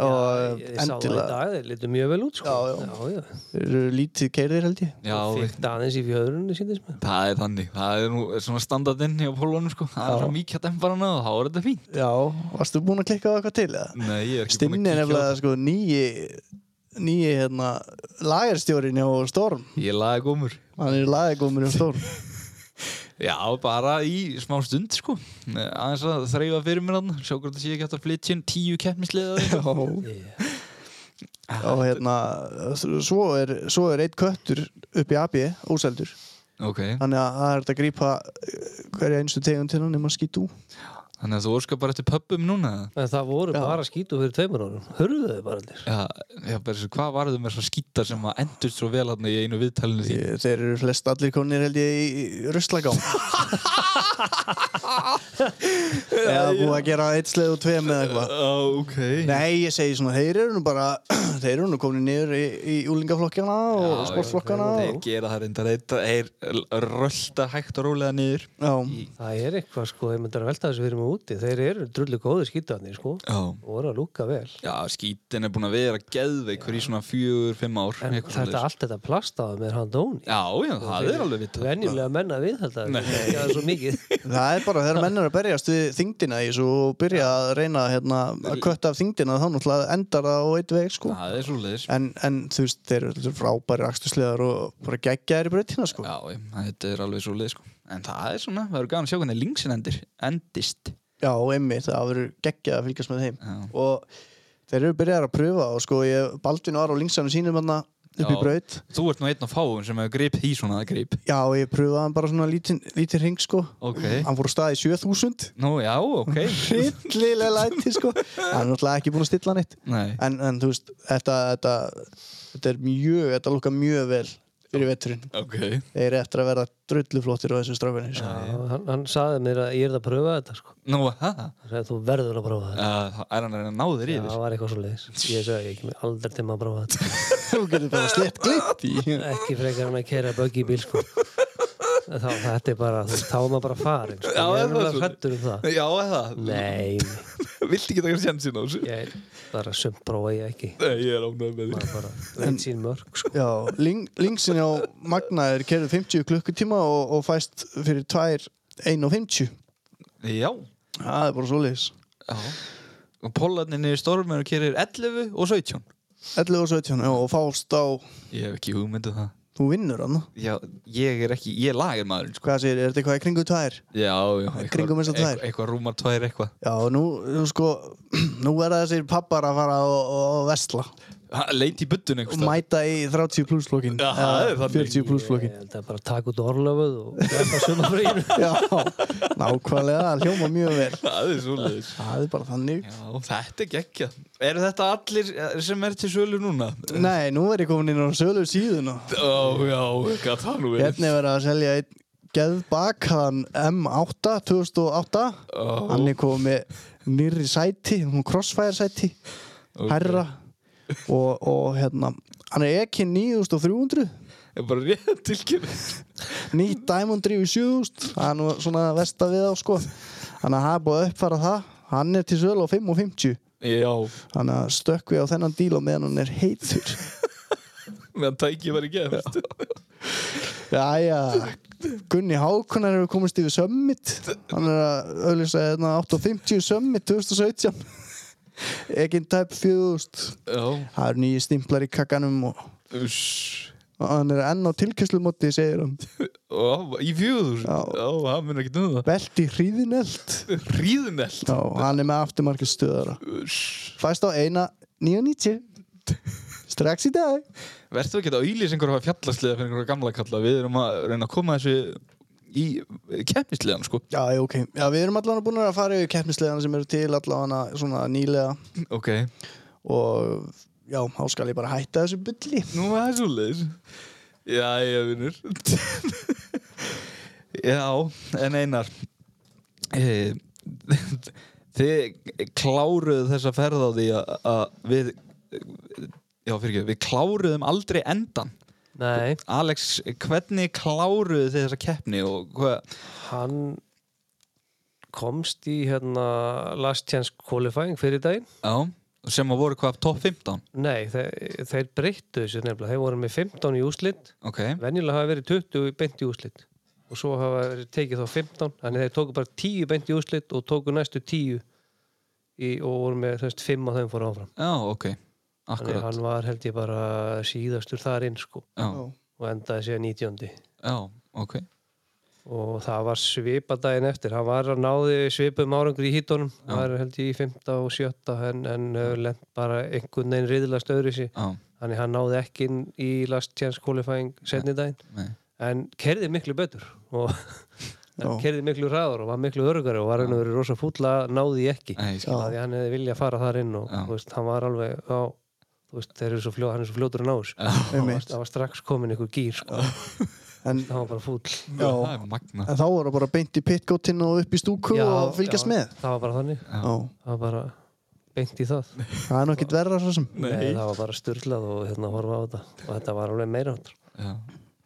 Speaker 1: og já,
Speaker 4: Ég, ég sá það í
Speaker 1: endilega
Speaker 4: dag, þeir litur mjög vel út sko.
Speaker 1: Já, já.
Speaker 4: já. já.
Speaker 1: eru lítið keirðir held ég
Speaker 3: Já,
Speaker 4: og fyrkt aðeins í fjöðrunni síndist mér
Speaker 3: það er þannig. Það er nú svona standardinn hjá pólunum, sko. Það er
Speaker 1: Já.
Speaker 3: að mýkja demparana og þá er þetta fínt.
Speaker 1: já, varstu búin að klikka á eitthvað til eða?
Speaker 3: Nei, ég er ekki
Speaker 1: Stinni er
Speaker 3: búinn kíkja á
Speaker 1: nefnilega sko nýji nýji hérna lagarstjórin hjá Storm
Speaker 3: það. Ég laði gómur.
Speaker 1: hann er lagagómur hjá Storm
Speaker 3: Já, bara í smá stund, sko. Eh, Aðeins að þreyfa fyrir mér hann. Sjá hvort það sé ekki hægt að flytja inn tíu keppnisliða.
Speaker 1: og hérna svo er, svo er einn köttur upp í AB óseldur,
Speaker 3: ok,
Speaker 1: þannig að það er hægt að grípa eh, hverja einstu tegund til hann nema skýtú
Speaker 3: þannig að þú óskar bara eftir pöppum núna. eða?
Speaker 4: en það voru
Speaker 1: Já.
Speaker 4: bara skítu fyrir tveimur árum hörðu þau bara allir
Speaker 3: Já, já, bara þessu, hvað varðu með þessar skýttar sem að endur svo vel hann í einu viðtalinu því?
Speaker 1: Ég- þeir eru flest allir konir held ég í ruslagám eða búið að gera eitt sleið og tveim eða eitthvað
Speaker 3: Ó, ok.
Speaker 1: Nei, ég segi svona, þeir eru nú bara þeir eru nú komin niður í, í úlingaflokkjana og
Speaker 3: Já,
Speaker 1: sportflokkjana
Speaker 3: Þeir
Speaker 1: og,
Speaker 3: gera það reyndar eitt þeir rölda hægt og rólega niður.
Speaker 1: já,
Speaker 4: það er eitthvað sko, þeir myndir að velta þessu fyrir mig úti þeir eru drullu góðir skítuðanir sko
Speaker 3: Já.
Speaker 4: og voru að lúka vel
Speaker 3: Já, skítin er búin að vera geðveikur í svona fjögur, fimm ár.
Speaker 4: en
Speaker 3: eitthvað
Speaker 4: þetta
Speaker 3: svoleiðis.
Speaker 4: allt þetta plastaða með hann dóni
Speaker 3: Já, já, það er alveg vitað.
Speaker 4: venjulega menna við þetta
Speaker 3: Nei.
Speaker 4: ekki að svo mikið
Speaker 1: það er bara þegar menn eru að berjast við þyngdina í þessu og byrja að reyna hérna, að kötta af þyngdina þá náttúrulega endar það á eitt veg sko.
Speaker 3: Það er svo leiðis.
Speaker 1: en, en þú veist, þeir eru frábæri akstuslegar og bara geggjaðir í brautina sko.
Speaker 3: Já, ég- þetta er alveg svo leiðis, sko. En það er svona, það verður gaman að sjá hvernig linksin endir. Endist.
Speaker 1: Já, einmitt, það verður geggjað að fylgjast með þeim
Speaker 3: Já.
Speaker 1: og þeir eru byrjað að pröfa og sko, ég, Baldvin var á linksanum sínum hérna upp í
Speaker 3: Já.
Speaker 1: braut
Speaker 3: Þú ert nú einn af fáum sem hefur grip í svona grip.
Speaker 1: Já, ég pröfaði hann bara svona lítinn lítin ring sko
Speaker 3: Ok.
Speaker 1: Hann fór á stað í 7000
Speaker 3: Nú, já, ok.
Speaker 1: Rillilega læti sko Hann er náttúrulega ekki búin að stilla hann eitt
Speaker 3: Nei.
Speaker 1: en, en þú veist, þetta, þetta, þetta er mjög, þetta lukkar mjög vel fyrir veturinn
Speaker 3: Ok,
Speaker 1: þeir eru eftir að verða drulluflottir á þessu strafinu sko.
Speaker 4: Já, hann, hann sagði mér að ég er að pröfa þetta sko.
Speaker 3: nú það
Speaker 4: hann sagði þú verður að prófa þetta
Speaker 3: uh, Er hann að reyna að ná þér
Speaker 4: Já,
Speaker 3: yfir?
Speaker 4: það var eitthvað svo leiðis ég sagði ekki með aldrei til maður að prófa þetta
Speaker 1: þú getur bara slett glitt í
Speaker 4: ekki frekar hann að kera böggi bíl sko. þá þetta er bara þú, veist, þá er maður bara farin sko.
Speaker 3: Já,
Speaker 4: ég
Speaker 3: er
Speaker 4: er
Speaker 3: það
Speaker 4: alveg
Speaker 3: svo?
Speaker 4: hrættur um það
Speaker 3: Já, er það
Speaker 4: nei,
Speaker 3: Viltu ekki taka sjansin á þessu?
Speaker 4: ég er bara sumt prófa ég ekki
Speaker 3: Nei, ég er ánægð með því
Speaker 4: maður bara veit sín mörg sko.
Speaker 1: já, ling, linksin á Magna er kerður 50 klukkutíma og, og fæst fyrir 2, 1 og 50
Speaker 3: Já,
Speaker 1: það er bara svoleiðis
Speaker 3: já Og Pollarnin er í stormur og kerir 11 og 17
Speaker 1: 11 og 17 já, og fást á,
Speaker 3: Ég hef ekki hugmyndu það
Speaker 1: þú vinnur hann
Speaker 3: Já, ég er ekki, ég er lagir maðurinn sko.
Speaker 1: hvað segir, er þetta eitthvað í kringu 2
Speaker 3: Já, já
Speaker 1: Kringum þessar tvær.
Speaker 3: eitthvað- Eitthvað rúmar tvær eitthvað
Speaker 1: já, nú, nú sko nú er það þessir pappar að fara og, og vesla
Speaker 3: Ha, Leit í buddun
Speaker 1: og
Speaker 3: einhvers staðar.
Speaker 1: mæta í 30 plusflokkin
Speaker 3: Já, það er þannig.
Speaker 1: 40
Speaker 4: ég
Speaker 1: plusflokkin
Speaker 4: held að bara taka út orlöfuð og glemma sumafrýinu
Speaker 1: já, nákvæmlega, það hljóma mjög vel
Speaker 3: Það er svoleiðis
Speaker 1: það er bara þannig
Speaker 3: Já, þetta er gekkja Eru þetta allir eh, sem er til sölu núna?
Speaker 1: nei, nú er ég komin inn á sölu síðuna
Speaker 3: Ó, já, hvað það nú er
Speaker 1: hérna er verið að selja einn geðbakaðan M8 2008
Speaker 3: Ó.
Speaker 1: hann er komið nýrri sæti hún crossfire sæti, herra og, og hérna hann er ekki 9300
Speaker 3: Er bara rétt tilkynna
Speaker 1: nýtt Diamond Drive í 7000 það er nú svona vest að við á sko þannig að það er búið að uppfara það hann er til sölu á 5.50
Speaker 3: Já,
Speaker 1: þannig að stökk við á þennan díl og meðan hann er heitur
Speaker 3: meðan tækið var ekki eftir
Speaker 1: Jæja, Gunni Hákonar hefur komist yfir Summit hann er að auðvitað hérna 8.50 Summit 2017 Eginn Type 4000
Speaker 3: Já,
Speaker 1: það eru nýju stimplar í kakkanum og
Speaker 3: uss
Speaker 1: og hann er enn á tilkjöslumóti segir hann,
Speaker 3: Ó, í fjögur
Speaker 1: Já.
Speaker 3: Já, það mun ekki nöða
Speaker 1: belti hríðinelt
Speaker 3: Ríðunell
Speaker 1: Já, hann er með afturmarkið stöðara
Speaker 3: Uss
Speaker 1: fæst á eina 9.90 strax í dag
Speaker 3: Vertu ekki að auðlýs einhverja fjallasliða fyrir einhverja gamla kalla Við erum að reyna að koma þessu í kemmisliðan, sko
Speaker 1: Já, já, ok, já, við erum allan búin að fara yfir keppnisleðana sem eru til allan svona nýlega
Speaker 3: Ok
Speaker 1: og já, þá skal ég bara hætta þessu bylli
Speaker 3: Nú er það svo leiðis Já, ég vinnur Já, en einar eh, Þið kláruðu þessa ferð á því að að við Já, fyrir við kláruðum aldrei endan
Speaker 4: nei,
Speaker 3: Alex, hvernig kláruðu þið þessa keppni og hvað
Speaker 4: hann komst í hérna last chance qualifying fyrir daginn
Speaker 3: Já, sem að voru hvað top 15
Speaker 4: nei, þeir, þeir breyttu þessu nefnilega þeir voru með 15 í úslit
Speaker 3: Ok,
Speaker 4: venjulega hafa verið 20 beint í úslit og svo hafa verið tekið þá 15 þannig þeir tóku bara 10 beint í úslit og tóku næstu 10 í, og voru með þess 5 að þeim fóru áfram
Speaker 3: já, ok
Speaker 4: þannig
Speaker 3: Akkurat,
Speaker 4: hann var held ég bara síðastur þar inn sko
Speaker 3: já,
Speaker 4: og endaði sér 19.
Speaker 3: já, ok
Speaker 4: og það var svipadaginn eftir hann var að náði svipum árangur í hítunum
Speaker 3: Já.
Speaker 4: var held ég í 15 og 17 en, en uh, lent bara einhvern veginn riðilast öðru sér
Speaker 3: Já,
Speaker 4: þannig hann náði ekki inn í last chance qualifying setni daginn
Speaker 3: nei,
Speaker 4: en kerði miklu betur og
Speaker 1: Já.
Speaker 4: kerði miklu hraður og var miklu örgari og var hann að vera rosa fúlla náði ég ekki
Speaker 3: nei, ég skil.
Speaker 1: Já.
Speaker 4: því hann hefði viljað fara þar inn og
Speaker 3: Já.
Speaker 4: þú veist, hann var alveg á, þú veist, þeir eru svo fljóð, hann er svo fljótur að ná þessu hann var,
Speaker 1: Einmitt.
Speaker 4: hann var strax komin einhver gýr sko.
Speaker 1: en,
Speaker 4: hann var bara fúll
Speaker 1: já,
Speaker 3: það er magna
Speaker 1: en þá voru bara beint í pitgótinn og upp í stúku og fylgjast
Speaker 4: já,
Speaker 1: með
Speaker 4: það var bara þannig,
Speaker 1: já.
Speaker 4: það var bara beint í það nei.
Speaker 1: það er nokkið verra svo sem
Speaker 4: það var bara styrlað og hérna horfa á þetta og þetta var alveg meira áttur
Speaker 3: Já.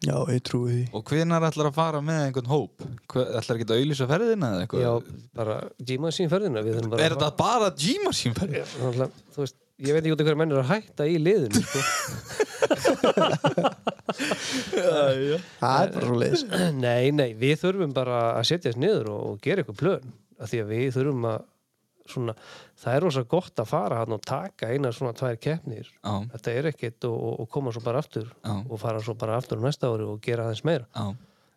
Speaker 1: já, ég trúi því
Speaker 3: Og hvenar ætlar að fara með einhvern hóp? Hver, ætlar ekki að auðlýsa ferðina eða eitthvað?
Speaker 4: já, bara G-Man sín ferðina við þurfum bara
Speaker 3: Er þetta bara G-Machine ferðina?
Speaker 4: Náttúrulega, þú veist, ég veit ekki út af hverju menn er að hætta í liðinu sko.
Speaker 1: það er bara svo leiðis
Speaker 4: nei, nei, við þurfum bara að setja þess niður og, og gera eitthvað plön af því að við þurfum að svona, það er rosa gott að fara hann og taka eina svona tvær keppnir
Speaker 3: Já,
Speaker 4: þetta er ekkert og, og, og koma svo bara aftur
Speaker 3: Já.
Speaker 4: og fara svo bara aftur á næsta ári og gera aðeins meira
Speaker 3: já,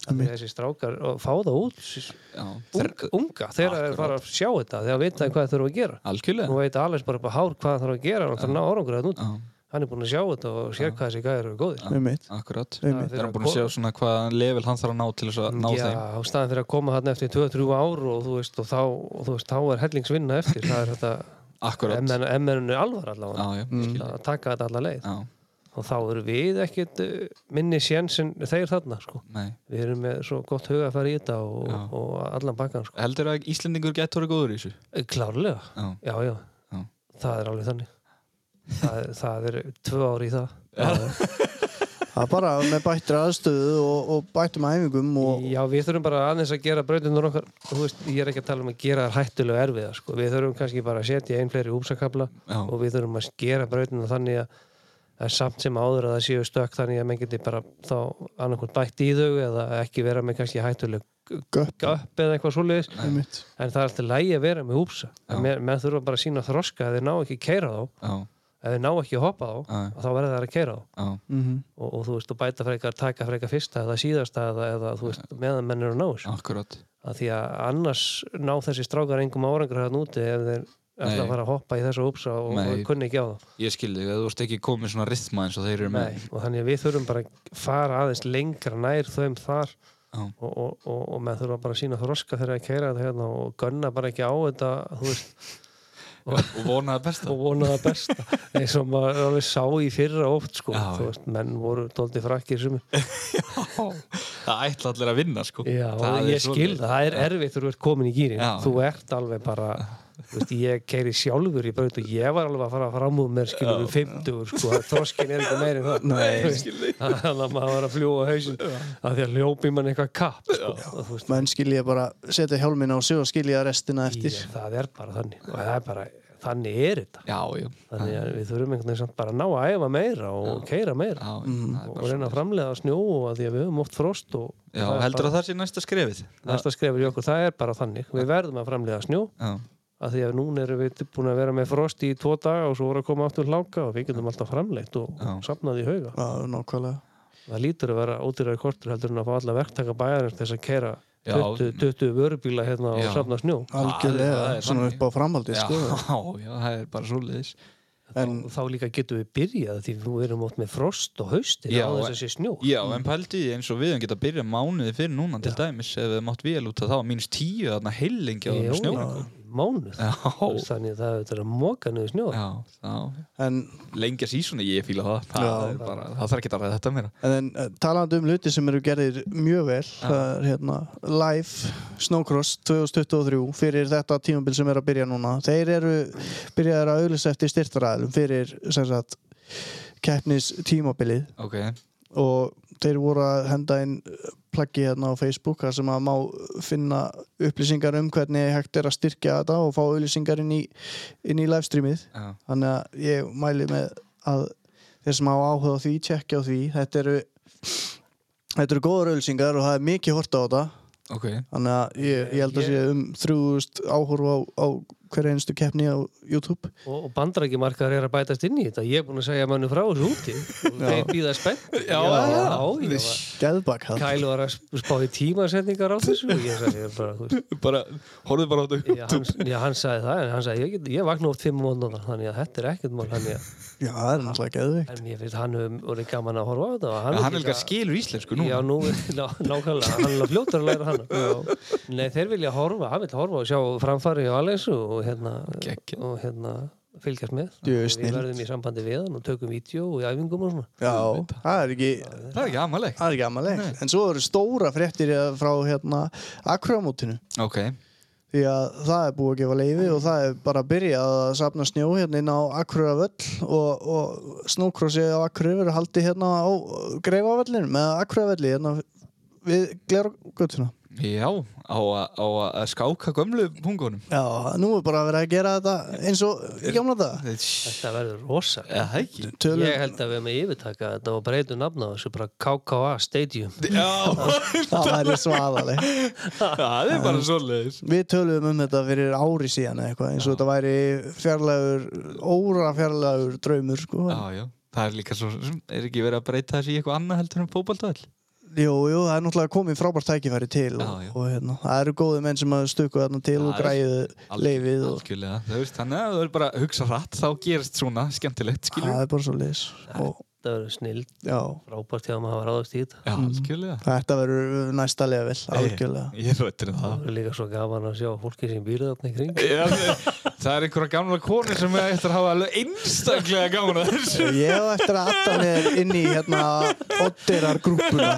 Speaker 4: Af því að þessi strákar og fá það út s-
Speaker 3: já.
Speaker 4: unga, unga þegar þeir fara að sjá þetta þegar vita þeir hvað þeir þurfa að gera nú
Speaker 3: Algjörlega.
Speaker 4: veit Alex bara bara hár hvað hann þarf að gera hann þarf að ná árangur að nút
Speaker 3: Já,
Speaker 4: hann er búin að sjá þetta og sér hvað þessi gæðir eru góðir
Speaker 1: einmitt,
Speaker 3: akkurat.
Speaker 1: einmitt.
Speaker 3: Það er búin að sjá svona hvaða level hann þarf að ná til þess að ná
Speaker 4: Já,
Speaker 3: þeim.
Speaker 4: á staðan fyrir að koma hann eftir 2-3 ár og þú veist, og þá, og þú veist, þá er hellingsvinna eftir, það er þetta
Speaker 3: Akkurat.
Speaker 4: MN-unu alvar allavega
Speaker 3: Já, já,
Speaker 4: Mm.
Speaker 3: ég skil.
Speaker 4: að taka þetta alla leið
Speaker 3: Já,
Speaker 4: þá og þá eru við ekkit eh, minni séns en þeir þarna sko.
Speaker 3: Nei.
Speaker 4: við erum með svo gott huga að fara í þetta og,
Speaker 3: Já.
Speaker 4: og allan bakkan sko.
Speaker 3: Heldur að Íslendingur getur orðið góður í þessu?
Speaker 4: Eh, klárlega,
Speaker 3: Já.
Speaker 4: já já,
Speaker 3: Já.
Speaker 4: það er alveg þannig það, er- það er tvö ár í það
Speaker 1: Það er bara með bættir aðstöðu og, og bættum æfingum og
Speaker 4: Já, við þurfum bara aðeins að gera brautinur okkar þú veist, ég er ekki að tala um að gera þær hættulega erfiða sko. við þurfum kannski bara að setja einn fleiri úpsakabla
Speaker 3: Já.
Speaker 4: og við þurfum að gera brautinur þannig að, að samt sem áður að það séu stökk þannig að menn geti bara þá annarkvæmt bætt í þau eða ekki vera með kannski hættuleg
Speaker 1: göpp
Speaker 4: göpp eða eitthvað svoleiðis
Speaker 1: einmitt.
Speaker 4: en það er alltaf lægi að vera með úpsa
Speaker 3: Já.
Speaker 4: menn, menn þurfa bara að sína þroska ef þeir ná ekki að keira þá
Speaker 3: Já,
Speaker 4: ef þeir ná ekki að hoppa þá
Speaker 3: Já.
Speaker 4: þá verða það að keira þá
Speaker 3: já,
Speaker 1: Mhm.
Speaker 4: og, og þú veist, og bæta frekar, taka frekar fyrsta eða síðasta eða, eða þú veist, meðan menn eru að ná þessu
Speaker 3: akkurat
Speaker 4: að því að annars ná þessi strákar engum árangur hérna úti ef þeir ætla
Speaker 3: Nei.
Speaker 4: að fara að hoppa í þessu úpsa og,
Speaker 3: Nei.
Speaker 4: og kunni ekki á það
Speaker 3: Ég skildi, þú vorst ekki komið svona rithma eins og þeir eru með
Speaker 4: og þannig að við þurfum bara að fara aðeins lengra nær þauðum þar
Speaker 3: Já.
Speaker 4: og, og, og, og menn þurfa bara að sína þroska þegar að kæra þetta hérna og gunna bara ekki á þetta þú veist,
Speaker 3: og vonaði besta
Speaker 4: og vona það besta eins og maður alveg sá í fyrra oft sko,
Speaker 3: Já, já.
Speaker 4: þú veist, menn voru dóldi frakkir sem
Speaker 3: Það ætla allir að vinna sko
Speaker 4: Já,
Speaker 3: Það er
Speaker 4: ég skil
Speaker 3: svoleiðis.
Speaker 4: það, það er erfitt þegar þú ert komin í gýrin
Speaker 3: Já.
Speaker 4: þú ert alveg bara þú veist, ég keiri sjálfur í braut og ég var alveg að fara fram úr mér skilur um 50 sko, að þroskin er ekki meiri en það
Speaker 1: Nei,
Speaker 4: Þú veist, þannig að maður var að fljúa á hausin af því að hljópi mann eitthvað kapp sko, og þú veist,
Speaker 1: menn skilja bara setja hjálmin á sig og skilja restina eftir
Speaker 4: ég, það er bara þannig og það er bara, þannig er þetta
Speaker 3: Já, já,
Speaker 4: þannig að við þurfum einhvern veginn samt bara að ná að æfa meira og keira meira
Speaker 3: já, það er
Speaker 4: og
Speaker 3: bara
Speaker 4: reyna að framlega snjó og að því að við höfum oft frost og
Speaker 3: Já,
Speaker 4: það er
Speaker 3: heldur
Speaker 4: bara-
Speaker 3: að það sé næsta skrefið
Speaker 4: næsta skrefur í okkur, það er bara þannig við verðum að framlega snjó
Speaker 3: Já,
Speaker 4: að því að núna erum við búin að vera með frost í tvo daga og svo voru að koma aftur hláka og við getum alltaf framleitt og
Speaker 3: Já.
Speaker 4: safnað í hauga.
Speaker 1: Já, nákvæmlega
Speaker 4: Það lítur að vera ódýrari kortur heldur en að fá alla verktaka bæjarins til þess að kera
Speaker 3: Já.
Speaker 4: 20, 20 vörubíla hérna
Speaker 3: Já.
Speaker 4: og safna snjó.
Speaker 3: það
Speaker 1: algjörlega,
Speaker 3: er
Speaker 1: svona
Speaker 3: þannig.
Speaker 1: upp á framhaldi
Speaker 3: já,
Speaker 1: sko.
Speaker 3: já, það er bara svoleiðis
Speaker 1: en
Speaker 4: Og þá líka getum við byrjað því við erum oft með frost og haustir
Speaker 3: Já,
Speaker 4: á þess
Speaker 3: en-
Speaker 4: að sé snjó.
Speaker 3: Já, en pældi því eins og við höfum geta að byrja mánuði fyrir núna til dæmis ef við mátt vel út að það var mínus tíu þarna heilingi á
Speaker 4: Jú,
Speaker 3: þeim snjóra
Speaker 4: já, mánuð.
Speaker 3: sko. Já,
Speaker 4: Þannig að það er að móka niður snjó.
Speaker 3: já, já
Speaker 1: en,
Speaker 3: Lengja sísunni, ég fíla það Það,
Speaker 1: Já.
Speaker 3: er bara, það þarf ekki að ræða þetta meira
Speaker 1: en eh, talandi um luti sem eru gerðir mjög vel það er hérna Live Snowcross 2023 fyrir þetta tímabil sem er að byrja núna þeir eru byrjaðar að auglýsa eftir styrtaræðlum fyrir sem sagt keppnis tímabilið
Speaker 3: Ok,
Speaker 1: og þeir voru að henda inn plaggi hérna á Facebook þar sem að má finna upplýsingar um hvernig hægt er að styrkja þetta og fá auðlýsingar inn í, inn í livestreamið
Speaker 3: já,
Speaker 1: þannig að ég mæli með að þeir sem hafa áhuga á því, tjekkja á því þetta eru þetta eru góðar auðlýsingar og það er mikið horta á þetta
Speaker 3: ok
Speaker 1: þannig að ég, ég held að sé um 3000 áhorfa á, á hverja einstu keppni á YouTube
Speaker 4: Og, og bandarækjumarkaðar er að bætast inn í þetta. Ég er búin að segja mönnum frá þessu úti. Og
Speaker 1: Já.
Speaker 4: Þeir býða spennt. Já, já, já.
Speaker 1: Geðbak það
Speaker 4: Kælu var að sp- spá í tímasetningar á þessu og ég sagði bara, þú veist,
Speaker 3: bara, horfðu bara á þetta
Speaker 4: já, hann, já, hann sagði það en hann sagði, ég, get, ég vakna oft fimm mótnóna þannig að þetta er ekkert mál þannig að,
Speaker 1: Já, það er náttúrulega geðveikt
Speaker 4: en ég finnst hann hefur orðið gaman að horfa á þetta og
Speaker 3: En hann er
Speaker 4: líka-
Speaker 3: líka sko, skilur íslensku nú
Speaker 4: Já, nú, ná, nákvæmlega, hann er fljótur að læra hann Nei, þeir vilja horfa, hann vil horfa og sjá framfari á Alessu og hérna,
Speaker 3: Geggjað.
Speaker 4: og hérna fylgjast með
Speaker 1: Djú,
Speaker 4: Við
Speaker 1: snilld.
Speaker 4: verðum í sambandi við hann og tökum vídeo og í æfingum og svona
Speaker 1: Já, það er ekki
Speaker 3: Það er ekki amalegt
Speaker 1: Það er ekki amalegt. En svo eru stóra fréttir frá hérna akramótinu.
Speaker 3: Ok,
Speaker 1: Því að það er búið að gefa leiði og það er bara að byrja að safna snjó hérna inn á Akuravöll og, og snókrossi á Akureyri verður haldið hérna á greifavöllinu með Akuravelli hérna við glerugötuna.
Speaker 3: já, á, að- á að skáka gömlu pungunum
Speaker 1: Já, nú er bara að vera að gera þetta eins og í gamla daga.
Speaker 3: Þetta
Speaker 4: Þetta verður rosa
Speaker 3: er ekki
Speaker 1: Tölum,
Speaker 4: Ég held að við erum að yfirtaka þetta og breytum nafna á þessu bara KKA Stadium
Speaker 3: Já,
Speaker 1: það væri svaðaleg.
Speaker 3: það er bara svoleiðis
Speaker 1: Við töluðum um þetta fyrir ári síðan eða eitthvað, eins og þetta væri fjarlægur, óra fjarlægur draumur, sko.
Speaker 3: Já, já, það er líka svo Er ekki verið að breyta þessi í eitthvað annað heldur en fótballtöðl
Speaker 1: Jú, jú, það er náttúrulega komið frábært tækifæri til og,
Speaker 3: Já, já.
Speaker 1: og hérna, það eru góði menn sem að stöku þarna til og
Speaker 3: Já,
Speaker 1: græðu leifið og
Speaker 3: Algjörlega, þú veist, þannig að þú er bara að hugsa rætt Þá gerist svona skemmtilegt, skilur
Speaker 1: það er bara svo leis og,
Speaker 4: þetta verður snild
Speaker 1: já,
Speaker 4: frábært hjá þeim að hafa ráðast í þetta
Speaker 3: Já, algjörlega
Speaker 1: þetta verður næsta level Mm. algjörlega
Speaker 3: Ég er veitur um það
Speaker 4: það er líka svo gaman að sjá fólki sem býrið þarna í kring
Speaker 3: Já, það er einhverja gamla koni sem er eftir að hafa alveg einstaklega gaman að þessu
Speaker 1: Ég á eftir að atta mér inn í hérna oddirar grúpuna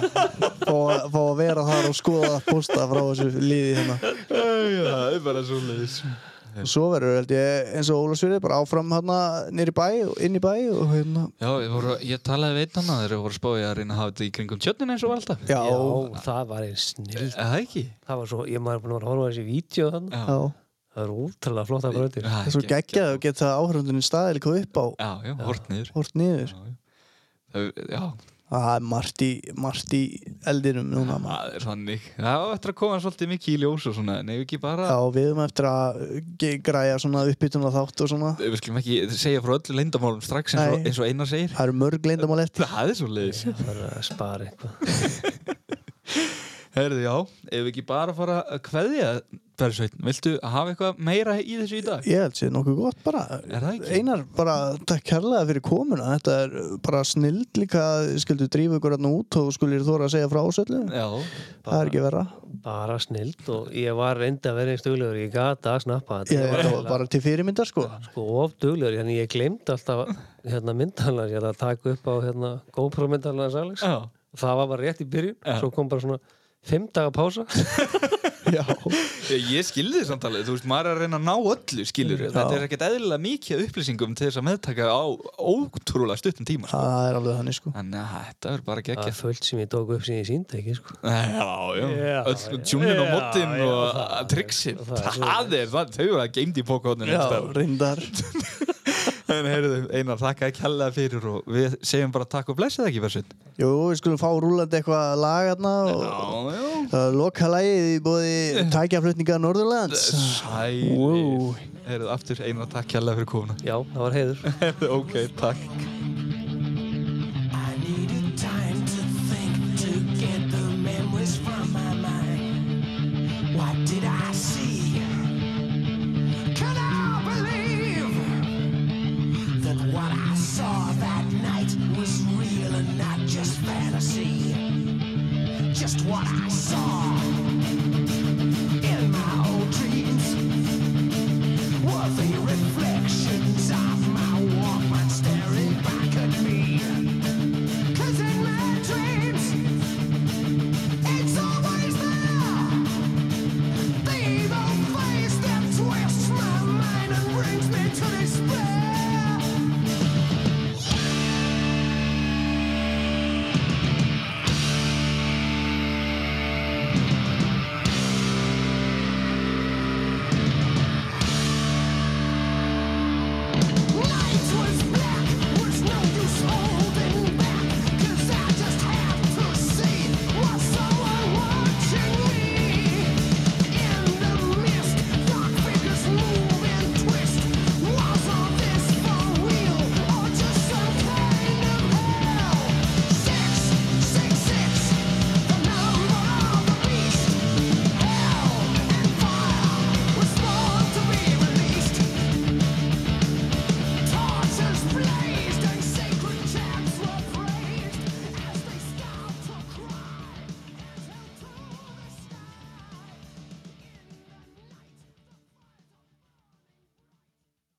Speaker 1: og fá að vera þar og skoða posta frá þessu liði hérna.
Speaker 3: Já, það er bara svo leiðis
Speaker 1: Og Svo verður held ég eins og Ólafsfjörði bara áfram hérna nýri bæ og inn í bæ og hérna.
Speaker 3: Já, ég, voru, ég talaði við einn annað þegar ég voru spáið að reyna að hafa þetta í kringum tjötnin eins og var alltaf
Speaker 1: Já, já.
Speaker 4: já, það var einn snild
Speaker 3: Er Það ekki?
Speaker 4: það var svo, ég maður er búin að vera að horfa á þessi vídeo þannig,
Speaker 3: Já,
Speaker 4: það er útrúlega flottar bröðir
Speaker 3: Það
Speaker 1: Það er svo geggjað að geta áhrifundin staðilíku upp á
Speaker 3: Já, já, hort niður
Speaker 1: hort niður.
Speaker 3: Það- Já,
Speaker 1: Það er margt í, margt í eldinum núna. maður.
Speaker 3: það er þannig Það var eftir að koma svolítið mikið í ljós og svona Nei, ekki bara
Speaker 1: Já, við erum eftir að ge- græja svona uppbytuna þátt og svona.
Speaker 3: Við skulum ekki segja frá öllu leyndamálum strax eins og,
Speaker 1: Nei.
Speaker 3: eins og Einar segir
Speaker 1: Það eru mörg leindamál eftir.
Speaker 3: Það er svo leiðis
Speaker 4: það er að spara eitthvað
Speaker 3: Herðu, já, ef við ekki bara fara að kveðja Bergsveitn, viltu hafa eitthvað meira í þessu í dag?
Speaker 1: Ég held sér nokkuð gott bara
Speaker 3: Er það ekki?
Speaker 1: Einar, bara takk kærlega fyrir komuna Þetta er bara snild líka að þið Skildu drífa ykkur hann út og skulir þóra að segja frá ásöllu
Speaker 3: Já,
Speaker 1: Það er ekki verra
Speaker 4: bara snild og ég var reyndi að vera einn stuglegur, ég gata að snappa þetta
Speaker 1: Ég þetta var bara til fyrirmyndar sko
Speaker 4: sko of duglegur, hérna ég gleymd alltaf hérna myndalans, ég ætla að taka upp á hérna GoPro myndalans Alex
Speaker 3: já,
Speaker 4: það var bara rétt í byrjun, svo kom bara svona fimm daga pása
Speaker 1: Já,
Speaker 3: ég, ég skilði þér samtalið, þú veist, maður er að reyna að ná öllu skilur Þetta er ekkert eðlilega mikið af upplýsingum til þess að meðtaka á ótrúlega stuttum tíma sko.
Speaker 1: það er alveg þannig sko
Speaker 3: Þannig að þetta er bara
Speaker 4: það
Speaker 3: geggja
Speaker 4: er fullt sem ég tók upp sem ég síndi ekki sko.
Speaker 3: Já, já,
Speaker 4: Já,
Speaker 3: öll
Speaker 4: já.
Speaker 3: tjúnin og
Speaker 4: Já,
Speaker 3: moddin
Speaker 4: já,
Speaker 3: og
Speaker 4: það-
Speaker 3: að triksin
Speaker 4: það er
Speaker 3: Það er, það, þau eru að geimd í bókóðnum
Speaker 1: Já, reyndar
Speaker 3: En heyrðu, Einar, þakka ekki hella fyrir og við segjum bara takk og blessið ekki, Bergsveitn
Speaker 1: Jú, við skulum fá rúlandi eitthvað lagarna og
Speaker 3: já
Speaker 1: uh, lokalægið í bóði tækjaflutninga Norðurlands
Speaker 3: Sælir
Speaker 1: Wow.
Speaker 3: Eruð aftur einu að takk hérlega fyrir komuna
Speaker 4: já, það var heiður
Speaker 3: Ok, takk
Speaker 2: I needed time to think to get the memories from my mind. What did I see? Could I believe that what I saw that night was real and not just fantasy? Just what I saw in my old dreams were the reflections of my woman staring back at me.